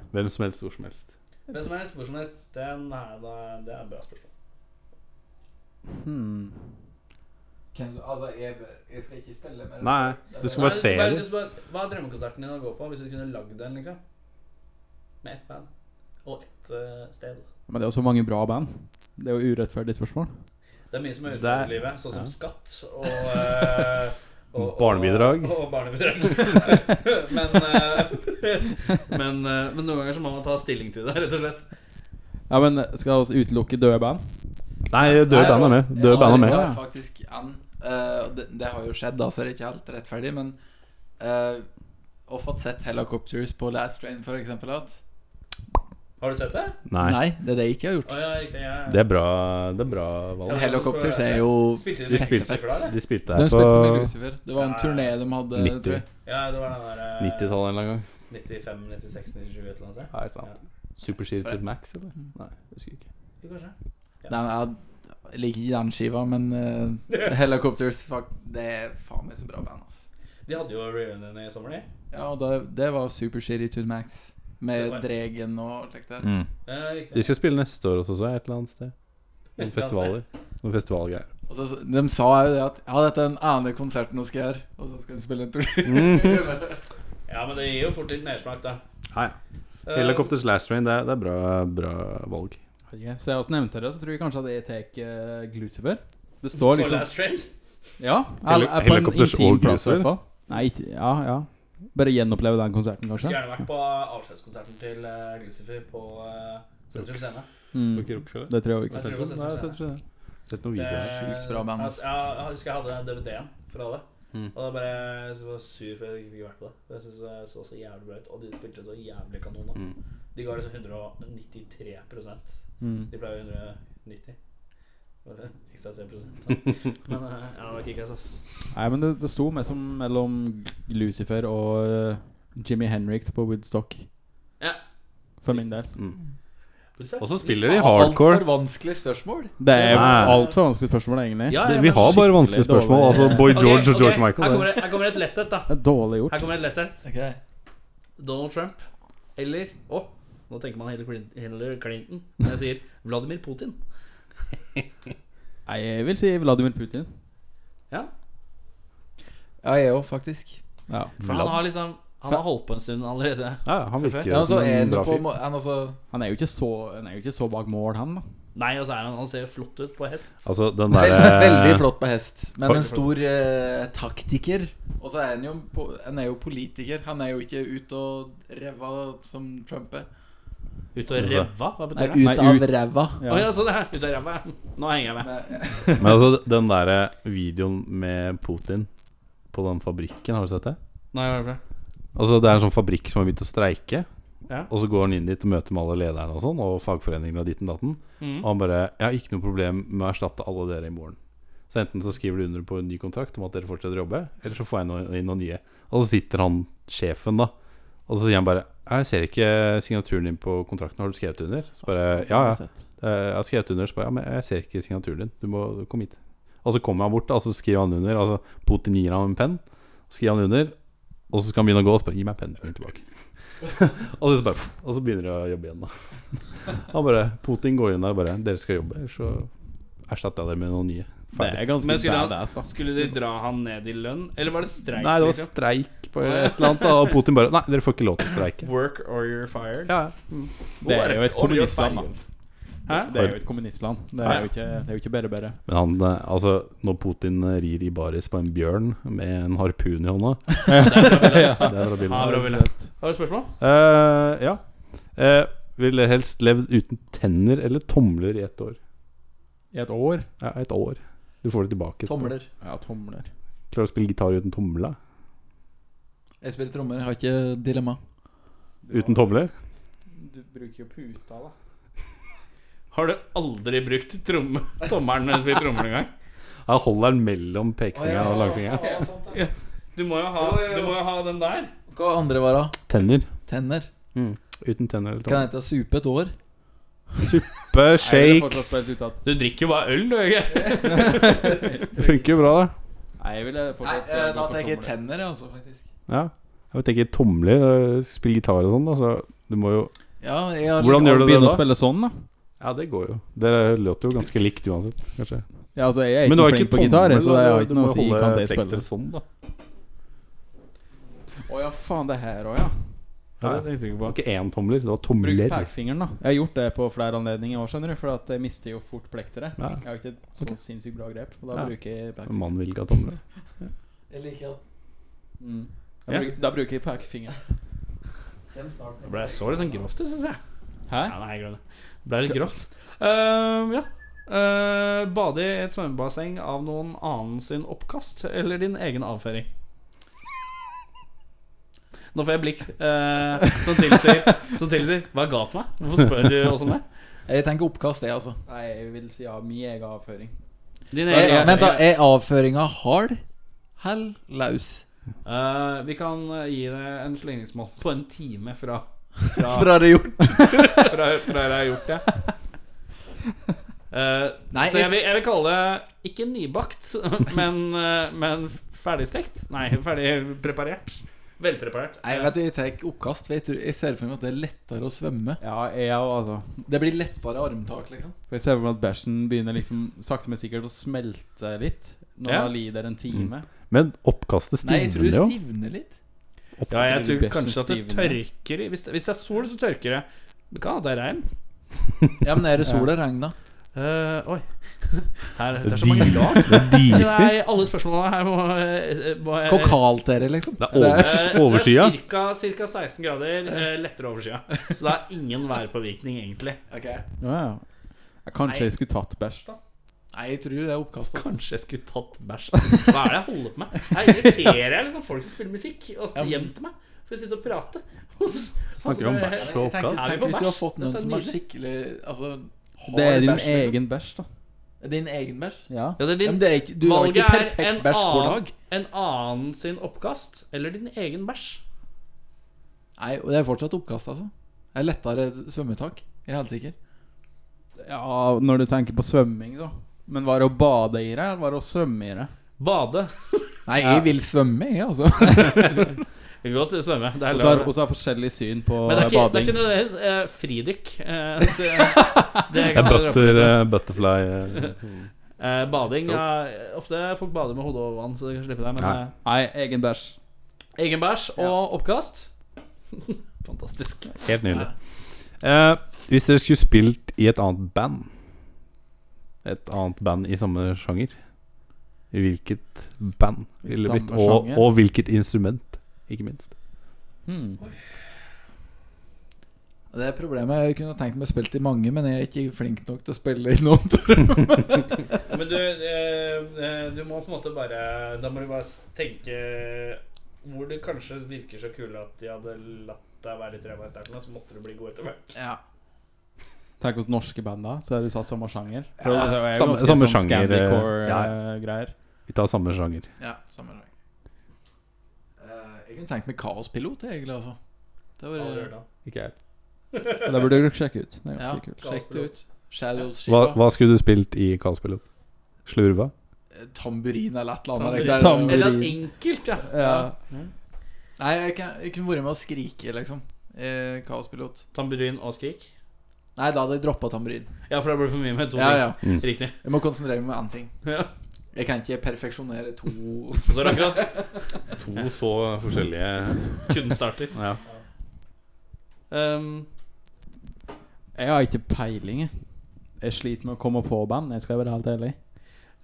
Speaker 1: Hvem som helst, hvor som helst.
Speaker 3: Hvem som helst, hvor som helst. Det er, nei, da- det er et bra spørsmål.
Speaker 5: Hmm.
Speaker 4: Altså, jeg, skal ikke stelle mer.
Speaker 1: Nei, du skal
Speaker 3: Nei,
Speaker 1: bare se
Speaker 3: du
Speaker 1: dem.
Speaker 3: du skal bare- Hva er drømmekonserten din å gå på, hvis du kunne lagd den, liksom? Med ett band. Og ett eh, sted.
Speaker 5: Men det er jo så mange bra band. Det er jo urettferdig spørsmål.
Speaker 3: Det er mye som er
Speaker 1: Det er-
Speaker 3: utenfor livet, sånn som
Speaker 1: ja.
Speaker 3: skatt og, eh,
Speaker 1: Barnebidrag.
Speaker 3: Og, og barnebidrag. [LAUGHS] men, eh, men, eh, men noen ganger så må man ta stilling til det, rett og slett.
Speaker 5: Ja, men Skal vi utelukke døde band?
Speaker 1: Nei, døde
Speaker 3: Nei,
Speaker 1: band er med. Døde band er
Speaker 4: Jeg
Speaker 1: med.
Speaker 4: har faktisk en. Eh, og det, det har jo skjedd, da, så det er ikke helt rettferdig, men eh, Å fått sett Helicopters på Last Train, for eksempel. At,
Speaker 3: Har du sett det?
Speaker 1: Nei.
Speaker 4: nei, det er det jeg ikke har gjort.
Speaker 3: Å ja, riktig. Ja.
Speaker 1: Det er bra, det er bra valg.
Speaker 4: Helicopters er jo
Speaker 3: Spilte
Speaker 1: De
Speaker 3: de
Speaker 1: spilte,
Speaker 3: Lucifer der?
Speaker 1: de spilte
Speaker 4: De
Speaker 1: her
Speaker 4: spilte med
Speaker 1: på
Speaker 4: Lucifer. Det var en
Speaker 3: Ja.
Speaker 4: turné de hadde.
Speaker 1: 90.
Speaker 4: Tror jeg.
Speaker 3: Ja, det var den der eh,
Speaker 1: 90-tallet en eller annen gang.
Speaker 3: 95, 96, 97, et eller annet
Speaker 1: [LAUGHS]
Speaker 3: sted.
Speaker 1: Ja, et eller annet. Supersheated Max, eller? Nei, husker ikke.
Speaker 3: Jo, kanskje. Ja.
Speaker 4: Den er, jeg liker ikke den skiva, men
Speaker 3: [LAUGHS]
Speaker 4: eh, Helicopters fuck, Det er faen meg så bra band. ass
Speaker 3: De hadde jo reunion i sommer, de.
Speaker 4: Ja, og det, det var Super Shitty to the Max. Med
Speaker 3: Det var-
Speaker 4: Dregen og alt det der.
Speaker 1: Mm.
Speaker 3: Eh,
Speaker 1: De
Speaker 3: riktig.
Speaker 1: skal spille neste år også, så jeg, et eller annet sted. Noen festivaler. Noen festivalgreier.
Speaker 4: Og så, de sa jo det at Ja, dette er den ene konserten vi skal gjøre, og så skal vi spille en turné. [LAUGHS]
Speaker 3: Ja, men det gir jo fort litt mersmak, da.
Speaker 1: Ja, ja.
Speaker 3: Eh,
Speaker 1: Helicopters Last Train, det er, det er bra, bra valg.
Speaker 5: Vet ikke, Så jeg også nevnte det, så tror jeg kanskje at jeg tar eh, Glucifer. Det står
Speaker 3: på
Speaker 5: liksom
Speaker 3: Last Train.
Speaker 5: Ja. Eller
Speaker 1: Heli-
Speaker 5: er på en
Speaker 1: helikopters
Speaker 5: intim
Speaker 1: og
Speaker 5: plass, i
Speaker 1: Glucifer?
Speaker 5: hvert fall. Nei, ikke Ja, ja. Bare gjenoppleve den konserten,
Speaker 3: Skulle
Speaker 5: kanskje.
Speaker 3: gjerne vært på avskjedskonserten til eh, Glucifer på eh, Sentrum Scene.
Speaker 5: Mm.
Speaker 1: Rockefeller?
Speaker 5: Det tror jeg
Speaker 3: Jeg
Speaker 5: ikke.
Speaker 3: tror det var Sentrum Scene.
Speaker 1: Sett noen
Speaker 3: Det-
Speaker 1: videoer.
Speaker 4: Sjukt bra band, ass.
Speaker 3: Altså, ja, jeg husker jeg hadde DVD-en fra det.
Speaker 1: Mm.
Speaker 3: Og da bare jeg synes jeg var sur for jeg ikke fikk vært på det. For Jeg synes det så så jævlig bra ut. Og de spilte så jævlig kanon. da.
Speaker 1: Mm.
Speaker 3: De ga liksom 193
Speaker 5: Mm.
Speaker 3: De pleier jo 190. Var det Ekstra 3
Speaker 1: [LAUGHS]
Speaker 3: prosent. Men eh, ja, det var kickass, ass.
Speaker 5: Nei, men det, det sto mest som mellom Lucifer og eh, Jimmy Henriks på Woodstock.
Speaker 3: Ja.
Speaker 5: For min del.
Speaker 1: Og så spiller de hardcore.
Speaker 4: Altfor vanskelig spørsmål.
Speaker 5: Det er jo
Speaker 1: Nei.
Speaker 5: altfor vanskelig spørsmål, egentlig.
Speaker 3: Ja,
Speaker 1: Det- Vi har bare vanskelige
Speaker 5: dårlig.
Speaker 1: spørsmål. Altså Boy
Speaker 3: Ok,
Speaker 1: George og
Speaker 3: ok,
Speaker 1: George Michael.
Speaker 3: Her
Speaker 1: det.
Speaker 3: kommer, det, her kommer et letthet, da.
Speaker 5: Det er dårlig gjort.
Speaker 3: Her kommer et letthet.
Speaker 4: Okay.
Speaker 3: Donald Trump eller Å, nå tenker man Hillary Clin- Hillary Clinton. Men jeg sier Vladimir Putin.
Speaker 5: Nei, jeg vil si Vladimir Putin.
Speaker 4: Ja, jeg òg, faktisk.
Speaker 5: Ja.
Speaker 3: For han har liksom Han har holdt på en stund allerede.
Speaker 1: Ja, han virker
Speaker 4: Ja, altså,
Speaker 1: som
Speaker 4: er
Speaker 1: en
Speaker 4: det
Speaker 1: bra
Speaker 4: på
Speaker 1: fyr.
Speaker 4: må- er det altså,
Speaker 5: Han er jo ikke så, han er jo ikke så bak mål, han, da.
Speaker 3: Nei, og så er han Han ser jo flott ut på hest.
Speaker 1: Altså, den
Speaker 4: [LAUGHS] Veldig, veldig
Speaker 1: derre
Speaker 4: flott på hest, men en stor eh, taktiker. Og så er han jo, po- han er jo politiker. Han er jo ikke ut og ræva som Trump er.
Speaker 3: Ut og ræva? Hva
Speaker 4: Nei,
Speaker 3: betyr det?
Speaker 4: ut
Speaker 5: Nei,
Speaker 4: av
Speaker 5: ut.
Speaker 4: ræva.
Speaker 5: Ja.
Speaker 3: Å ja, sånn ja. Ut av ræva. ja. Nå henger jeg med.
Speaker 1: Men altså, den derre videoen med Putin på den fabrikken, har du sett det?
Speaker 3: Nei, hva er det?
Speaker 1: Altså, det er en sånn fabrikk som har begynt å streike.
Speaker 3: Ja.
Speaker 1: Og så går han inn dit og møter med alle lederne og sånn, og fagforeningene og ditten datten.
Speaker 3: Mhm.
Speaker 1: Og han bare 'Jeg har ikke noe problem med å erstatte alle dere i morgen'. Så enten så skriver du under på en ny kontrakt om at dere fortsetter å jobbe, eller så får jeg noe, inn noen nye. Og så sitter han sjefen, da, og så sier han bare 'Jeg ser ikke signaturen din på kontrakten, har du skrevet under?' Så bare 'Ja, ja'. Eh, Jeg har skrevet under, så bare Ja, men jeg ser ikke signaturen din. Du må komme hit. Og så kommer han bort, og så skriver han under. Altså, Putin gir ham en penn, skriver han under, og så skal han begynne å gå, og så bare Gi meg pennen min tilbake. [LAUGHS] og, så bare, og så begynner de å jobbe igjen, da. [LAUGHS] Han bare Putin går inn der og bare Dere skal jobbe, eller så erstatter jeg dere med noen nye.
Speaker 5: Det er ganske
Speaker 3: Men skulle han-
Speaker 5: badass, da.
Speaker 3: Skulle de dra han ned i lønn, eller var det streik?
Speaker 1: Nei, det var
Speaker 3: liksom?
Speaker 1: streik på et eller annet, da, og Putin bare Nei, dere får ikke lov til å
Speaker 3: [LAUGHS]
Speaker 1: streike.
Speaker 3: Work or you're fired.
Speaker 1: Ja, ja.
Speaker 5: Det er jo et
Speaker 3: Or you're
Speaker 5: kommunistland, da.
Speaker 3: fired. Hæ?
Speaker 5: Det er jo et kommunistland. Det er jo ikke, det er jo ikke bare bare.
Speaker 1: Men han, eh, altså, når Putin eh, rir i baris på en bjørn med en harpun i hånda Det er fra
Speaker 3: Ja,
Speaker 1: bildet.
Speaker 3: bra, Ville. Har du spørsmål?
Speaker 1: Eh, ja. Eh, ville helst levd uten tenner eller tomler i ett år.
Speaker 5: I et år?
Speaker 1: Ja, et år. Du får det tilbake. etterpå.
Speaker 4: Tomler.
Speaker 5: Ja, tomler.
Speaker 1: Klarer du å spille gitar uten tomla?
Speaker 4: Jeg spiller trommer, jeg har ikke dilemma.
Speaker 1: Uten tomler?
Speaker 5: Du bruker jo puta, da.
Speaker 3: Har du aldri brukt tromme, [LAUGHS] tommelen når du spiller trommer engang?
Speaker 1: Jeg holder den mellom pekefingeren og langfingeren.
Speaker 3: Du, må jo ha- du må jo ha den der.
Speaker 4: Hva andre var da?
Speaker 1: Tenner.
Speaker 4: Tenner.
Speaker 1: Uten tenner eller tomler.
Speaker 4: Kan jeg hete supe et år?
Speaker 1: Suppe, shakes
Speaker 3: Du drikker jo bare øl, du, ikke? [LAUGHS]
Speaker 1: Det funker jo bra, det.
Speaker 5: Nei, jeg ville
Speaker 4: Nei,
Speaker 5: fortsatt
Speaker 4: eh, da tenker jeg tenner, jeg, altså, faktisk.
Speaker 1: Ja. Jeg tenker tomler, eh, spille gitar og sånn, da, så du må jo
Speaker 4: Ja, jeg har
Speaker 1: Hvordan gjør du det
Speaker 5: Begynne å
Speaker 1: da?
Speaker 5: spille sånn, da.
Speaker 1: Ja, det går jo. Dere låter jo ganske likt uansett, kanskje.
Speaker 5: Ja, altså, jeg er ikke noe flink på gitar, jeg, så det har ikke noe å si. Kan det spille?
Speaker 1: sånn, da.
Speaker 5: Å ja, faen, det her òg, ja.
Speaker 1: Ja, det tenkte jeg ikke på. Ikke én tomler, det var tomler.
Speaker 5: Bruk pekefingeren, da. Jeg har gjort det på flere anledninger òg, skjønner du, for at jeg mister jo fort plektere.
Speaker 1: Ja.
Speaker 5: Jeg har ikke et så sinnssykt bra grep, og da
Speaker 1: Ja. Mm.
Speaker 5: bruker jeg pekefingeren.
Speaker 1: Mannen vil ikke ha tomler.
Speaker 4: Jeg liker at
Speaker 5: Mm. Da,
Speaker 1: Ja.
Speaker 5: bruker, da bruker jeg pekefingeren.
Speaker 4: Kjem snart
Speaker 3: Det ble så litt sånn grovt, syns jeg.
Speaker 5: Hæ?
Speaker 3: Ja, nei, glem det. Det ble litt grovt. Ehm, ja. Eh, bade i et svømmebasseng av noen annen sin oppkast eller din egen avføring? Nå får jeg blikk eh, som tilsier Som tilsier Hva er galt med meg? Hvorfor spør du oss om det?
Speaker 4: Jeg tenker oppkast, jeg, altså.
Speaker 5: Nei, jeg vil si ja, min egen avføring.
Speaker 3: Din
Speaker 4: Eh,
Speaker 3: egen avføring.
Speaker 4: Vent, da. Er avføringa hard? Hell laus.
Speaker 3: Eh, vi kan eh, gi deg en slingringsmål på en time fra Fra, fra,
Speaker 4: Fra det gjort?
Speaker 3: fra, jeg har gjort det.
Speaker 4: [LAUGHS]
Speaker 3: Eh,
Speaker 4: Nei,
Speaker 3: så jeg vil, jeg vil kalle det [LAUGHS] ikke nybakt, men, eh, men ferdigstekt. Nei, ferdig preparert. Velpreparert.
Speaker 4: Nei, vet du, Jeg tar ikke oppkast. for Jeg, tror, jeg ser for meg at det er lettere å svømme.
Speaker 5: Ja, jeg òg, altså.
Speaker 4: Det blir lettere armtak, liksom.
Speaker 5: For jeg ser for meg at bæsjen begynner liksom sakte, men sikkert å smelte litt når
Speaker 3: Ja.
Speaker 5: man lider en time.
Speaker 1: Men oppkastet
Speaker 4: Nei, jeg tror
Speaker 1: stivner
Speaker 4: det
Speaker 1: jo.
Speaker 4: stivner litt.
Speaker 1: Opp-
Speaker 3: Ja, jeg
Speaker 5: Blir
Speaker 3: tror
Speaker 5: bæsjen
Speaker 3: kanskje at det
Speaker 5: stiv, ja.
Speaker 3: tørker i- Hvis det, hvis det er sol, så tørker det. Det kan hende det er regn.
Speaker 4: Ja, men er det sol og regn, da?
Speaker 3: Eh, oi. [LAUGHS] Her, det er så
Speaker 1: Dis-
Speaker 3: mange lag.
Speaker 1: det
Speaker 3: [LAUGHS]
Speaker 1: diser.
Speaker 3: Nei, alle spørsmålene her må, eh, må eh,
Speaker 4: Hvor kaldt er det, liksom?
Speaker 1: Det er over,
Speaker 3: eh,
Speaker 1: overskya.
Speaker 3: Det er cirka, cirka 16 grader, eh, lettere overskya. Så det er ingen værpåvirkning, egentlig.
Speaker 4: Ok.
Speaker 5: Ja, ja. Kanskje
Speaker 4: Nei.
Speaker 5: jeg skulle tatt bæsj, da.
Speaker 4: Nei, jeg tror det er oppkast. Altså.
Speaker 3: Kanskje jeg skulle tatt bæsj. Hva er det jeg holder på med? Her irriterer jeg liksom folk som spiller musikk, og
Speaker 4: Ja,
Speaker 3: så
Speaker 4: men-
Speaker 3: hjem til meg for å sitte og prate. Og så- og så-
Speaker 1: Snakker om bæsj og
Speaker 4: Jeg tenker,
Speaker 1: oppkast.
Speaker 3: Er vi
Speaker 4: tenk
Speaker 3: på
Speaker 4: hvis du
Speaker 3: bæsj?
Speaker 4: har fått noen
Speaker 3: Dette er
Speaker 4: som er
Speaker 3: nydelig.
Speaker 4: skikkelig Altså hard
Speaker 5: Det er din
Speaker 4: bæsj, liksom.
Speaker 5: egen bæsj, da.
Speaker 4: Din egen bæsj?
Speaker 5: Ja.
Speaker 3: Ja, det er
Speaker 4: Ja,
Speaker 3: din
Speaker 4: men det er ikke, du har jo
Speaker 3: Valget
Speaker 4: ikke
Speaker 3: er en
Speaker 4: perfekt bæsj hver
Speaker 3: annen-
Speaker 4: dag.
Speaker 3: En annen sin oppkast eller din egen bæsj?
Speaker 4: Nei, og det er fortsatt oppkast, altså. Det er lettere svømmetak. Jeg er helt sikker.
Speaker 5: ja, når du tenker på svømming, da. Men var det å bade i det, eller var det å svømme i det?
Speaker 3: Bade.
Speaker 4: Nei,
Speaker 5: Ja.
Speaker 4: jeg vil svømme, jeg, altså. [LAUGHS]
Speaker 3: Vi kan godt svømme. Det er
Speaker 5: Og så har
Speaker 3: lov.
Speaker 5: også har forskjellig syn på
Speaker 3: Men det er ikke, det er
Speaker 5: bading.
Speaker 3: ikke nødvendigvis eh, fridykk. Eh,
Speaker 4: [LAUGHS]
Speaker 3: det, det
Speaker 1: Det er
Speaker 3: kan jeg
Speaker 1: butter,
Speaker 3: dra på.
Speaker 1: eh, butterfly eh.
Speaker 3: Eh, bading ja, Ofte folk bader med hodet over vann, så det kan slippe deg. Men
Speaker 1: Nei.
Speaker 3: eh,
Speaker 5: Nei, egen bæsj.
Speaker 3: egen bæsj og oppkast [LAUGHS] Fantastisk.
Speaker 1: Helt nydelig. Eh, hvis dere skulle spilt i et annet band Et annet band i samme sjanger Hvilket band
Speaker 5: I
Speaker 1: ville det blitt?
Speaker 5: samme
Speaker 1: Og,
Speaker 5: sjanger?
Speaker 1: og hvilket instrument, ikke minst.
Speaker 5: Hmm.
Speaker 4: Det er problemet. Jeg kunne tenkt meg spilt i mange, men jeg er ikke flink nok til å spille i noen. [LAUGHS]
Speaker 3: Men du, eh, eh, du må på en måte bare Da må du bare s- tenke hvor det kanskje virker så kule at de hadde latt deg være litt ræva i starten, og så måtte du bli god etter hvert.
Speaker 4: Ja.
Speaker 5: Tenk hos norske band, da. Så er det satt samme sjanger.
Speaker 1: Ja, samme-
Speaker 5: sånn
Speaker 1: samme sjanger, eh, ja.
Speaker 5: Scandicore-greier.
Speaker 1: Vi tar samme sjanger.
Speaker 4: ja samme dag. Eh, jeg kunne tenkt meg kaospilot, egentlig, altså. Det
Speaker 3: Har du
Speaker 4: var
Speaker 3: hørt om?
Speaker 1: Ikke jeg.
Speaker 5: Det burde du sjekke ut. Det er
Speaker 4: Ja,
Speaker 5: ganske kult.
Speaker 4: sjekk det ut. Shadows
Speaker 1: Hva,
Speaker 4: Shiva.
Speaker 1: hva skulle du spilt i Karlspilot? Slurva?
Speaker 4: Tamburin eller et eller annet.
Speaker 3: Tamburin.
Speaker 4: Det er-
Speaker 5: Tamburin.
Speaker 3: Eller at enkelt, ja.
Speaker 5: Ja.
Speaker 4: Nei, jeg, kan, jeg kunne vært med å skrike, liksom. Eh, kaospilot.
Speaker 3: Tamburin og skrik.
Speaker 4: Nei, da hadde jeg droppa tamburin.
Speaker 3: Ja, for det blir for mye med to
Speaker 4: Ja, ja.
Speaker 1: Mm.
Speaker 3: ting. Riktig. [LAUGHS]
Speaker 4: Jeg må konsentrere meg om én ting.
Speaker 3: Ja.
Speaker 4: Jeg kan ikke perfeksjonere to
Speaker 3: Og Så er det akkurat
Speaker 1: To så forskjellige
Speaker 3: kunstarter.
Speaker 1: ja.
Speaker 3: Um,
Speaker 5: Jeg har ikke peiling, jeg. Jeg sliter med å komme på band, jeg skal være helt ærlig.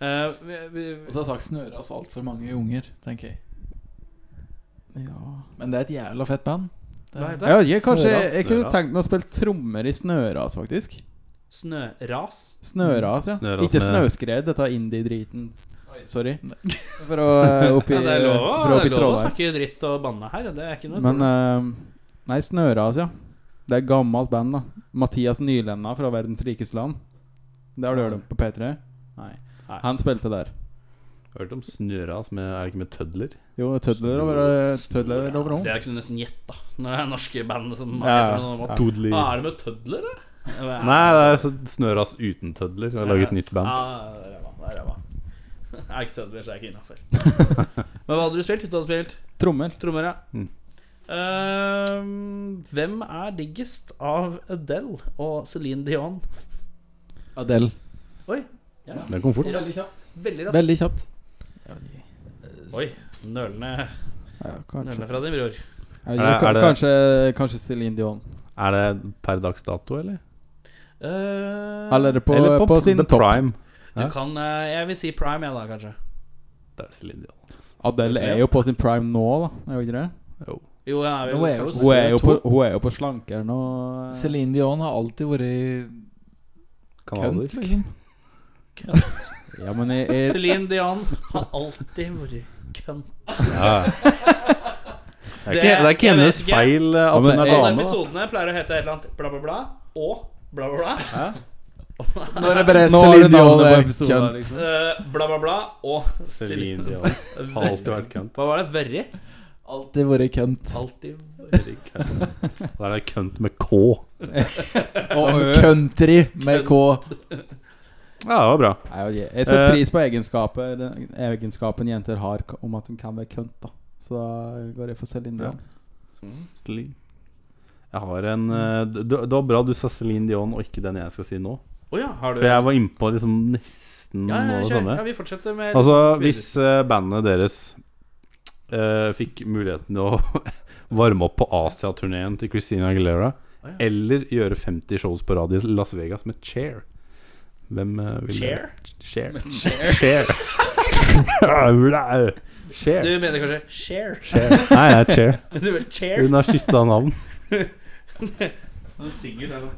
Speaker 3: eh, vi- vi-
Speaker 4: Og så har sagt snøra oss altfor mange unger, tenker jeg.
Speaker 5: Ja.
Speaker 4: Men det er et jævla fett band. Det
Speaker 3: hva
Speaker 4: er,
Speaker 3: heter det?
Speaker 5: Jeg vet ikke, kanskje jeg,
Speaker 4: Snøras.
Speaker 5: jeg kunne
Speaker 1: Snøras.
Speaker 5: tenkt meg å spille trommer i snøras, faktisk.
Speaker 3: Snøras?
Speaker 5: Snøras, ja.
Speaker 1: Snøras
Speaker 5: ikke
Speaker 1: med-
Speaker 5: snøskred, dette er indie-driten.
Speaker 3: [LAUGHS]
Speaker 5: Sorry.
Speaker 4: Nei.
Speaker 5: For å eh, opp i
Speaker 3: Ja, det er lov, å-
Speaker 5: for å opp i
Speaker 3: det er lov å
Speaker 5: Trondheim.
Speaker 3: snakke dritt og banne her. Det er ikke noe
Speaker 5: Men
Speaker 3: problem.
Speaker 5: eh, Nei, Snøras, ja. Det er gammelt band, da. Mathias Nylenda fra Verdens rikeste land. Det har du hørt om på P3? Nei.
Speaker 3: Nei.
Speaker 5: Han spilte der.
Speaker 1: Hørt om Snøras, med, er det ikke med tødler?
Speaker 5: Jo, Tødler over Tødler over
Speaker 3: Det
Speaker 5: nå.
Speaker 3: er kunne nesten gjette, da. Når det er norske band som
Speaker 5: Ja,
Speaker 3: heter
Speaker 5: ja.
Speaker 3: noe om at-
Speaker 1: Todler.
Speaker 3: Hva Ah, er det med tødler, da? Ja,
Speaker 1: Nei, det er så- Snøras uten tødler. Jeg har laget et nytt band.
Speaker 3: Ja, Ah, det er ræva, det er ræva. [LAUGHS] Er det ikke tødler, så er jeg ikke innafor.
Speaker 1: [LAUGHS]
Speaker 3: Men hva hadde du spilt? Du hadde spilt
Speaker 5: Trommer.
Speaker 3: trommer, ja.
Speaker 1: Mm.
Speaker 3: Ehm, hvem er diggest av Adele og Celine Dion?
Speaker 4: Adele.
Speaker 3: Oi. Ja.
Speaker 1: Det er komfort.
Speaker 4: Veldig kjapt.
Speaker 3: Veldig raskt.
Speaker 4: Veldig kjapt. Eh,
Speaker 3: Oi, nølende,
Speaker 5: Ja, kanskje.
Speaker 3: nølende fra din bror.
Speaker 5: Ja,
Speaker 1: Er det- er det-
Speaker 5: kanskje, kanskje Celine Dion.
Speaker 1: Er det per dags dato, eller?
Speaker 3: Eh,
Speaker 5: Eller på,
Speaker 1: eller
Speaker 5: på, sin
Speaker 1: The
Speaker 5: topp.
Speaker 1: Prime.
Speaker 3: du kan eh, Jeg vil si Prime, jeg, da, kanskje.
Speaker 1: Det er Celine Dion. altså.
Speaker 5: Adele er jo på sin prime nå, da. Er hun ikke det?
Speaker 1: Jo.
Speaker 3: Jo, jeg er
Speaker 4: Nå
Speaker 3: jo
Speaker 4: er jeg jo
Speaker 5: Hun er jo på,
Speaker 4: Søt
Speaker 5: hun er jo på slankeren
Speaker 4: eh,
Speaker 5: og
Speaker 4: Celine Dion har alltid vært kønt,
Speaker 1: Kanadisk.
Speaker 4: liksom.
Speaker 5: Ja, men jeg, jeg,
Speaker 3: Celine Dion har alltid vært kønt. [LAUGHS]
Speaker 1: Ja. Det er
Speaker 3: Det-
Speaker 1: ikke, det er ikke
Speaker 3: jeg
Speaker 1: hennes
Speaker 3: vet ikke.
Speaker 1: feil eh,
Speaker 5: Ja,
Speaker 1: at
Speaker 5: men
Speaker 1: hun er
Speaker 5: jeg-
Speaker 3: Alle
Speaker 1: dame. da.
Speaker 3: episodene pleier å hete et eller annet bla, bla, bla og bla,
Speaker 1: [LAUGHS]
Speaker 3: bla, bla.
Speaker 4: Nå [LAUGHS] er det bare
Speaker 5: Nå har du
Speaker 4: Celine Dion
Speaker 5: navnet på
Speaker 4: er
Speaker 5: episoden. her,
Speaker 4: kønt.
Speaker 5: Liksom.
Speaker 3: Eh, bla, bla, bla og
Speaker 1: Celine
Speaker 3: [LAUGHS]
Speaker 1: Dion har alltid vært kønt.
Speaker 3: Hva var det? Verri?
Speaker 4: Alltid vært kønt.
Speaker 3: Alltid
Speaker 1: [LAUGHS] Da er det kønt med K.
Speaker 4: Som country med K.
Speaker 1: Ja, det var bra.
Speaker 5: Nei, ok. Jeg setter
Speaker 1: Eh.
Speaker 5: pris på egenskaper egenskapen jenter har k- om at hun kan være kønt, da. Så da går jeg for Céline Dion.
Speaker 1: Celine. Jeg har en eh, Det det var bra du sa Celine Dion og ikke den jeg skal si nå.
Speaker 3: Å ja, har du
Speaker 1: For jeg var innpå liksom nesten
Speaker 3: ja, ja,
Speaker 1: det
Speaker 3: kjør.
Speaker 1: samme.
Speaker 3: ja, vi fortsetter med
Speaker 1: sånn, Altså,
Speaker 3: videre.
Speaker 1: hvis eh, bandet deres eh, fikk muligheten til å [LAUGHS] varme opp på Asia-turneen til Christina Aguilera,
Speaker 3: Å, ja.
Speaker 1: eller gjøre 50 shows på radio i Las Vegas med Chair Hvem eh, vil
Speaker 3: Cher?
Speaker 1: Chair. [LAUGHS]
Speaker 3: [LAUGHS]
Speaker 1: Chair. Chair.
Speaker 3: Du
Speaker 1: Chair.
Speaker 3: mener kanskje share?
Speaker 1: Nei, det er Chair.
Speaker 3: [LAUGHS] Du vil share?
Speaker 1: Hun har skifta navn.
Speaker 3: Hun synger sånn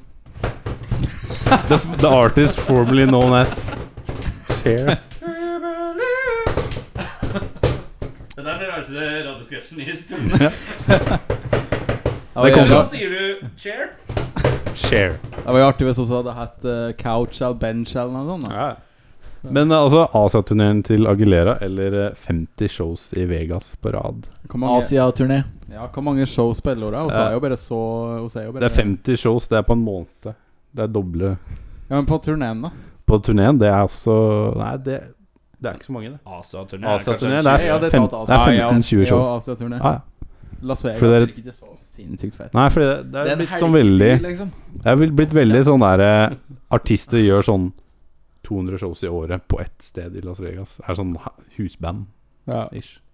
Speaker 1: The, the artist formerly known as Chair.
Speaker 3: Dette er den rareste radiosketsjen i historien.
Speaker 5: var
Speaker 1: Det kom
Speaker 3: Nå
Speaker 5: jævlig-
Speaker 1: Ja.
Speaker 3: sier du share.
Speaker 1: Chair.
Speaker 5: Det var jo artig hvis hun også hadde hatt eh, Couch eller Bench eller noe sånt. da.
Speaker 1: Ja. Men eh, altså Asia-turneen til Aguilera eller eh, 50 shows i Vegas på rad.
Speaker 5: Hvor mange,
Speaker 4: Asia-turné.
Speaker 5: ja, hvor mange show spiller hun? da? Hun sa jo bare så hun sier jo bare,
Speaker 1: Det er 50 shows, det er på en måned. Det er doble
Speaker 5: Ja, men på turneen, da?
Speaker 1: på turneen. Det er også Nei, det, det er ikke så mange, det.
Speaker 3: ASA-turné.
Speaker 1: Asia-turné, det
Speaker 4: Ja,
Speaker 1: er
Speaker 4: det er
Speaker 1: fem-
Speaker 4: tatt av
Speaker 1: det er
Speaker 5: Ja, ja,
Speaker 1: 15-20
Speaker 5: ja,
Speaker 1: shows.
Speaker 5: Asia-turné.
Speaker 1: Ja, ja.
Speaker 5: Las Vegas
Speaker 1: For dere-
Speaker 5: virker ikke så sinnssykt fett.
Speaker 1: Nei, fordi det, det er, blitt sånn
Speaker 4: helg,
Speaker 1: veldig
Speaker 4: liksom.
Speaker 1: Det er vel blitt veldig sånn der eh, Artister gjør sånn 200 shows i året på ett sted i Las Vegas. Det er sånn ha- husband-ish.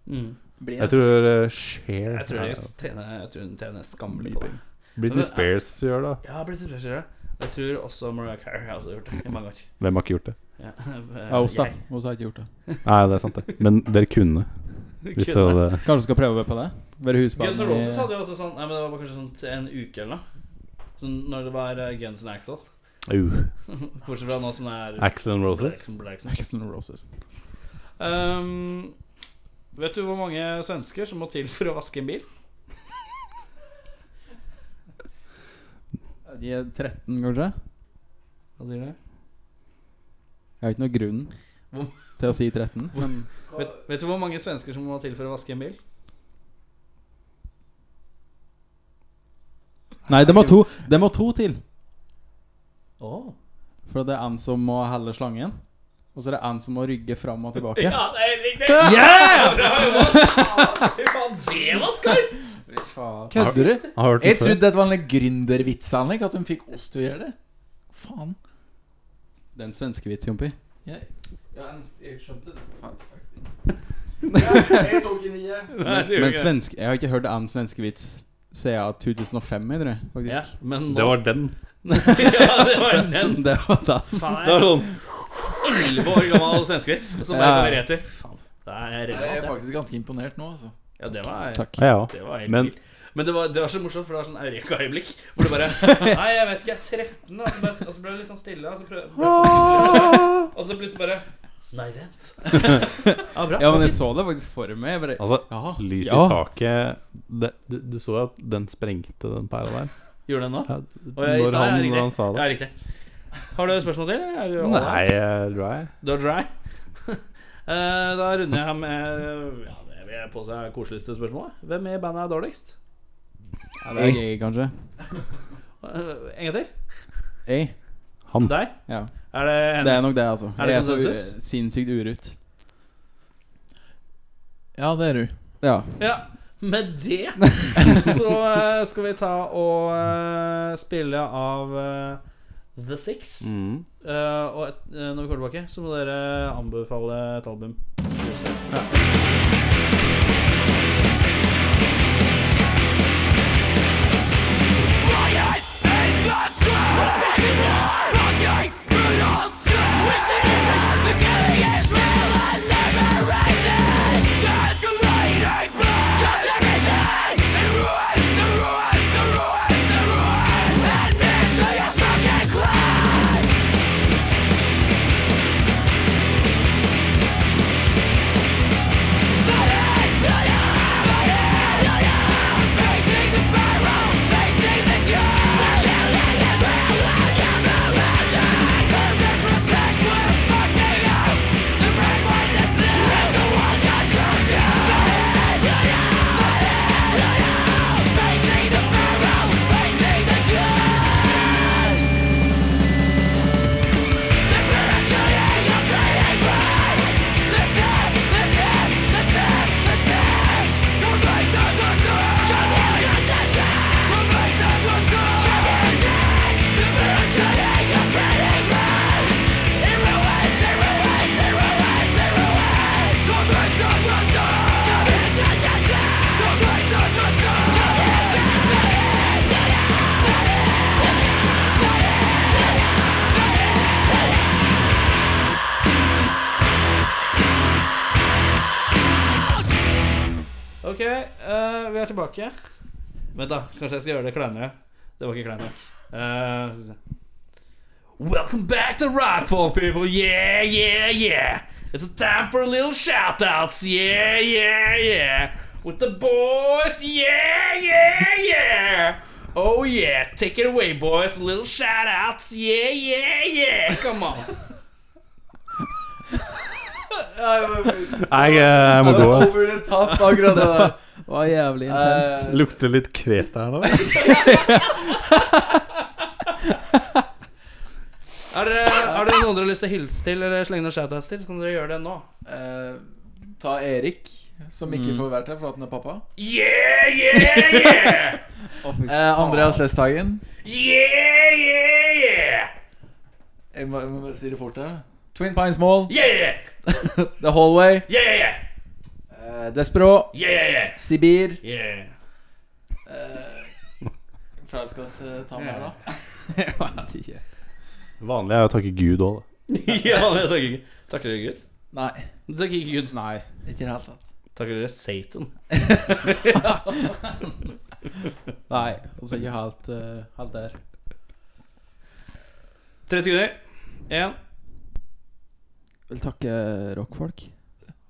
Speaker 5: Ja.
Speaker 3: Mm.
Speaker 4: Blir sånn?
Speaker 1: Jeg tror uh, Share
Speaker 3: Jeg tror
Speaker 1: ja,
Speaker 3: jeg tjener, E, jeg tror hun tjener skammelig på det.
Speaker 1: Britney Spears gjør det.
Speaker 3: Ja, British Pleasure. Jeg tror også Mariah Carey har også gjort det i mange år.
Speaker 1: Hvem har ikke gjort det?
Speaker 3: [LAUGHS] Ja,
Speaker 5: Ja, hun sa
Speaker 3: jeg
Speaker 5: hun sa ikke gjort det.
Speaker 1: Nei, det er sant, det. Men dere kunne. Hvis dere
Speaker 3: kunne.
Speaker 1: hadde
Speaker 5: Kanskje du skal prøve på det? Være husband
Speaker 3: Guns N' Roses
Speaker 5: i
Speaker 3: hadde jo også sånn Nei, men det var bare kanskje sånn t- en uke eller noe. Sånn når det var eh, Guns N' Axel.
Speaker 1: uh,
Speaker 3: Bortsett fra nå som det er
Speaker 1: Axel and Roses.
Speaker 3: Black- Black-
Speaker 5: Axl Roses.
Speaker 3: Ehm, vet du hvor mange svensker som må til for å vaske en bil?
Speaker 5: De er 13, kanskje?
Speaker 3: Hva sier du?
Speaker 5: Jeg har ikke noe grunn
Speaker 3: Hvor-
Speaker 5: til å si 13. Men
Speaker 3: Vet, vet du hvor mange svensker som må til for å vaske en bil?
Speaker 5: Nei, det må to, det må to til.
Speaker 3: Oh.
Speaker 5: For det er en som må helle slangen. Og så er det en som må rygge fram og tilbake.
Speaker 3: Ja, det er riktig! Yeah! Bra jobba! Fy faen, det var skarpt!
Speaker 5: Faen.
Speaker 4: Kødder du?
Speaker 1: Har hørt
Speaker 4: Jeg
Speaker 1: den før.
Speaker 4: trodde dette var en gründervits, Henrik, at hun fikk oss til å gjøre det. Faen.
Speaker 5: Det er en svenskevits, Jompi.
Speaker 4: Jeg, ja, en- jeg skjønte det. Faen, fuck. Ja, jeg tok i nye.
Speaker 3: Nei, det gjorde
Speaker 5: Men
Speaker 3: ikke.
Speaker 5: svensk, jeg har ikke hørt en svenskevits siden 2005, jeg tror jeg,
Speaker 3: ja,
Speaker 5: faktisk.
Speaker 3: men nå,
Speaker 1: Det var den.
Speaker 3: [LAUGHS] ja, det var den.
Speaker 5: [LAUGHS] Det var da.
Speaker 3: Faen,
Speaker 1: Det var sånn
Speaker 3: elleve år gammel svenskevits som bare
Speaker 5: Ja.
Speaker 3: går rett til. Faen, det er
Speaker 4: Jeg er
Speaker 3: relevant.
Speaker 4: faktisk ganske imponert nå, altså.
Speaker 3: det. Ja, det var
Speaker 5: Takk.
Speaker 1: Ja, ja.
Speaker 3: Det var helt
Speaker 1: Men-
Speaker 3: vilt. Men det var, det var så morsomt, for det var sånn eureka-øyeblikk. Hvor du bare
Speaker 5: [LAUGHS]
Speaker 3: Nei, jeg vet ikke, jeg er 13, da. Og så, bare, og så ble det litt sånn stille. Og så, prøv,
Speaker 5: Ah.
Speaker 3: [LAUGHS] og så plutselig bare Nei, vent.
Speaker 5: [LAUGHS]
Speaker 3: Ja, bra.
Speaker 5: Ja, men jeg
Speaker 3: fint.
Speaker 5: så det faktisk for meg. Jeg bare,
Speaker 1: Altså,
Speaker 5: ja,
Speaker 1: lys i
Speaker 5: ja.
Speaker 1: taket det, du, du så jo at den sprengte den pæra der.
Speaker 3: Gjorde den nå?
Speaker 1: Ja,
Speaker 3: Og jeg,
Speaker 1: når, han,
Speaker 3: ja,
Speaker 1: når han sa
Speaker 3: riktig.
Speaker 1: det.
Speaker 3: Ja, riktig. Har du et spørsmål til? eller Er du all
Speaker 1: Nei,
Speaker 3: right?
Speaker 1: jeg tror jeg.
Speaker 3: Du er dry? [LAUGHS] Eh, da runder jeg med ja, det vil jeg påstå er det koseligste spørsmålet. Hvem i bandet er dårligst?
Speaker 5: Ja, det er jeg, kanskje.
Speaker 3: Eh, en gang til.
Speaker 5: Jeg?
Speaker 1: Han.
Speaker 3: Deg?
Speaker 5: Ja.
Speaker 3: Er det Henrik?
Speaker 5: Det er nok det, altså.
Speaker 3: Er det
Speaker 5: jeg er så
Speaker 3: konsensus?
Speaker 5: u- sinnssykt urutt.
Speaker 4: Ja, det er du.
Speaker 5: Ja.
Speaker 3: Ja, med det [LAUGHS] så eh, skal vi ta og eh, spille av eh, The Six.
Speaker 1: Mm.
Speaker 3: Eh, og et, eh, når vi kommer tilbake, så må dere anbefale et album.
Speaker 6: Let
Speaker 3: eh, vi er tilbake. Vent, da. Kanskje jeg skal gjøre det kleinere. Det var ikke kleint nok. Eh, skal vi se. Welcome back to Rockfall, people. Yeah, yeah, yeah. It's time for a little shoutouts. Yeah, yeah, yeah. With the boys. Yeah, yeah, yeah. Oh, yeah. Take it away, boys. Little shoutouts. Yeah, yeah, yeah. Come on.
Speaker 1: Nei, jeg må gå.
Speaker 4: Over the top, akkurat det der.
Speaker 5: Det var jævlig intenst.
Speaker 4: Eh,
Speaker 1: Lukter litt kret her nå.
Speaker 3: Er det, er det noen dere har lyst til å hilse til eller slenge noen shoutouts til, så kan dere gjøre det nå.
Speaker 4: eh, ta Erik, som
Speaker 3: Mm.
Speaker 4: ikke får vært her fordi han er pappa.
Speaker 3: Yeah, yeah, yeah!
Speaker 5: Å, fy
Speaker 4: Eh, Andreas Lesthagen.
Speaker 3: Yeah, yeah, yeah!
Speaker 4: Jeg må, jeg må bare si det fort her. Twin Pines Mall. [LAUGHS]
Speaker 3: Yeah, yeah,
Speaker 4: The Hallway.
Speaker 3: yeah, yeah, yeah,
Speaker 4: Eh, Despro.
Speaker 3: yeah, yeah,
Speaker 4: Sibir.
Speaker 3: yeah, yeah.
Speaker 4: Hva skal vi ta med her, da?
Speaker 5: Jeg vet ikke.
Speaker 1: Vanlig er jo å takke Gud òg, da.
Speaker 3: ja, det takker ikke. Takker dere Gud?
Speaker 4: Nei,
Speaker 3: Takker ikke Gud.
Speaker 5: Nei.
Speaker 4: ikke i det hele tatt.
Speaker 3: Takker dere Satan.
Speaker 5: Nei, altså ikke helt, eh, helt der.
Speaker 3: Tre sekunder. Én.
Speaker 5: Vil takke rockfolk.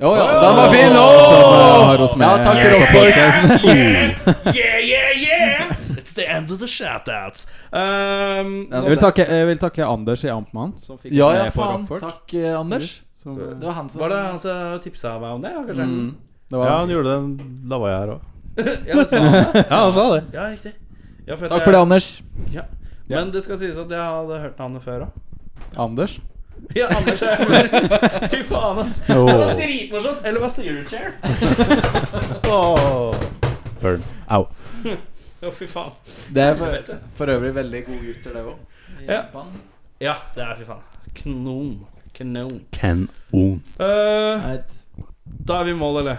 Speaker 4: Jo, ja, den var fin! Åh!
Speaker 5: Har oss med.
Speaker 4: Ja, takk for
Speaker 3: yeah,
Speaker 4: [LAUGHS]
Speaker 3: yeah, yeah, yeah, yeah! It's the end of the shoutouts. Um,
Speaker 4: Ja,
Speaker 5: Jeg vil takke, jeg vil takke Anders i Amtmann, som fikk
Speaker 4: Ja,
Speaker 5: oss
Speaker 4: ja,
Speaker 5: med på
Speaker 4: faen.
Speaker 5: rockfolk.
Speaker 4: Takk, eh, Anders.
Speaker 5: Som,
Speaker 4: Det var han som
Speaker 3: var det han som tipsa meg om det, ja, kanskje?
Speaker 5: mm, det var
Speaker 1: Ja, han gjorde det. Da var jeg her òg.
Speaker 3: Ja, det sa han.
Speaker 1: Ja, han sa det.
Speaker 3: [LAUGHS] Ja, riktig. Ja, for at
Speaker 4: Takk
Speaker 3: jeg-
Speaker 4: for det, Anders.
Speaker 3: Ja. Men det skal sies at jeg hadde hørt navnet før òg.
Speaker 5: Anders.
Speaker 3: Ja, Anders er her. Fy faen, ass. Det var dritmorsomt. Eller hva sier du, Chair?
Speaker 1: Burn. Au.
Speaker 3: Å, fy faen.
Speaker 4: Det er
Speaker 3: Jeg vet
Speaker 4: for,
Speaker 3: det.
Speaker 4: for øvrig veldig gode gutter, det òg.
Speaker 3: Ja. Ja, det er fy faen. Kanon. Kanon.
Speaker 1: Ken On.
Speaker 3: Eh, da er vi i mål, eller?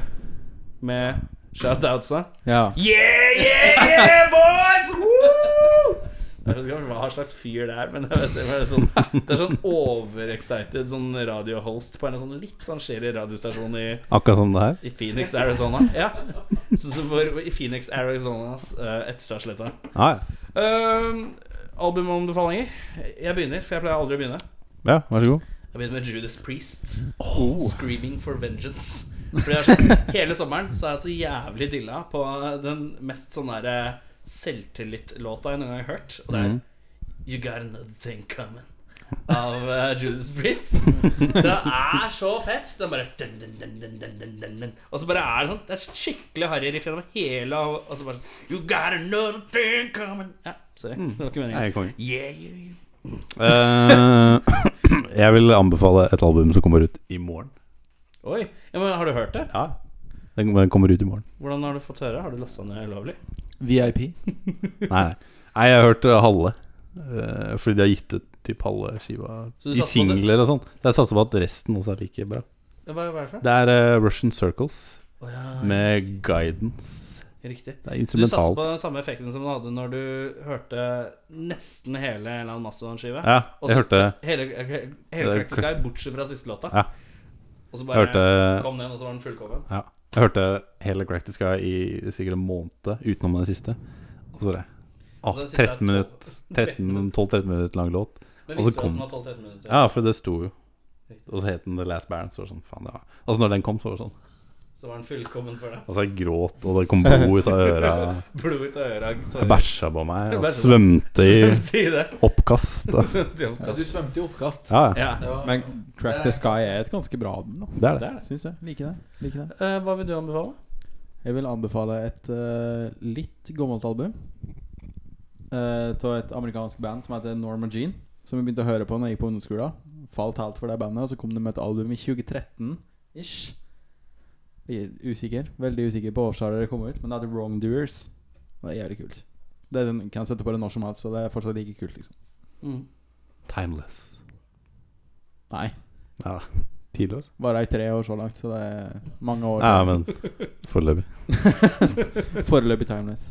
Speaker 3: Med shoutoutsa.
Speaker 5: Ja.
Speaker 3: Yeah, yeah, yeah, boys! Woo! Jeg vet ikke hva slags fyr det er, men det er, det er sånn, det er sånn overexcited sånn radiohost på en sånn litt sånn shady radiostasjon i
Speaker 1: Akkurat som det her.
Speaker 3: I Phoenix, Arizona. Ja. Så, så for, I Phoenix, Arizonas uh, Etterstadsletta.
Speaker 1: Ah, Ja,
Speaker 3: Um, albumanbefalinger? Jeg begynner, for jeg pleier aldri å begynne.
Speaker 1: ja. Vær så god.
Speaker 3: Jeg begynner med Judas Priest. 'Screaming for Vengeance'. Fordi jeg er sånn, Hele sommeren så har jeg hatt så jævlig dilla på den mest sånn derre selvtillit-låta jeg noen gang har hørt. Og det er
Speaker 1: Mhm.
Speaker 3: 'You Got Another Thing Coming' av eh, Judas Priest. Den er så fett. Den bare dun, dun, dun, dun, dun, dun, dun, dun. Og så bare er det sånn Det er skikkelig harry riff gjennom hele Og og så bare sånn You got another thing coming Ja, sorry. Det var ikke meningen.
Speaker 1: Jeg er konge.
Speaker 3: Yeah, yeah, yeah.
Speaker 1: Eh, [COUGHS] jeg vil anbefale et album som kommer ut i morgen.
Speaker 3: Oi. Ja, men har du hørt det?
Speaker 1: Ja. Den den kommer ut i
Speaker 3: [LAUGHS]
Speaker 1: morgen.
Speaker 3: Hvordan har du fått høre? Har du lasta ned ulovlig?
Speaker 4: VIP.
Speaker 1: Nei, nei. nei jeg har hørt eh, halve. Eh, fordi de har gitt ut typ halve skiva
Speaker 3: Så du
Speaker 1: i
Speaker 3: satser på det?
Speaker 1: singler og sånn. Jeg satser på at resten også er like bra.
Speaker 3: Ja, Hva hva er det for?
Speaker 1: Det er eh, Russian Circles
Speaker 3: Å ja,
Speaker 1: med Guidance.
Speaker 3: Riktig.
Speaker 1: Det er
Speaker 3: Du satser
Speaker 1: instrumentalt.
Speaker 3: på den samme effekten som du hadde når du hørte nesten hele en eller annen Mastodon-skive.
Speaker 1: Ja,
Speaker 3: Og
Speaker 1: jeg
Speaker 3: så-
Speaker 1: hørte,
Speaker 3: Hele, eh, hele
Speaker 1: er
Speaker 3: Cracked Sky, bortsett fra siste låta.
Speaker 1: Ja.
Speaker 3: Og så
Speaker 1: jeg
Speaker 3: bare
Speaker 1: hørte
Speaker 3: kom den, og så var den fullkommen.
Speaker 1: Ja. Jeg hørte hele Crack the Sky i sikkert en måned, utenom den siste. Og så var det ah,
Speaker 3: Og så den siste er
Speaker 1: 13 minutter
Speaker 3: 13
Speaker 1: 12-13 minutter lang låt.
Speaker 3: Men
Speaker 1: og så
Speaker 3: visste du at
Speaker 1: kom-
Speaker 3: den var 12-13 minutter?
Speaker 1: Ja, for det sto jo. Og så het den The Last Baron. Så var det sånn, faen det var Altså når den kom, så var det sånn.
Speaker 3: Så var den fullkommen for deg. [LAUGHS]
Speaker 1: Altså jeg gråt, og det kom blod ut av øra.
Speaker 3: Blod ut av øra.
Speaker 1: Jeg bæsja på meg og
Speaker 3: Bæsja på-
Speaker 1: svømte i
Speaker 3: [LAUGHS] Si det. [LAUGHS]
Speaker 1: oppkast. Da.
Speaker 4: Ja, du svømte i oppkast.
Speaker 1: Ja, ja.
Speaker 3: Ja.
Speaker 4: Det var-
Speaker 5: Men Crack the Sky er et ganske bra album, da.
Speaker 1: Det er
Speaker 3: Det
Speaker 1: det.
Speaker 3: er det.
Speaker 5: Syns jeg. Liker det. Liker det.
Speaker 3: Eh, hva vil du anbefale?
Speaker 5: Jeg vil anbefale et eh, litt gammelt album av et amerikansk band som heter Norma Jean. Som jeg begynte å høre på når jeg gikk på ungdomsskolen. Falt helt for det bandet, og så kom de med et album i 2013-ish. Jeg er usikker, veldig usikker på årstallet det kom ut, men det heter Wrongdoers. Det er jævlig kult. Det er den, kan sette på det når som helst, så det er fortsatt like kult, liksom.
Speaker 1: Mm. Timeless.
Speaker 5: Nei.
Speaker 1: Ja, tidløs.
Speaker 5: Bare i tre år så langt, så det er mange år.
Speaker 1: Ja, men foreløpig.
Speaker 5: Foreløpig timeless.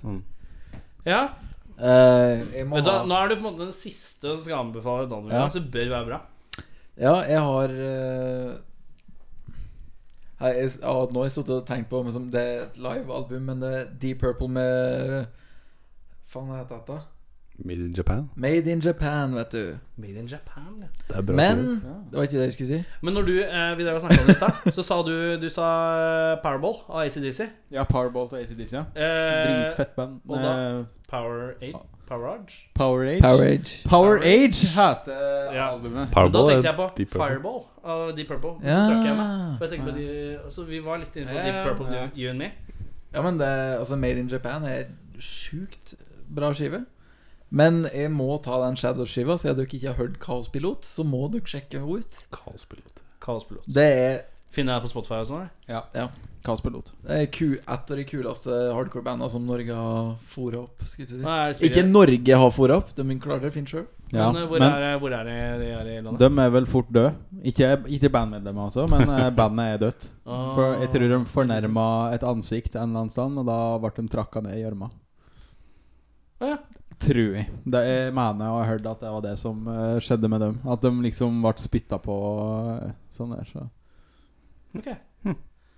Speaker 3: Ja,
Speaker 4: Eh, jeg må
Speaker 3: vet du, hva,
Speaker 4: ha
Speaker 3: Nå er du på en måte den siste som skal anbefale et annet
Speaker 4: Ja.
Speaker 3: program, så det bør være bra.
Speaker 4: Ja, jeg har eh, Nei, jeg, ja, nå har jeg sittet og tenkt på men som det er et livealbum, men det er Deep Purple med Faen, hva heter dette?
Speaker 1: Made in Japan.
Speaker 4: Made in Japan, vet du.
Speaker 3: Made in Japan, ja.
Speaker 1: Det er bra.
Speaker 4: Men
Speaker 1: skrevet.
Speaker 4: Det var ikke det jeg skulle si.
Speaker 3: Men når du eh, vi drev og snakket om det i stad, [LAUGHS] så sa du Du sa eh, Powerball av ACDC.
Speaker 5: Ja, Powerball til ACDC, ja.
Speaker 3: Eh,
Speaker 5: Dritfett band.
Speaker 3: og da?
Speaker 5: Eh,
Speaker 3: Power Aid? Power Arge?
Speaker 5: Power Age.
Speaker 4: Power Age.
Speaker 5: Power
Speaker 3: Power
Speaker 5: Age heter
Speaker 3: Ja.
Speaker 5: albumet.
Speaker 3: Men da
Speaker 1: Powerball
Speaker 3: tenkte
Speaker 1: er
Speaker 3: jeg på
Speaker 1: Deep Purple.
Speaker 3: Fireball av Deep Purple. Men
Speaker 4: Ja.
Speaker 3: Så trakk jeg meg. For jeg tenker på de altså, Vi var litt inne på Deep
Speaker 4: Ja,
Speaker 3: Purple,
Speaker 5: ja.
Speaker 3: you and me.
Speaker 4: Ja, men det, altså Made in Japan er sjukt bra skive. Men jeg må ta den Shadow-skiva, siden dere ikke har hørt Kaospilot. Så må dere sjekke henne ut.
Speaker 1: Kaospilot.
Speaker 3: Kaospilot.
Speaker 4: Det er,
Speaker 3: Finner jeg på Spotify og sånn? eller?
Speaker 5: Kaospilot.
Speaker 4: det er ku, et av de kuleste hardcore-banda som Norge har fôra opp. Skulle jeg til å
Speaker 3: Nei, jeg
Speaker 4: si. Ikke
Speaker 3: spiller-
Speaker 4: Norge har fôra opp, de klarer det fint sjøl.
Speaker 5: Ja,
Speaker 3: Men, eh, hvor,
Speaker 5: men
Speaker 3: er, hvor er det de er i landet?
Speaker 5: de er vel fort døde. Ikke, ikke bandmedlemmer, altså, men [LAUGHS] eh, bandet er dødt.
Speaker 3: Ah.
Speaker 5: For jeg tror de fornærma et ansikt en eller annen stand, og da ble de trakka ned i gjørma.
Speaker 3: Å ja.
Speaker 5: Tror jeg. Det jeg mener og har hørt at det var det som eh, skjedde med dem. At de liksom ble spytta på og eh, sånn der. Så. Hm.
Speaker 3: Ok.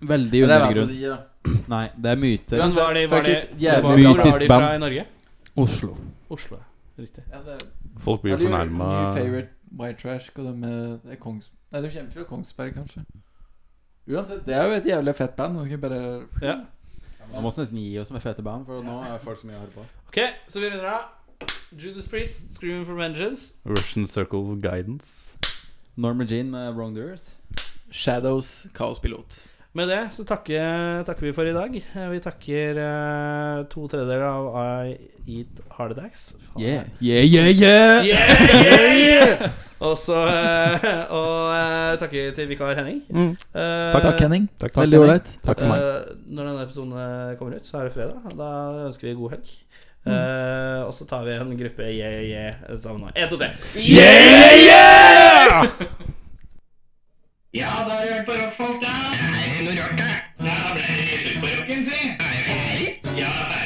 Speaker 5: Veldig
Speaker 4: Men det vet
Speaker 5: undergrunn.
Speaker 4: vi ikke, da.
Speaker 5: Nei, det er myter.
Speaker 3: Men var de, var
Speaker 4: fuck
Speaker 3: de,
Speaker 4: it, jævlig
Speaker 3: hvor var- hvor
Speaker 5: mytisk
Speaker 3: var de
Speaker 5: band.
Speaker 3: fra i Norge?
Speaker 5: Oslo.
Speaker 3: Oslo. ja. Riktig.
Speaker 4: Ja, det er-
Speaker 1: Folk blir
Speaker 4: er
Speaker 1: jo
Speaker 4: det jo
Speaker 1: fornærma.
Speaker 4: New favorite White Trash og det med det er Kongs... Nei, de kommer fra Kongsberg, kanskje. Uansett, det er jo et jævlig fett band. Dere bare
Speaker 3: Ja.
Speaker 5: Man må nesten gi oss med fete band, for nå er folk så mye å høre på.
Speaker 3: Ok, så vi runder av. Judas Priest, 'Screaming for Vengeance'.
Speaker 1: Russian Circles Guidance.
Speaker 5: Norma Jean med Wrong Doers.
Speaker 4: Shadows, Kaospilot.
Speaker 3: Med det så takker, takker vi for i dag. Eh, Vi takker eh, to tredjedeler av I Eat Heart Attacks. Faen.
Speaker 5: Yeah, yeah, yeah, yeah!
Speaker 3: Yeah, yeah, yeah! Og så eh, Og eh, takker til vikar Henning. Eh,
Speaker 4: Takk, Henning.
Speaker 1: Takk.
Speaker 4: Veldig
Speaker 5: Henning.
Speaker 4: ålreit.
Speaker 1: Takk for meg.
Speaker 3: Eh, når denne episoden eh, kommer ut, så er det fredag. og Da ønsker vi god helg. Eh, og så tar vi en gruppe yeah, yeah, yeah sammen nå. En, to, tre.
Speaker 6: Ja, da har du hørt på rockfolk, da. Det er noe rart, da. Ja, ble det litt ut på rocken, si. Er du ferdig? Ja, ferdig.